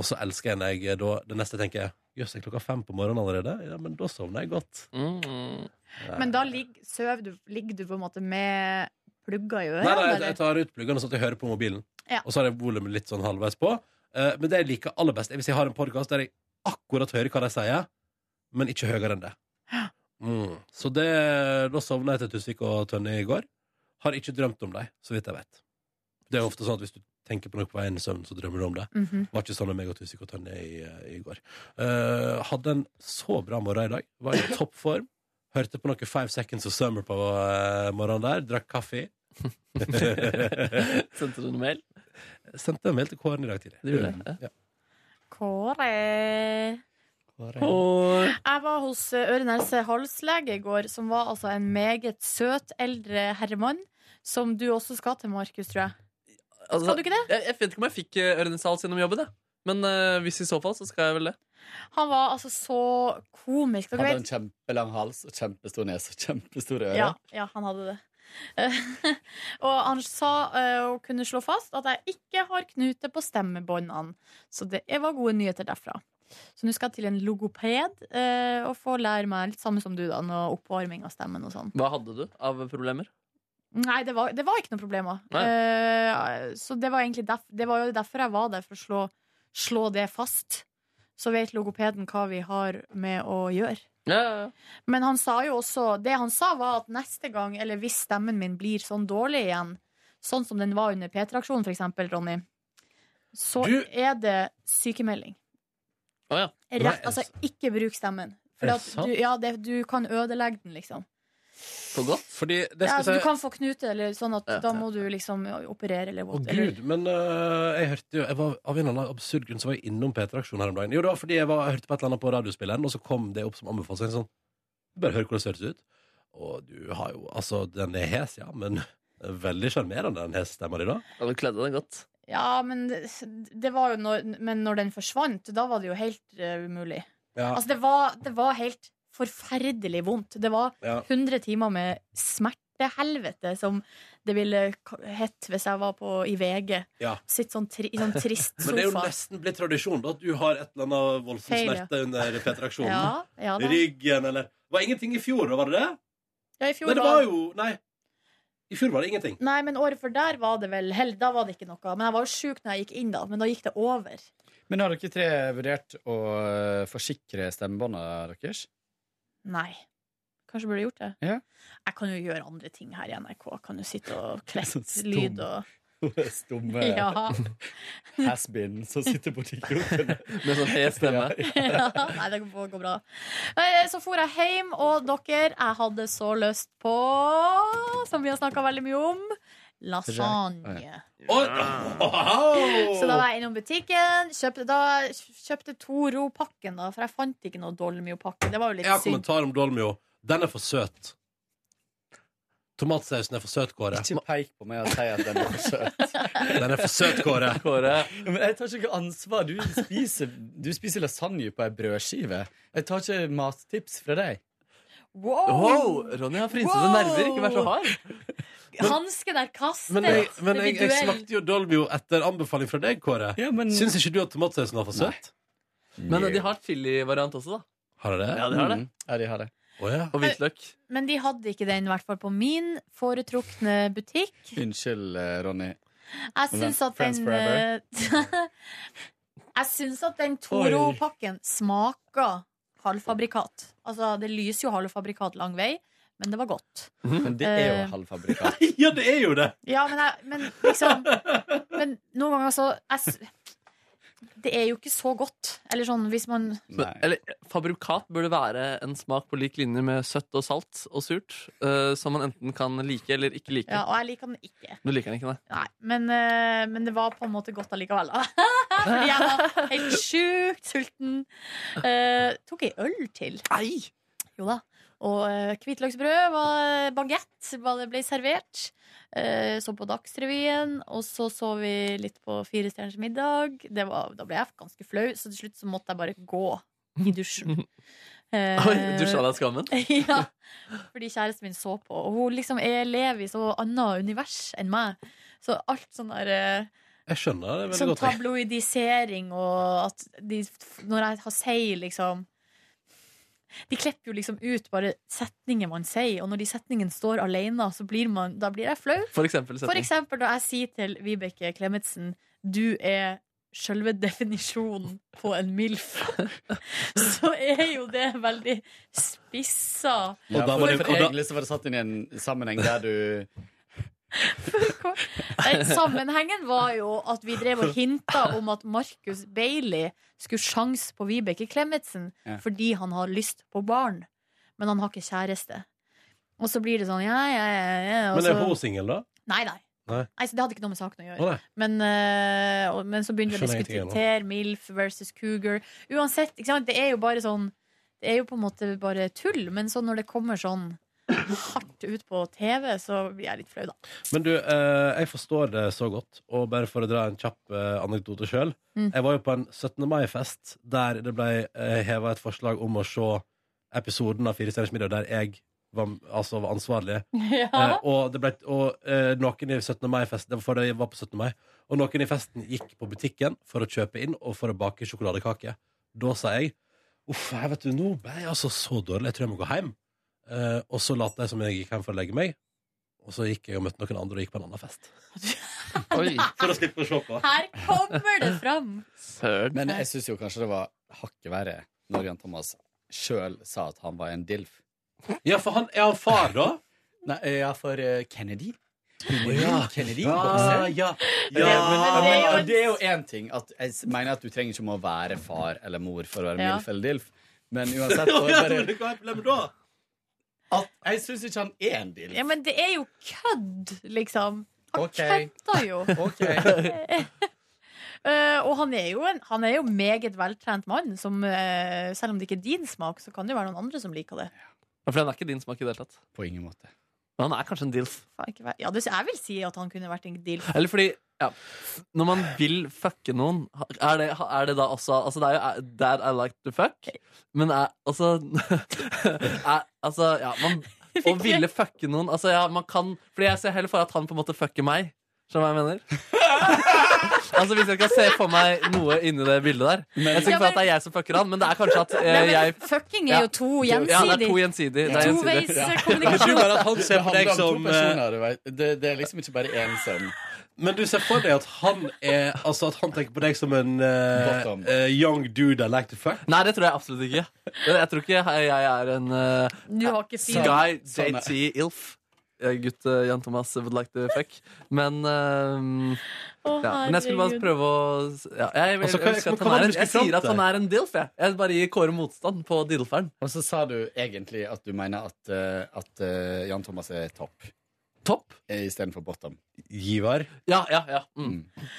[SPEAKER 3] Og så elsker jeg når jeg eh, da det neste tenker jeg, Jøss, det er klokka fem på morgenen allerede. Ja, men da sovner jeg godt.
[SPEAKER 2] Mm.
[SPEAKER 3] Nei.
[SPEAKER 4] Men da ligger, søv du, ligger du på en måte med plugger i
[SPEAKER 3] Nei, nei,
[SPEAKER 4] ørene?
[SPEAKER 3] jeg, jeg
[SPEAKER 4] eller?
[SPEAKER 3] tar ut pluggene sånn at jeg hører på mobilen.
[SPEAKER 4] Ja.
[SPEAKER 3] Og så har jeg volumet litt sånn halvveis på. Eh, men det jeg liker aller best, er hvis jeg har en podkast der jeg akkurat hører hva de sier, men ikke høyere enn det. Mm. Så det, da sovna jeg til Tusvik og Tønne i går. Har ikke drømt om dem, så vidt jeg vet. Det er jo ofte sånn at hvis du tenker på noe på veien i søvn, så drømmer du om det.
[SPEAKER 12] Mhm.
[SPEAKER 3] Var ikke sånn med meg og Tusvik og Tønne i, i går. Eh, hadde en så bra morgen i dag. Var i toppform. Hørte på noe Five Seconds of Summer på eh, morgenen der. Drakk
[SPEAKER 2] [LAUGHS]
[SPEAKER 3] kaffe.
[SPEAKER 2] Sendte du en mail?
[SPEAKER 3] Sendte en mail til Kåren i dag tidlig.
[SPEAKER 2] Du gjorde det?
[SPEAKER 3] Ja.
[SPEAKER 4] Kåre. Jeg var hos eh, øre-nese-halslege i går, som var altså en meget søt eldre herremann. Som du også skal til, Markus, tror jeg.
[SPEAKER 2] Altså,
[SPEAKER 4] Skal du ikke det?
[SPEAKER 2] Jeg, jeg vet ikke om jeg fikk eh, ørenesals gjennom jobben, jeg. Men eh, hvis i så fall, så skal jeg vel det.
[SPEAKER 4] Han var altså så komisk. Dere
[SPEAKER 11] Hadde
[SPEAKER 4] vet
[SPEAKER 11] en kjempelang hals og kjempestor nese og kjempestore ører.
[SPEAKER 4] Ja, ja, han hadde det. [LAUGHS] Eh, og han sa eh, og kunne slå fast at jeg ikke har knute på stemmebåndene. Så det var gode nyheter derfra. Så nå skal jeg til en logoped eh, og få lære meg litt samme som du, da, noe oppvarming av stemmen og sånn.
[SPEAKER 2] Hva hadde du av problemer?
[SPEAKER 4] Nei, det var, det var ikke noe problemer.
[SPEAKER 2] Nei.
[SPEAKER 4] Eh, så det var egentlig derf det var jo derfor jeg var der, for å slå, slå det fast. Så vet logopeden hva vi har med å gjøre. Men han sa jo også Det han sa var at neste gang Eller hvis stemmen min blir sånn dårlig igjen Sånn som den var under P3-aksjonen for eksempel, Ronny Så
[SPEAKER 3] Du-
[SPEAKER 4] er det sykemelding
[SPEAKER 2] Å ja.
[SPEAKER 4] Rett, Altså ikke bruk stemmen
[SPEAKER 3] Er det
[SPEAKER 4] For at du,
[SPEAKER 3] sant?
[SPEAKER 4] ja, det, du kan ødelegge den liksom
[SPEAKER 2] For godt?
[SPEAKER 3] Fordi det
[SPEAKER 4] ja,
[SPEAKER 3] skal
[SPEAKER 4] altså, Du
[SPEAKER 3] jeg si
[SPEAKER 4] kan få knute eller sånn at
[SPEAKER 3] Ja.
[SPEAKER 4] Da må du liksom operere eller,
[SPEAKER 3] Å,
[SPEAKER 4] what- eller
[SPEAKER 3] gud, men øh, jeg hørte jo jeg var, Av en eller annen absurd grunn så var jeg innom P3-aksjonen her om dagen. Jo, det var fordi jeg, var, jeg hørte på et eller annet på radiospilleren, og så kom det opp som anbefaling. Sånn, bare hør hvordan det høres ut. Og du har jo Altså, den er hes, ja, men [LAUGHS] veldig sjarmerende, den hesstemma di, da.
[SPEAKER 2] Ja, du kledde deg godt.
[SPEAKER 4] Ja, men det, det var jo når, Men når den forsvant, da var det jo helt eh, umulig.
[SPEAKER 3] Ja.
[SPEAKER 4] Altså, det var, det var helt forferdelig vondt. Det var
[SPEAKER 3] Ja.
[SPEAKER 4] 100 timer med smertehelvete, som det ville k- hett hvis jeg var på, i VG.
[SPEAKER 3] Ja.
[SPEAKER 4] Sitt sånn tri, i sånn trist
[SPEAKER 3] [LAUGHS]
[SPEAKER 4] sofa.
[SPEAKER 3] Men det er jo nesten blitt tradisjon da at du har et eller annet voldsom
[SPEAKER 4] Feil, ja.
[SPEAKER 3] smerte under P3-aksjonen.
[SPEAKER 4] Ja, ja da.
[SPEAKER 3] Ryggen eller Det var ingenting i fjor, da, var det det?
[SPEAKER 4] Ja, i fjor
[SPEAKER 3] Nei, det var jo Nei. I fjor var det ingenting.
[SPEAKER 4] Nei, men året før der var det vel hell, Da var det ikke noe. Men jeg var jo sjuk når jeg gikk inn, da. Men da gikk det over.
[SPEAKER 11] Men har dere tre vurdert å eh, forsikre stemmebåndene [LAUGHS] deres?
[SPEAKER 4] Nei. Kanskje burde jeg gjort det.
[SPEAKER 11] Ja.
[SPEAKER 4] Jeg kan jo gjøre andre ting her i NRK. Jeg kan jo sitte og
[SPEAKER 11] Sånn
[SPEAKER 4] klippe
[SPEAKER 11] stum.
[SPEAKER 4] lyd og
[SPEAKER 11] Stumme
[SPEAKER 4] Ja. [LAUGHS]
[SPEAKER 11] has-been som sitter borti kroken.
[SPEAKER 2] Med sånn hes stemme.
[SPEAKER 4] ja, nei, det går går bra. Eh, Så for jeg hjem, og dere, jeg hadde så lyst på, som vi har snakka veldig mye om, lasagne. Så da var jeg innom butikken, kjøpte, da, kjøpte Toro-pakken, da, for jeg fant ikke noe Dolmio-pakke. Det var jo litt
[SPEAKER 3] Jeg har
[SPEAKER 4] synd.
[SPEAKER 3] kommentar om Dolmio. Den er for søt. Tomatsausen er for søt, Kåre.
[SPEAKER 11] [LAUGHS] Ikke peik på meg og si at den er for søt.
[SPEAKER 3] Den er for søt, Kåre.
[SPEAKER 11] [LAUGHS]
[SPEAKER 4] [LAUGHS]
[SPEAKER 11] Ja, Men jeg tar ikke noe ansvar. Du spiser, du spiser lasagne på ei brødskive. Jeg tar ikke mattips fra deg.
[SPEAKER 4] Wow!
[SPEAKER 2] Ronny har
[SPEAKER 4] frynsete Wow! nerver, ikke vær så hard. Hansken er kastet!
[SPEAKER 3] Men jeg, men
[SPEAKER 4] det
[SPEAKER 3] jeg,
[SPEAKER 4] blir
[SPEAKER 3] jeg
[SPEAKER 4] duell.
[SPEAKER 3] smakte jo Dolmio etter anbefaling fra deg, Kåre. Syns ikke du at tomatsausen var for søt?
[SPEAKER 2] Men eh, de har chili-variant også, da.
[SPEAKER 3] Har de det?
[SPEAKER 2] Ja, de har det.
[SPEAKER 11] Mm.
[SPEAKER 3] Å, ja.
[SPEAKER 2] Og hvitløk.
[SPEAKER 4] Men de hadde ikke den, i hvert fall på min foretrukne butikk.
[SPEAKER 11] Unnskyld, eh, Ronny.
[SPEAKER 4] Jeg syns at
[SPEAKER 11] Friends
[SPEAKER 4] den
[SPEAKER 11] forever.
[SPEAKER 4] eh, [LAUGHS] Jeg syns at den Toro-pakken smaker halvfabrikat. Altså, det lyser jo halvfabrikat lang vei, men det var godt.
[SPEAKER 11] Men det er jo
[SPEAKER 4] Eh.
[SPEAKER 11] halvfabrikat.
[SPEAKER 3] [LAUGHS] ja, det er jo det!
[SPEAKER 4] Ja, men, jeg, men liksom Men noen ganger så jeg, s- Det er jo ikke så godt. Eller sånn hvis man
[SPEAKER 2] Men, eller, fabrikat burde være en smak på lik linje med søtt og salt og surt. eh, som man enten kan like eller ikke like.
[SPEAKER 4] Ja, og jeg liker den ikke.
[SPEAKER 2] Du liker den ikke, nei?
[SPEAKER 4] Nei, men, eh, men det var på en måte godt allikevel. da. [LAUGHS] Fordi jeg var helt sjukt sulten. Eh, tok ei øl til. Jo da. Og eh, hvitløksbrød, uh, bagett ble servert. Eh, så på Dagsrevyen, og så så vi litt på Fire stjerners middag. Det var, da ble jeg ganske flau, så til slutt så måtte jeg bare gå i dusjen. Eh,
[SPEAKER 2] Oi, dusja deg av skammen?
[SPEAKER 4] [LAUGHS] ja, fordi kjæresten min så på. Og hun liksom er, lever i så annet univers enn meg. Så alt sånn der eh,
[SPEAKER 3] Jeg skjønner det veldig
[SPEAKER 4] Sånn
[SPEAKER 3] godt. jeg.
[SPEAKER 4] tabloidisering og at de, når jeg har sier liksom De klipper jo liksom ut bare setninger man sier, og når de setningene står alene, så blir man, da blir jeg flau.
[SPEAKER 2] For eksempel setning.
[SPEAKER 4] Eh. For eksempel når jeg sier til Vibeke Klemetsen Du er selve definisjonen på en MILF, [LAUGHS] så er jo det veldig spissa.
[SPEAKER 11] Ja,
[SPEAKER 3] da
[SPEAKER 11] for,
[SPEAKER 3] var det-
[SPEAKER 11] for
[SPEAKER 3] og da-
[SPEAKER 11] egentlig så var det satt inn i en sammenheng der du
[SPEAKER 4] Nei, Sammenhengen var jo at vi drev og hinta om at Marcus Bailey skulle sjanse på Vibeke Klemetsen
[SPEAKER 12] Ja.
[SPEAKER 4] fordi han har lyst på barn, men han har ikke kjæreste. Og så blir det sånn ja, ja, ja, ja. og
[SPEAKER 3] Men er
[SPEAKER 4] så-
[SPEAKER 3] hun singel, da?
[SPEAKER 4] Nei, nei.
[SPEAKER 3] Nei.
[SPEAKER 4] Nei, så Det hadde ikke noe med saken å gjøre.
[SPEAKER 3] Å, nei.
[SPEAKER 4] men, eh, og- men så begynte vi å
[SPEAKER 3] Skjønner ingenting
[SPEAKER 4] diskutere MILF versus Cougar. Uansett, ikke sant? det er jo bare sånn Det er jo på en måte bare tull, men så når det kommer sånn hardt ut på TV, så blir jeg litt flau, da.
[SPEAKER 3] Men du, eh, jeg forstår det så godt. Og bare for å dra en kjapp eh, anekdote sjøl.
[SPEAKER 4] Mm.
[SPEAKER 3] Jeg var jo på en 17. mai-fest der det ble eh, heva et forslag om å se episoden av Fire stjerners middag der jeg var, altså, var ansvarlig. Eh, og det ble, og eh, noen i 17. mai-festen Det var fordi jeg var på 17. mai. Og noen i festen gikk på butikken for å kjøpe inn og for å bake sjokoladekake. Da sa jeg Uff, jeg vet du, nå ble jeg altså så dårlig. Jeg tror jeg må gå hjem. Eh, og så lot jeg som jeg gikk hjem for å legge meg. Og så gikk jeg og møtte noen andre og gikk på en annen fest. For å slippe å se på.
[SPEAKER 4] Her kommer det fram!
[SPEAKER 11] Men jeg syns jo kanskje det var hakket verre når Jan Thomas sjøl sa at han var en DILF.
[SPEAKER 3] Ja, for han er han far, da?
[SPEAKER 11] Nei, ja, for eh, Kennedy.
[SPEAKER 3] ja.
[SPEAKER 11] Kennedy,
[SPEAKER 3] Ja,
[SPEAKER 11] bokseren.
[SPEAKER 3] ja,
[SPEAKER 11] Men-
[SPEAKER 3] ja.
[SPEAKER 11] men- men-
[SPEAKER 3] Ja.
[SPEAKER 11] og Det er jo én ting at jeg s- mener at du trenger ikke om å være far eller mor for å være
[SPEAKER 3] Ja.
[SPEAKER 11] MILF eller DILF, men uansett så
[SPEAKER 3] Ja,
[SPEAKER 11] er
[SPEAKER 3] men
[SPEAKER 11] det
[SPEAKER 3] hva er problemet da?
[SPEAKER 11] at jeg syns ikke han er en DILF.
[SPEAKER 4] Ja, men det er jo kødd, liksom. Han
[SPEAKER 11] Ok.
[SPEAKER 4] kødder jo.
[SPEAKER 11] [LAUGHS]
[SPEAKER 4] Eh, og han er jo en han er jo meget veltrent mann, som eh, selv om det ikke er din smak, så kan det jo være noen andre som liker det.
[SPEAKER 2] Ja, For den er ikke din smak i det hele tatt.
[SPEAKER 11] På ingen måte.
[SPEAKER 2] Men han er kanskje en dilf.
[SPEAKER 4] Faen, ikke vær- Ja, det, jeg vil si at han kunne vært en deal.
[SPEAKER 2] Eller fordi ja. Når man vil fucke noen, er det, er det da også Altså, det er jo That I like to fuck, men er Altså [LAUGHS] er, Altså, ja,
[SPEAKER 4] [LAUGHS]
[SPEAKER 2] man Å ville fucke noen Altså, ja, man kan Fordi jeg ser heller for at han på en måte fucker meg. Skjønner du hva jeg mener?
[SPEAKER 4] [LAUGHS]
[SPEAKER 2] altså Hvis jeg kan se for meg noe inni det bildet der Jeg ser
[SPEAKER 4] Ja,
[SPEAKER 2] ikke for at det er jeg som fucker han, men det er kanskje at eh,
[SPEAKER 4] Nei, men
[SPEAKER 2] jeg
[SPEAKER 4] fucking er jo to
[SPEAKER 2] Ja, det er to
[SPEAKER 4] gjensidig.
[SPEAKER 2] gjensidig. Det er
[SPEAKER 4] To
[SPEAKER 2] gjensidig.
[SPEAKER 4] veis, eh,
[SPEAKER 11] Men du mener at han ser på deg som
[SPEAKER 3] eh,
[SPEAKER 11] det, det er liksom ikke bare én sønn.
[SPEAKER 3] Men du ser for deg at han er Altså at han tenker på deg som en eh,
[SPEAKER 11] Bottom.
[SPEAKER 3] eh, young dude I like to fuck?
[SPEAKER 2] Nei, det tror jeg absolutt ikke. Jeg tror ikke jeg er en eh,
[SPEAKER 4] Du har ikke fire
[SPEAKER 2] Guy
[SPEAKER 11] Sånn er-
[SPEAKER 2] JT Ilf. eh, gutt eh, Jan Thomas would like to fuck. Men eh,
[SPEAKER 12] Å,
[SPEAKER 2] ja. Men jeg skulle bare
[SPEAKER 12] herregud.
[SPEAKER 2] prøve å ja, jeg, jeg,
[SPEAKER 11] Altså, hva-
[SPEAKER 2] jeg, husker at
[SPEAKER 11] hva
[SPEAKER 2] han
[SPEAKER 11] var
[SPEAKER 2] er
[SPEAKER 11] det
[SPEAKER 2] en,
[SPEAKER 11] du
[SPEAKER 2] jeg
[SPEAKER 11] skulle
[SPEAKER 2] sier
[SPEAKER 11] fram
[SPEAKER 2] at han
[SPEAKER 11] til?
[SPEAKER 2] er en dilf, jeg. Jeg bare gir Kåre motstand på dillferen.
[SPEAKER 11] Og så sa du egentlig at du mener at, eh, at eh, Jan Thomas er topp. eh,
[SPEAKER 2] Topp?
[SPEAKER 11] Istedenfor bottom. Giver.
[SPEAKER 2] Ja, ja, ja. Mm.
[SPEAKER 11] Mm.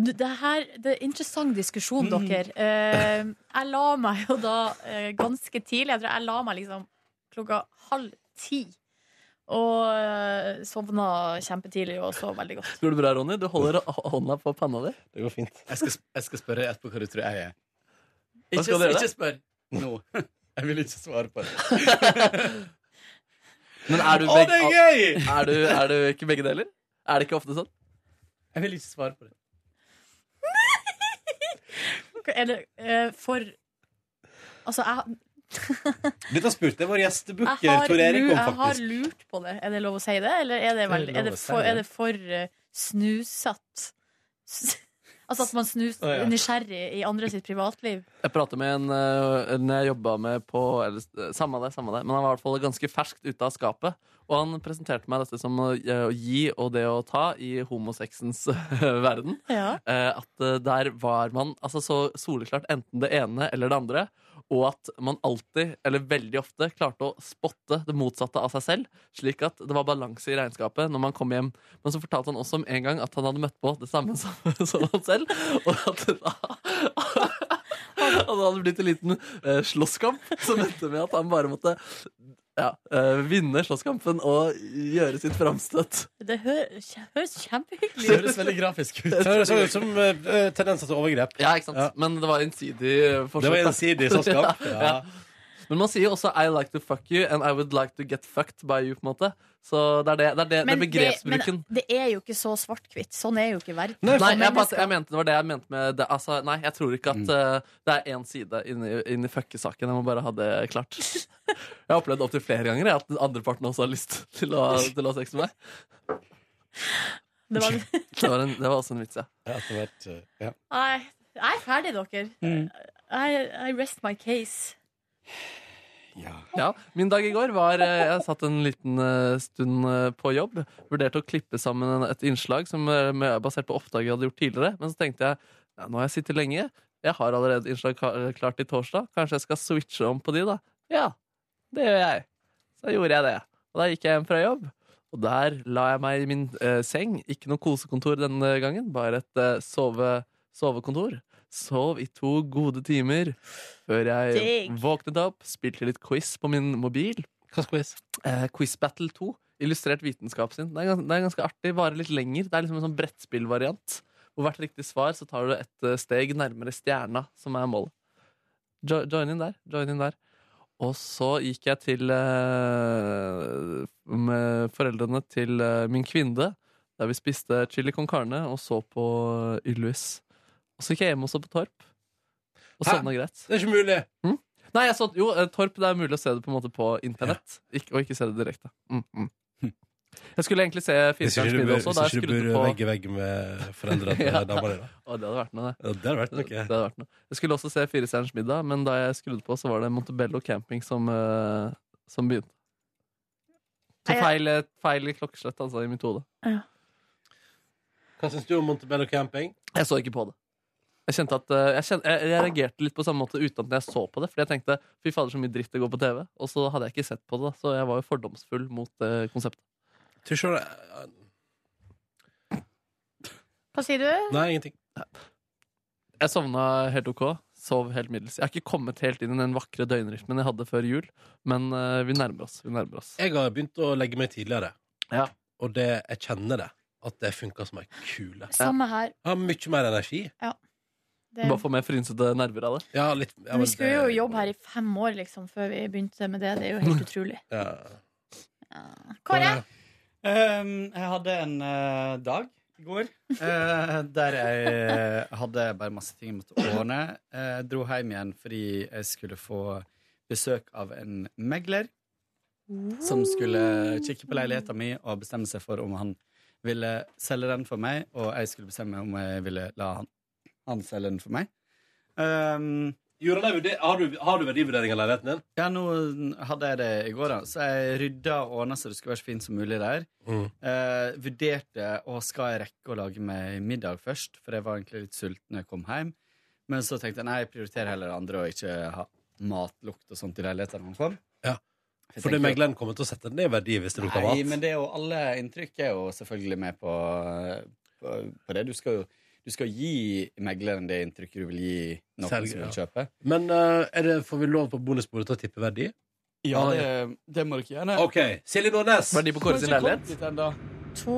[SPEAKER 4] N- Det her, det er interessant diskusjon,
[SPEAKER 3] Mm.
[SPEAKER 4] dere. Eh, jeg la meg jo da eh, ganske tidlig. Jeg tror jeg la meg liksom klokka halv ti. Og eh, sovna kjempetidlig og sov veldig godt.
[SPEAKER 2] Går det bra, Ronny? Du holder hå- hånda på panna di.
[SPEAKER 3] Det går fint.
[SPEAKER 11] Jeg skal, jeg skal spørre etterpå hva du tror jeg er.
[SPEAKER 2] Hva
[SPEAKER 11] Ikke,
[SPEAKER 2] skal dere?
[SPEAKER 11] ikke spør nå. Jeg vil ikke svare på det.
[SPEAKER 2] Men er du
[SPEAKER 11] Å, det er gøy!
[SPEAKER 2] Er du, er du ikke begge deler? Er det ikke ofte sånn?
[SPEAKER 11] Jeg vil ikke svare på det.
[SPEAKER 4] Er det eh, for Altså, jeg,
[SPEAKER 3] Dette spurte vår gjestebooker
[SPEAKER 4] jeg, har,
[SPEAKER 3] Tor Erik
[SPEAKER 4] lu-
[SPEAKER 3] om,
[SPEAKER 4] jeg har
[SPEAKER 3] faktisk.
[SPEAKER 4] lurt på det. Er det lov å si det, eller er det,
[SPEAKER 3] Det er
[SPEAKER 4] veldig,
[SPEAKER 3] lov
[SPEAKER 4] er det
[SPEAKER 3] å si
[SPEAKER 4] for,
[SPEAKER 3] det.
[SPEAKER 4] er det for eh, snusete? S- [LAUGHS] Altså at man snus
[SPEAKER 2] Å, ja.
[SPEAKER 4] nysgjerrig i andre sitt privatliv?
[SPEAKER 2] Jeg prater med en eh, en jeg jobba med på eller, eh, Samme det, samme det. Men han var i hvert fall ganske ferskt ute av skapet. Og han presenterte meg dette som å eh, å gi og det å ta i homosexens verden.
[SPEAKER 4] Ja.
[SPEAKER 2] Eh, At eh, der var man altså så soleklart enten det ene eller det andre. Og at man alltid, eller veldig ofte, klarte å spotte det motsatte av seg selv. Slik at det var balanse i regnskapet når man kom hjem. Men så fortalte han også om en gang at han hadde møtt på det samme som, [LAUGHS] som han selv. Og at det da [LAUGHS] og det hadde blitt en liten eh, slåsskamp som endte med at han bare måtte ja, eh, vinne slåsskampen og gjøre sitt framstøt.
[SPEAKER 4] Det hø- høres kjempehyggelig
[SPEAKER 2] Det høres veldig grafisk ut.
[SPEAKER 3] Det høres ut som eh, tendenser til overgrep.
[SPEAKER 2] Ja, ikke sant? Men det var ensidig eh, forsøk.
[SPEAKER 3] Det var
[SPEAKER 2] da.
[SPEAKER 3] ensidig
[SPEAKER 2] [LAUGHS]
[SPEAKER 3] slåsskamp, [LAUGHS] ja.
[SPEAKER 2] Men man sier jo også 'I like to fuck you' and 'I would like to get fucked by you'. på en måte Så det er det, det, er det, det er begrepsbruken.
[SPEAKER 4] Det, men det er jo ikke så svart-hvitt. Sånn er jo ikke verden.
[SPEAKER 2] Nei,
[SPEAKER 4] Som
[SPEAKER 2] jeg, bare,
[SPEAKER 4] mennesker.
[SPEAKER 2] jeg mente det var det jeg mente med det. Altså, nei, jeg tror ikke at eh, det er én side inni, inni fuckesaken. Jeg må bare ha det klart. [LAUGHS] Jeg har opplevd opptil flere ganger jeg, at den andre parten også har lyst til [LAUGHS] å, til å ha sex med meg.
[SPEAKER 4] Det var,
[SPEAKER 2] Det var, en, det var også en vits, ja.
[SPEAKER 4] [LAUGHS] nei, jeg er ferdig, dere.
[SPEAKER 11] Mm.
[SPEAKER 4] I, I rest my case.
[SPEAKER 2] Ja, Min dag i går var eh, Jeg satt en liten eh, stund eh, på jobb. Vurderte å klippe sammen et innslag som eh, med- basert på oppdrag jeg hadde gjort tidligere. Men så tenkte jeg ja, nå har jeg sittet lenge. Jeg har allerede innslag ka- klart til torsdag. Kanskje jeg skal switche om på de, da. Ja, det gjør jeg. Så gjorde jeg det. Og da gikk jeg hjem fra jobb. Og der la jeg meg i min eh, seng. Ikke noe kosekontor denne gangen, bare et eh, sove, sovekontor. Sov i to gode timer før jeg
[SPEAKER 12] Digg.
[SPEAKER 2] våknet opp, spilte litt quiz på min mobil.
[SPEAKER 3] Hva quiz?
[SPEAKER 2] Eh, quiz Battle 2. Illustrert vitenskap sin. Det er, gans det er ganske artig. Varer litt lenger. Det er liksom en sånn brettspillvariant. Hvor hvert riktig svar så tar du et eh, steg nærmere stjerna, som er målet. Jo join inn der. Join inn der. Og så gikk jeg til eh, med foreldrene til eh, min kvinne, der vi spiste chili con carne og så på eh, Ylvis. Og så gikk jeg hjem også på Torp. Og
[SPEAKER 3] Hæ?
[SPEAKER 2] sovna greit.
[SPEAKER 3] Det er ikke mulig.
[SPEAKER 2] Mm? Nei, jeg så, jo, eh, Torp det er mulig å se det på en måte på internett, Ikk- og ikke se det direkte. Mm, mm. Jeg skulle egentlig se
[SPEAKER 3] Hvis ikke
[SPEAKER 2] Firestjerners
[SPEAKER 3] du
[SPEAKER 2] middag
[SPEAKER 3] bor,
[SPEAKER 2] også. Da
[SPEAKER 3] hvis
[SPEAKER 2] jeg
[SPEAKER 3] ikke du bor
[SPEAKER 2] skrudde på
[SPEAKER 3] vegg i vegg med foreldrene [LAUGHS] til
[SPEAKER 2] Ja.
[SPEAKER 3] dama di, da.
[SPEAKER 2] Å, det hadde vært noe, det.
[SPEAKER 3] hadde vært noe.
[SPEAKER 2] Det hadde vært noe. Jeg skulle også se Firestjerners middag, men da jeg skrudde på, så var det Montebello camping som, eh, som begynte. Så
[SPEAKER 3] Nei,
[SPEAKER 2] feil, eh, feil klokkeslett, altså, i mitt hode.
[SPEAKER 3] Hva syns du om Montebello camping?
[SPEAKER 2] Jeg så ikke på det. Jeg kjente at eh, jeg, kjen- jeg jeg reagerte litt på samme måte uten at jeg så på det. Fordi jeg tenkte fy fader, så mye dritt det går på TV. Og så hadde jeg ikke sett på det, da. så jeg var jo fordomsfull mot eh, konseptet.
[SPEAKER 3] Tror ikke det
[SPEAKER 4] Hva sier du?
[SPEAKER 3] Nei, ingenting.
[SPEAKER 2] Jeg sovna helt ok. Sov helt middels. Jeg har ikke kommet helt inn i den vakre døgnrytmen jeg hadde før jul, men eh, vi nærmer oss. Vi nærmer oss.
[SPEAKER 3] Jeg har begynt å legge meg tidligere.
[SPEAKER 2] Ja.
[SPEAKER 3] Og det, jeg kjenner det. At det funker som ei kule.
[SPEAKER 4] Samme her.
[SPEAKER 3] Jeg har mye mer energi.
[SPEAKER 4] Ja. Det,
[SPEAKER 2] Bare få mer frynsete nerver av det.
[SPEAKER 3] Ja, litt. ja,
[SPEAKER 4] vi
[SPEAKER 3] men
[SPEAKER 4] skulle
[SPEAKER 3] det-
[SPEAKER 4] jo jobbe her i fem år liksom, før vi begynte med det. Det er jo helt utrolig.
[SPEAKER 3] Ja.
[SPEAKER 4] Kåre?
[SPEAKER 11] Ehm, jeg hadde en eh, dag i går eh, der jeg eh, hadde bare masse ting jeg måtte ordne. Jeg dro hjem igjen fordi jeg skulle få besøk av en megler som skulle kikke på leiligheten min og bestemme seg for om han ville selge den for meg, og jeg skulle bestemme om jeg ville la han, han selge den for meg. Ehm,
[SPEAKER 3] Gjorde han det vurder- Har du, har du verdivurdering av leiligheten din?
[SPEAKER 11] Ja, nå hadde jeg det i går, da. Så jeg rydda og ordna så det skulle være så fint som mulig der.
[SPEAKER 3] Mm.
[SPEAKER 11] Eh, vurderte å skal jeg rekke å lage meg middag først, for jeg var egentlig litt sulten når jeg kom hjem. Men så tenkte jeg nei, jeg prioriterer heller det andre og ikke ha matlukt og sånt i leiligheten man får.
[SPEAKER 3] Ja. For det megleren kommer til å sette ned verdi hvis det lukter
[SPEAKER 11] Nei,
[SPEAKER 3] mat.
[SPEAKER 11] men det er jo alle inntrykk er jo selvfølgelig med på, på, på det. Du skal jo du skal gi megleren det inntrykket du vil gi noen
[SPEAKER 3] Selger,
[SPEAKER 11] som vil
[SPEAKER 3] ja.
[SPEAKER 11] kjøpe.
[SPEAKER 3] Men eh, er det, får vi lov på bonusbordet til å tippe verdi?
[SPEAKER 11] Ja, det, det må dere gjerne.
[SPEAKER 3] OK. Silje Nordnes.
[SPEAKER 2] Verdi på Kåre sin leilighet?
[SPEAKER 4] To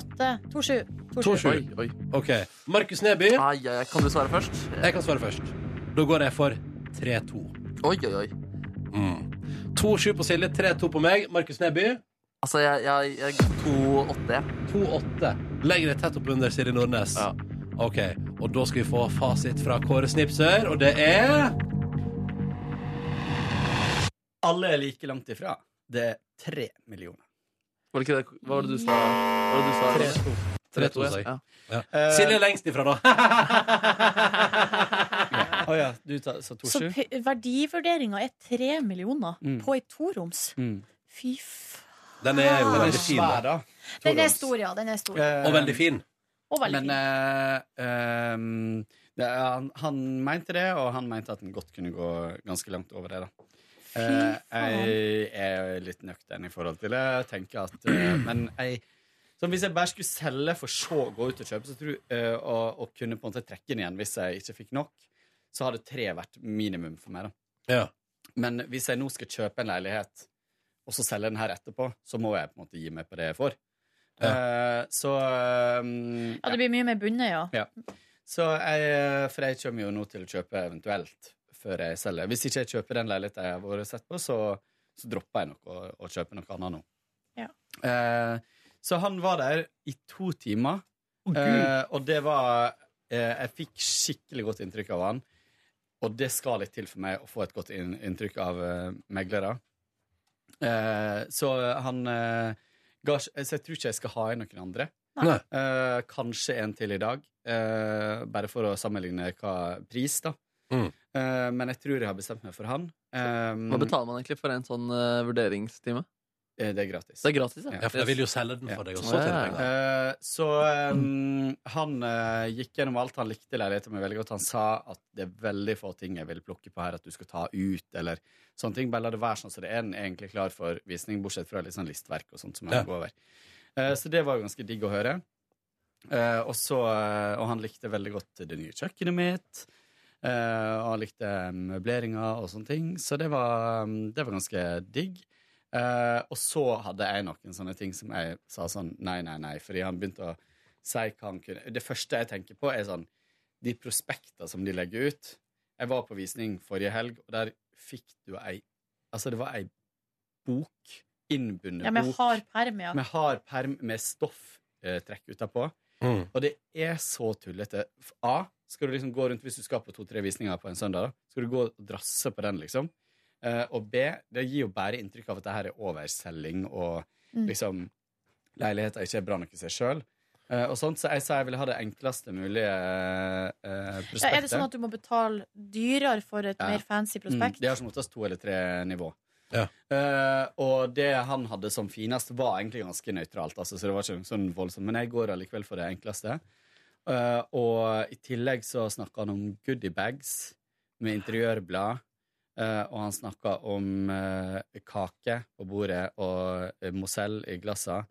[SPEAKER 4] Åtte. To sju. To
[SPEAKER 3] To sju.
[SPEAKER 2] Oi, oi.
[SPEAKER 3] OK. Markus Neby.
[SPEAKER 2] Ai, ai, ai. Kan du svare først?
[SPEAKER 3] Jeg kan svare først. Da går jeg for 3-2.
[SPEAKER 2] Oi, oi, oi.
[SPEAKER 3] Mm. 2-7 på Silje, 3-2 på meg. Markus Neby.
[SPEAKER 2] Altså, jeg, jeg, jeg ga 2-8.
[SPEAKER 3] 2-8. Legger det tett opp under Silje Nordnes. OK. Og da skal vi få fasit fra Kåre Snipsør, og det er
[SPEAKER 11] Alle er like langt ifra. Det er tre millioner.
[SPEAKER 2] Var det ikke det Hva var det du sa? Hva var det du sa?
[SPEAKER 11] Tre, to.
[SPEAKER 2] Tre, to,
[SPEAKER 3] sa jeg.
[SPEAKER 2] ja.
[SPEAKER 3] Ja.
[SPEAKER 11] Eh,
[SPEAKER 3] Silje er lengst ifra, da.
[SPEAKER 11] Å ja, du tar, sa
[SPEAKER 4] Så
[SPEAKER 11] 2-7?
[SPEAKER 4] p- verdivurderinga er tre millioner
[SPEAKER 11] Mm.
[SPEAKER 4] på et toroms.
[SPEAKER 11] Mm.
[SPEAKER 4] Fy f...
[SPEAKER 3] [LAUGHS] Den er jo
[SPEAKER 11] Den er
[SPEAKER 3] veldig fin.
[SPEAKER 11] svær, da.
[SPEAKER 4] Den er stor, ja. Den er stor.
[SPEAKER 11] Eh,
[SPEAKER 3] Og veldig fin.
[SPEAKER 4] Og veldig
[SPEAKER 11] Men eh, ehm, det, han, han mente det, og han mente at den godt kunne gå ganske langt over det. da. Eh, jeg er litt nøktern i forhold til det. Jeg tenker at, eh, men jeg, sånn, hvis jeg bare skulle selge for så å gå ut og kjøpe, så tror, eh, og, og kunne på en måte trekke den igjen hvis jeg ikke fikk nok, så hadde tre vært minimum for meg. da.
[SPEAKER 3] Ja.
[SPEAKER 11] Men hvis jeg nå skal kjøpe en leilighet, og så selge den her etterpå, så må jeg på en måte gi meg på det jeg får. Eh, så um,
[SPEAKER 4] Ja, det blir mye mer bundet, ja.
[SPEAKER 11] ja. Så jeg, eh, for jeg kommer jo nå til å kjøpe eventuelt før jeg selger. Hvis ikke jeg kjøper den leiligheten jeg har vært sett på, så, så dropper jeg nok å, å kjøpe noe annet nå.
[SPEAKER 4] Ja.
[SPEAKER 11] Eh, så han var der i to timer,
[SPEAKER 12] Gud.
[SPEAKER 11] eh, og det var eh, Jeg fikk skikkelig godt inntrykk av han, og det skal litt til for meg å få et godt inn, inntrykk av eh, meglere. Eh, så han eh, ga, ikke- Så jeg tror ikke jeg skal ha inn noen andre.
[SPEAKER 3] Nei.
[SPEAKER 11] Eh, kanskje en til i dag, eh, bare for å sammenligne hva pris, da.
[SPEAKER 3] Mm.
[SPEAKER 11] Eh, men jeg tror jeg har bestemt meg for han. Eh,
[SPEAKER 2] Hva betaler man egentlig for en sånn eh, vurderingstime?
[SPEAKER 11] eh, Det er gratis.
[SPEAKER 2] Det er gratis,
[SPEAKER 11] Ja, for jeg vil jo
[SPEAKER 3] selge den
[SPEAKER 11] for
[SPEAKER 3] deg
[SPEAKER 2] og
[SPEAKER 3] også, tenker jeg.
[SPEAKER 11] Eh, så eh, han eh, gikk gjennom alt. Han likte leiligheten min veldig godt. Han sa at det er veldig få ting jeg vil plukke på her at du skal ta ut, eller sånne ting. Bare la det være sånn som det er. Den er egentlig klar for visning, bortsett fra litt sånn listverk og sånt som jeg
[SPEAKER 3] Ja.
[SPEAKER 11] går over. Eh, så det var jo ganske digg å høre. Eh, og, så, eh, og han likte veldig godt det nye kjøkkenet mitt. eh, og han likte møbleringa og sånne ting. Så det var, mm, det var ganske digg. Eh, og så hadde jeg noen sånne ting som jeg sa sånn nei, nei, nei, fordi han begynte å si hva han kunne Det første jeg tenker på, er sånn de prospekter som de legger ut. Jeg var på visning forrige helg, og der fikk du ei Altså, det var ei bok, innbundet
[SPEAKER 4] Ja, Med
[SPEAKER 11] bok,
[SPEAKER 4] hard perm, ja.
[SPEAKER 11] med hard perm med stofftrekk utapå.
[SPEAKER 3] Mm.
[SPEAKER 11] Og det er så tullete. F- A, skal du liksom gå rundt hvis du skal på to-tre visninger på en søndag, da, skal du gå og drasse på den, liksom. Eh, og B, det gir jo bare inntrykk av at det her er overselging, og
[SPEAKER 12] Mm.
[SPEAKER 11] liksom leiligheter ikke er bra nok i seg sjøl. og sånt, så jeg sa jeg ville ha det enkleste mulige eh, prospektet.
[SPEAKER 4] ja. Er det sånn at du må betale dyrere for et
[SPEAKER 11] Ja.
[SPEAKER 4] mer fancy prospekt?
[SPEAKER 11] Mm, det har som oftest to eller tre nivå.
[SPEAKER 3] Ja.
[SPEAKER 11] Eh, og det han hadde som finest, var egentlig ganske nøytralt. Altså, så det var ikke noe sånn voldsomt. Men jeg går allikevel for det enkleste. Eh, og i tillegg så snakka han om goodiebags med interiørblad. eh, og han snakka om eh, kake på bordet og eh, Mozell i glassa.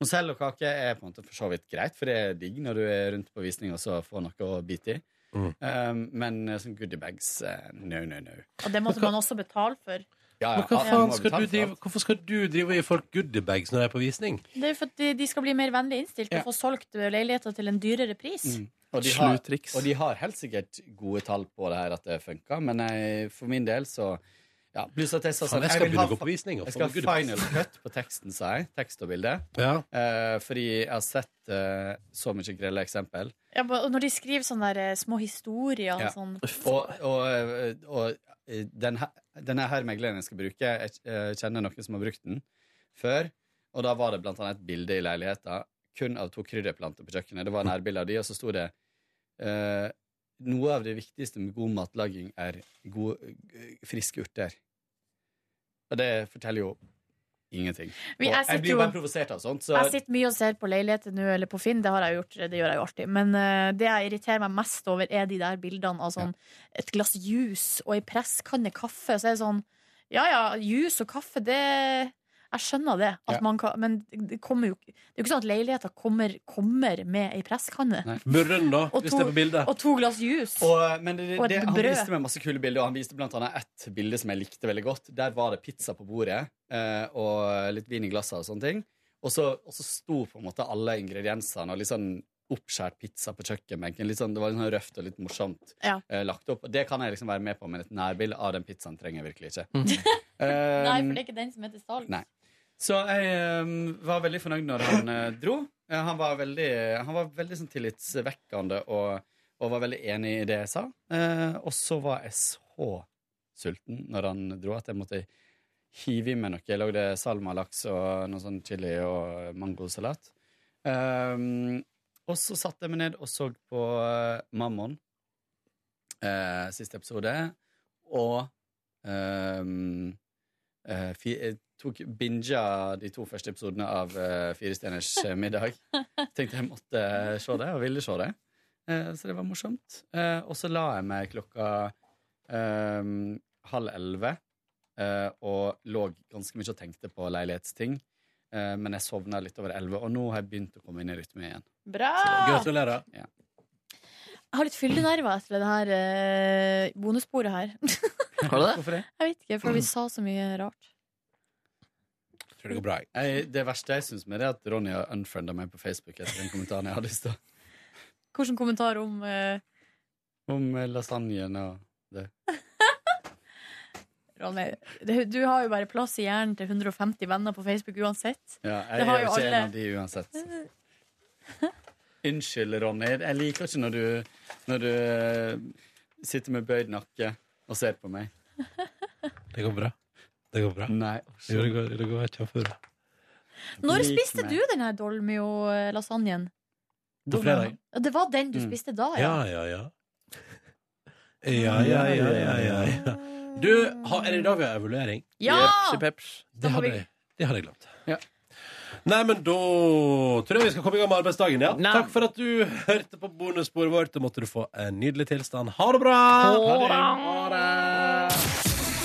[SPEAKER 11] Mozell og kake er på en måte for så vidt greit, for det er digg når du er rundt på visning og så får noe å bite i.
[SPEAKER 3] Mm.
[SPEAKER 11] Eh, men eh, sånn goodiebags, eh, no, no, no.
[SPEAKER 4] Og det måtte man også betale for.
[SPEAKER 11] Ja,
[SPEAKER 3] Men hva faen skal du drive, hvorfor skal du drive og gi folk goodiebags når de er på visning?
[SPEAKER 4] Det er jo for at de- de skal bli mer vennlig innstilt
[SPEAKER 11] Ja.
[SPEAKER 4] og få solgt eh, leiligheter til en dyrere pris.
[SPEAKER 11] Mm. Og de, har,
[SPEAKER 2] Slutriks.
[SPEAKER 11] og de har helt sikkert gode tall på det her at det funker, men jeg, for min del så ja, Pluss at jeg sa
[SPEAKER 3] Faen,
[SPEAKER 11] sånn
[SPEAKER 3] jeg skal
[SPEAKER 11] vil ha
[SPEAKER 3] begynne å gå
[SPEAKER 11] fa-
[SPEAKER 3] på visning og
[SPEAKER 11] Jeg
[SPEAKER 3] få
[SPEAKER 11] skal
[SPEAKER 3] noe
[SPEAKER 11] ha
[SPEAKER 3] goodies.
[SPEAKER 11] final cut på teksten, sa jeg. Tekst og bilde.
[SPEAKER 3] Ja.
[SPEAKER 11] Eh, fordi jeg har sett eh, så mye grelle eksempel.
[SPEAKER 4] Ja, ba- og når de skriver sånne der, eh, små historier og
[SPEAKER 11] Ja.
[SPEAKER 4] sånn
[SPEAKER 11] Og, eh, og, og den her, denne her megleren jeg skal bruke, jeg eh, kjenner noen som har brukt den før. Og da var det blant annet et bilde i leiligheten kun av to krydderplanter på kjøkkenet. Det var nærbilde av de, og så sto det eh, noe av det viktigste med god matlaging er gode, friske urter. Og det forteller jo ingenting.
[SPEAKER 4] Vi-
[SPEAKER 11] Og
[SPEAKER 4] jeg sitter
[SPEAKER 11] jeg blir
[SPEAKER 4] jo-
[SPEAKER 11] jo bare provosert av sånt. Så
[SPEAKER 4] Jeg sitter mye og ser på leiligheter nå, eller på Finn. Det har jeg gjort, det gjør jeg jo alltid. Men eh, det jeg irriterer meg mest over, er de der bildene av sånn et glass juice og ei presskanne kaffe. Så er det sånn Ja ja, juice og kaffe, det Jeg skjønner det. At
[SPEAKER 3] Ja.
[SPEAKER 4] man kan, men det kommer jo Det er jo ikke sånn at leiligheter kommer, kommer med ei presskanne.
[SPEAKER 3] Murren, da,
[SPEAKER 4] Og
[SPEAKER 3] hvis
[SPEAKER 4] to-
[SPEAKER 3] det er på bildet.
[SPEAKER 4] Og to glass juice.
[SPEAKER 11] Og, eh, men det, det,
[SPEAKER 4] Og et
[SPEAKER 11] det, han
[SPEAKER 4] brød.
[SPEAKER 11] viste meg masse kule bilder, og han viste blant annet ett bilde som jeg likte veldig godt. Der var det pizza på bordet eh, og litt vin i glasset og sånne ting. Og så, og så sto på en måte alle ingrediensene og litt sånn oppskjært pizza på kjøkkenbenken. Litt sånn, det var litt sånn røft og litt morsomt
[SPEAKER 4] Ja.
[SPEAKER 11] eh, lagt opp. Og det kan jeg liksom være med på, men et nærbilde av den pizzaen trenger jeg virkelig ikke.
[SPEAKER 4] Nei,
[SPEAKER 11] [LAUGHS] Eh,
[SPEAKER 4] for det er ikke den som heter salg.
[SPEAKER 11] Nei. Så jeg eh, var veldig fornøyd når han eh, dro. Eh, han var veldig, han var veldig sånn, tillitsvekkende og, og var veldig enig i det jeg sa. Eh, og så var jeg så sulten når han dro at jeg måtte hive i meg noe. Jeg lagde salmalaks og noe sånn chili og mangosalat. Eh, og så satte jeg meg ned og så på eh, Mammon, eh, siste episode, og ehm, eh, fi, eh, tok binga de to første episodene av eh, Fire stjerners eh, middag. Tenkte jeg måtte eh, se det, og ville se det. Eh, så det var morsomt. Eh, og så la jeg meg klokka ehm, halv elleve eh, og lå ganske mye og tenkte på leilighetsting. Eh, men jeg sovna litt over elleve, og nå har jeg begynt å komme inn i rytme igjen.
[SPEAKER 4] Bra!
[SPEAKER 11] Gratulerer. Ja.
[SPEAKER 4] Jeg har litt fyllenerver etter det her eh, bonussporet her. [LAUGHS]
[SPEAKER 2] Har du det?
[SPEAKER 11] Hvorfor det?
[SPEAKER 4] Jeg vet ikke, for
[SPEAKER 11] [CLEARS THROAT]
[SPEAKER 4] vi sa så mye rart.
[SPEAKER 11] Tror det går bra. Jeg, det verste jeg syns med det, er at Ronny har unfrienda meg på Facebook etter den kommentaren jeg hadde i stad.
[SPEAKER 4] Hvilken kommentar om eh,
[SPEAKER 11] Om eh, lasagnen og det.
[SPEAKER 4] [LAUGHS] Ronny? det- Du har jo bare plass i hjernen til 150 venner på Facebook uansett.
[SPEAKER 11] Ja,
[SPEAKER 4] Det
[SPEAKER 11] jeg
[SPEAKER 4] har
[SPEAKER 11] er jo
[SPEAKER 4] jo
[SPEAKER 11] ikke en
[SPEAKER 4] alle.
[SPEAKER 11] av de uansett. Unnskyld, Ronny. Jeg liker ikke når du, når du eh, sitter med bøyd nakke og ser på meg.
[SPEAKER 3] Det går bra. Det går bra.
[SPEAKER 11] Nei.
[SPEAKER 3] Jo, det går, det går kjempebra.
[SPEAKER 4] Når
[SPEAKER 3] Lik
[SPEAKER 4] spiste
[SPEAKER 3] meg.
[SPEAKER 4] du den her dolmio-lasagnen?
[SPEAKER 3] På fredag.
[SPEAKER 4] Ja, Det var den du
[SPEAKER 3] Mm.
[SPEAKER 4] spiste da,
[SPEAKER 3] Ja,
[SPEAKER 4] ja?
[SPEAKER 3] ja, ja. Ja, ja, ja, ja, ja,
[SPEAKER 4] [LAUGHS]
[SPEAKER 3] ja. Du, har, er det i dag vi har evaluering?
[SPEAKER 4] Ja! Jepsi
[SPEAKER 3] Det
[SPEAKER 4] må
[SPEAKER 3] hadde
[SPEAKER 4] vi-
[SPEAKER 3] jeg, det hadde jeg glemt. Nei, men da tror jeg vi skal komme i gang med arbeidsdagen. Ja. Takk for at du hørte på bonussporet vårt. Da måtte du få en nydelig tilstand. Ha det bra!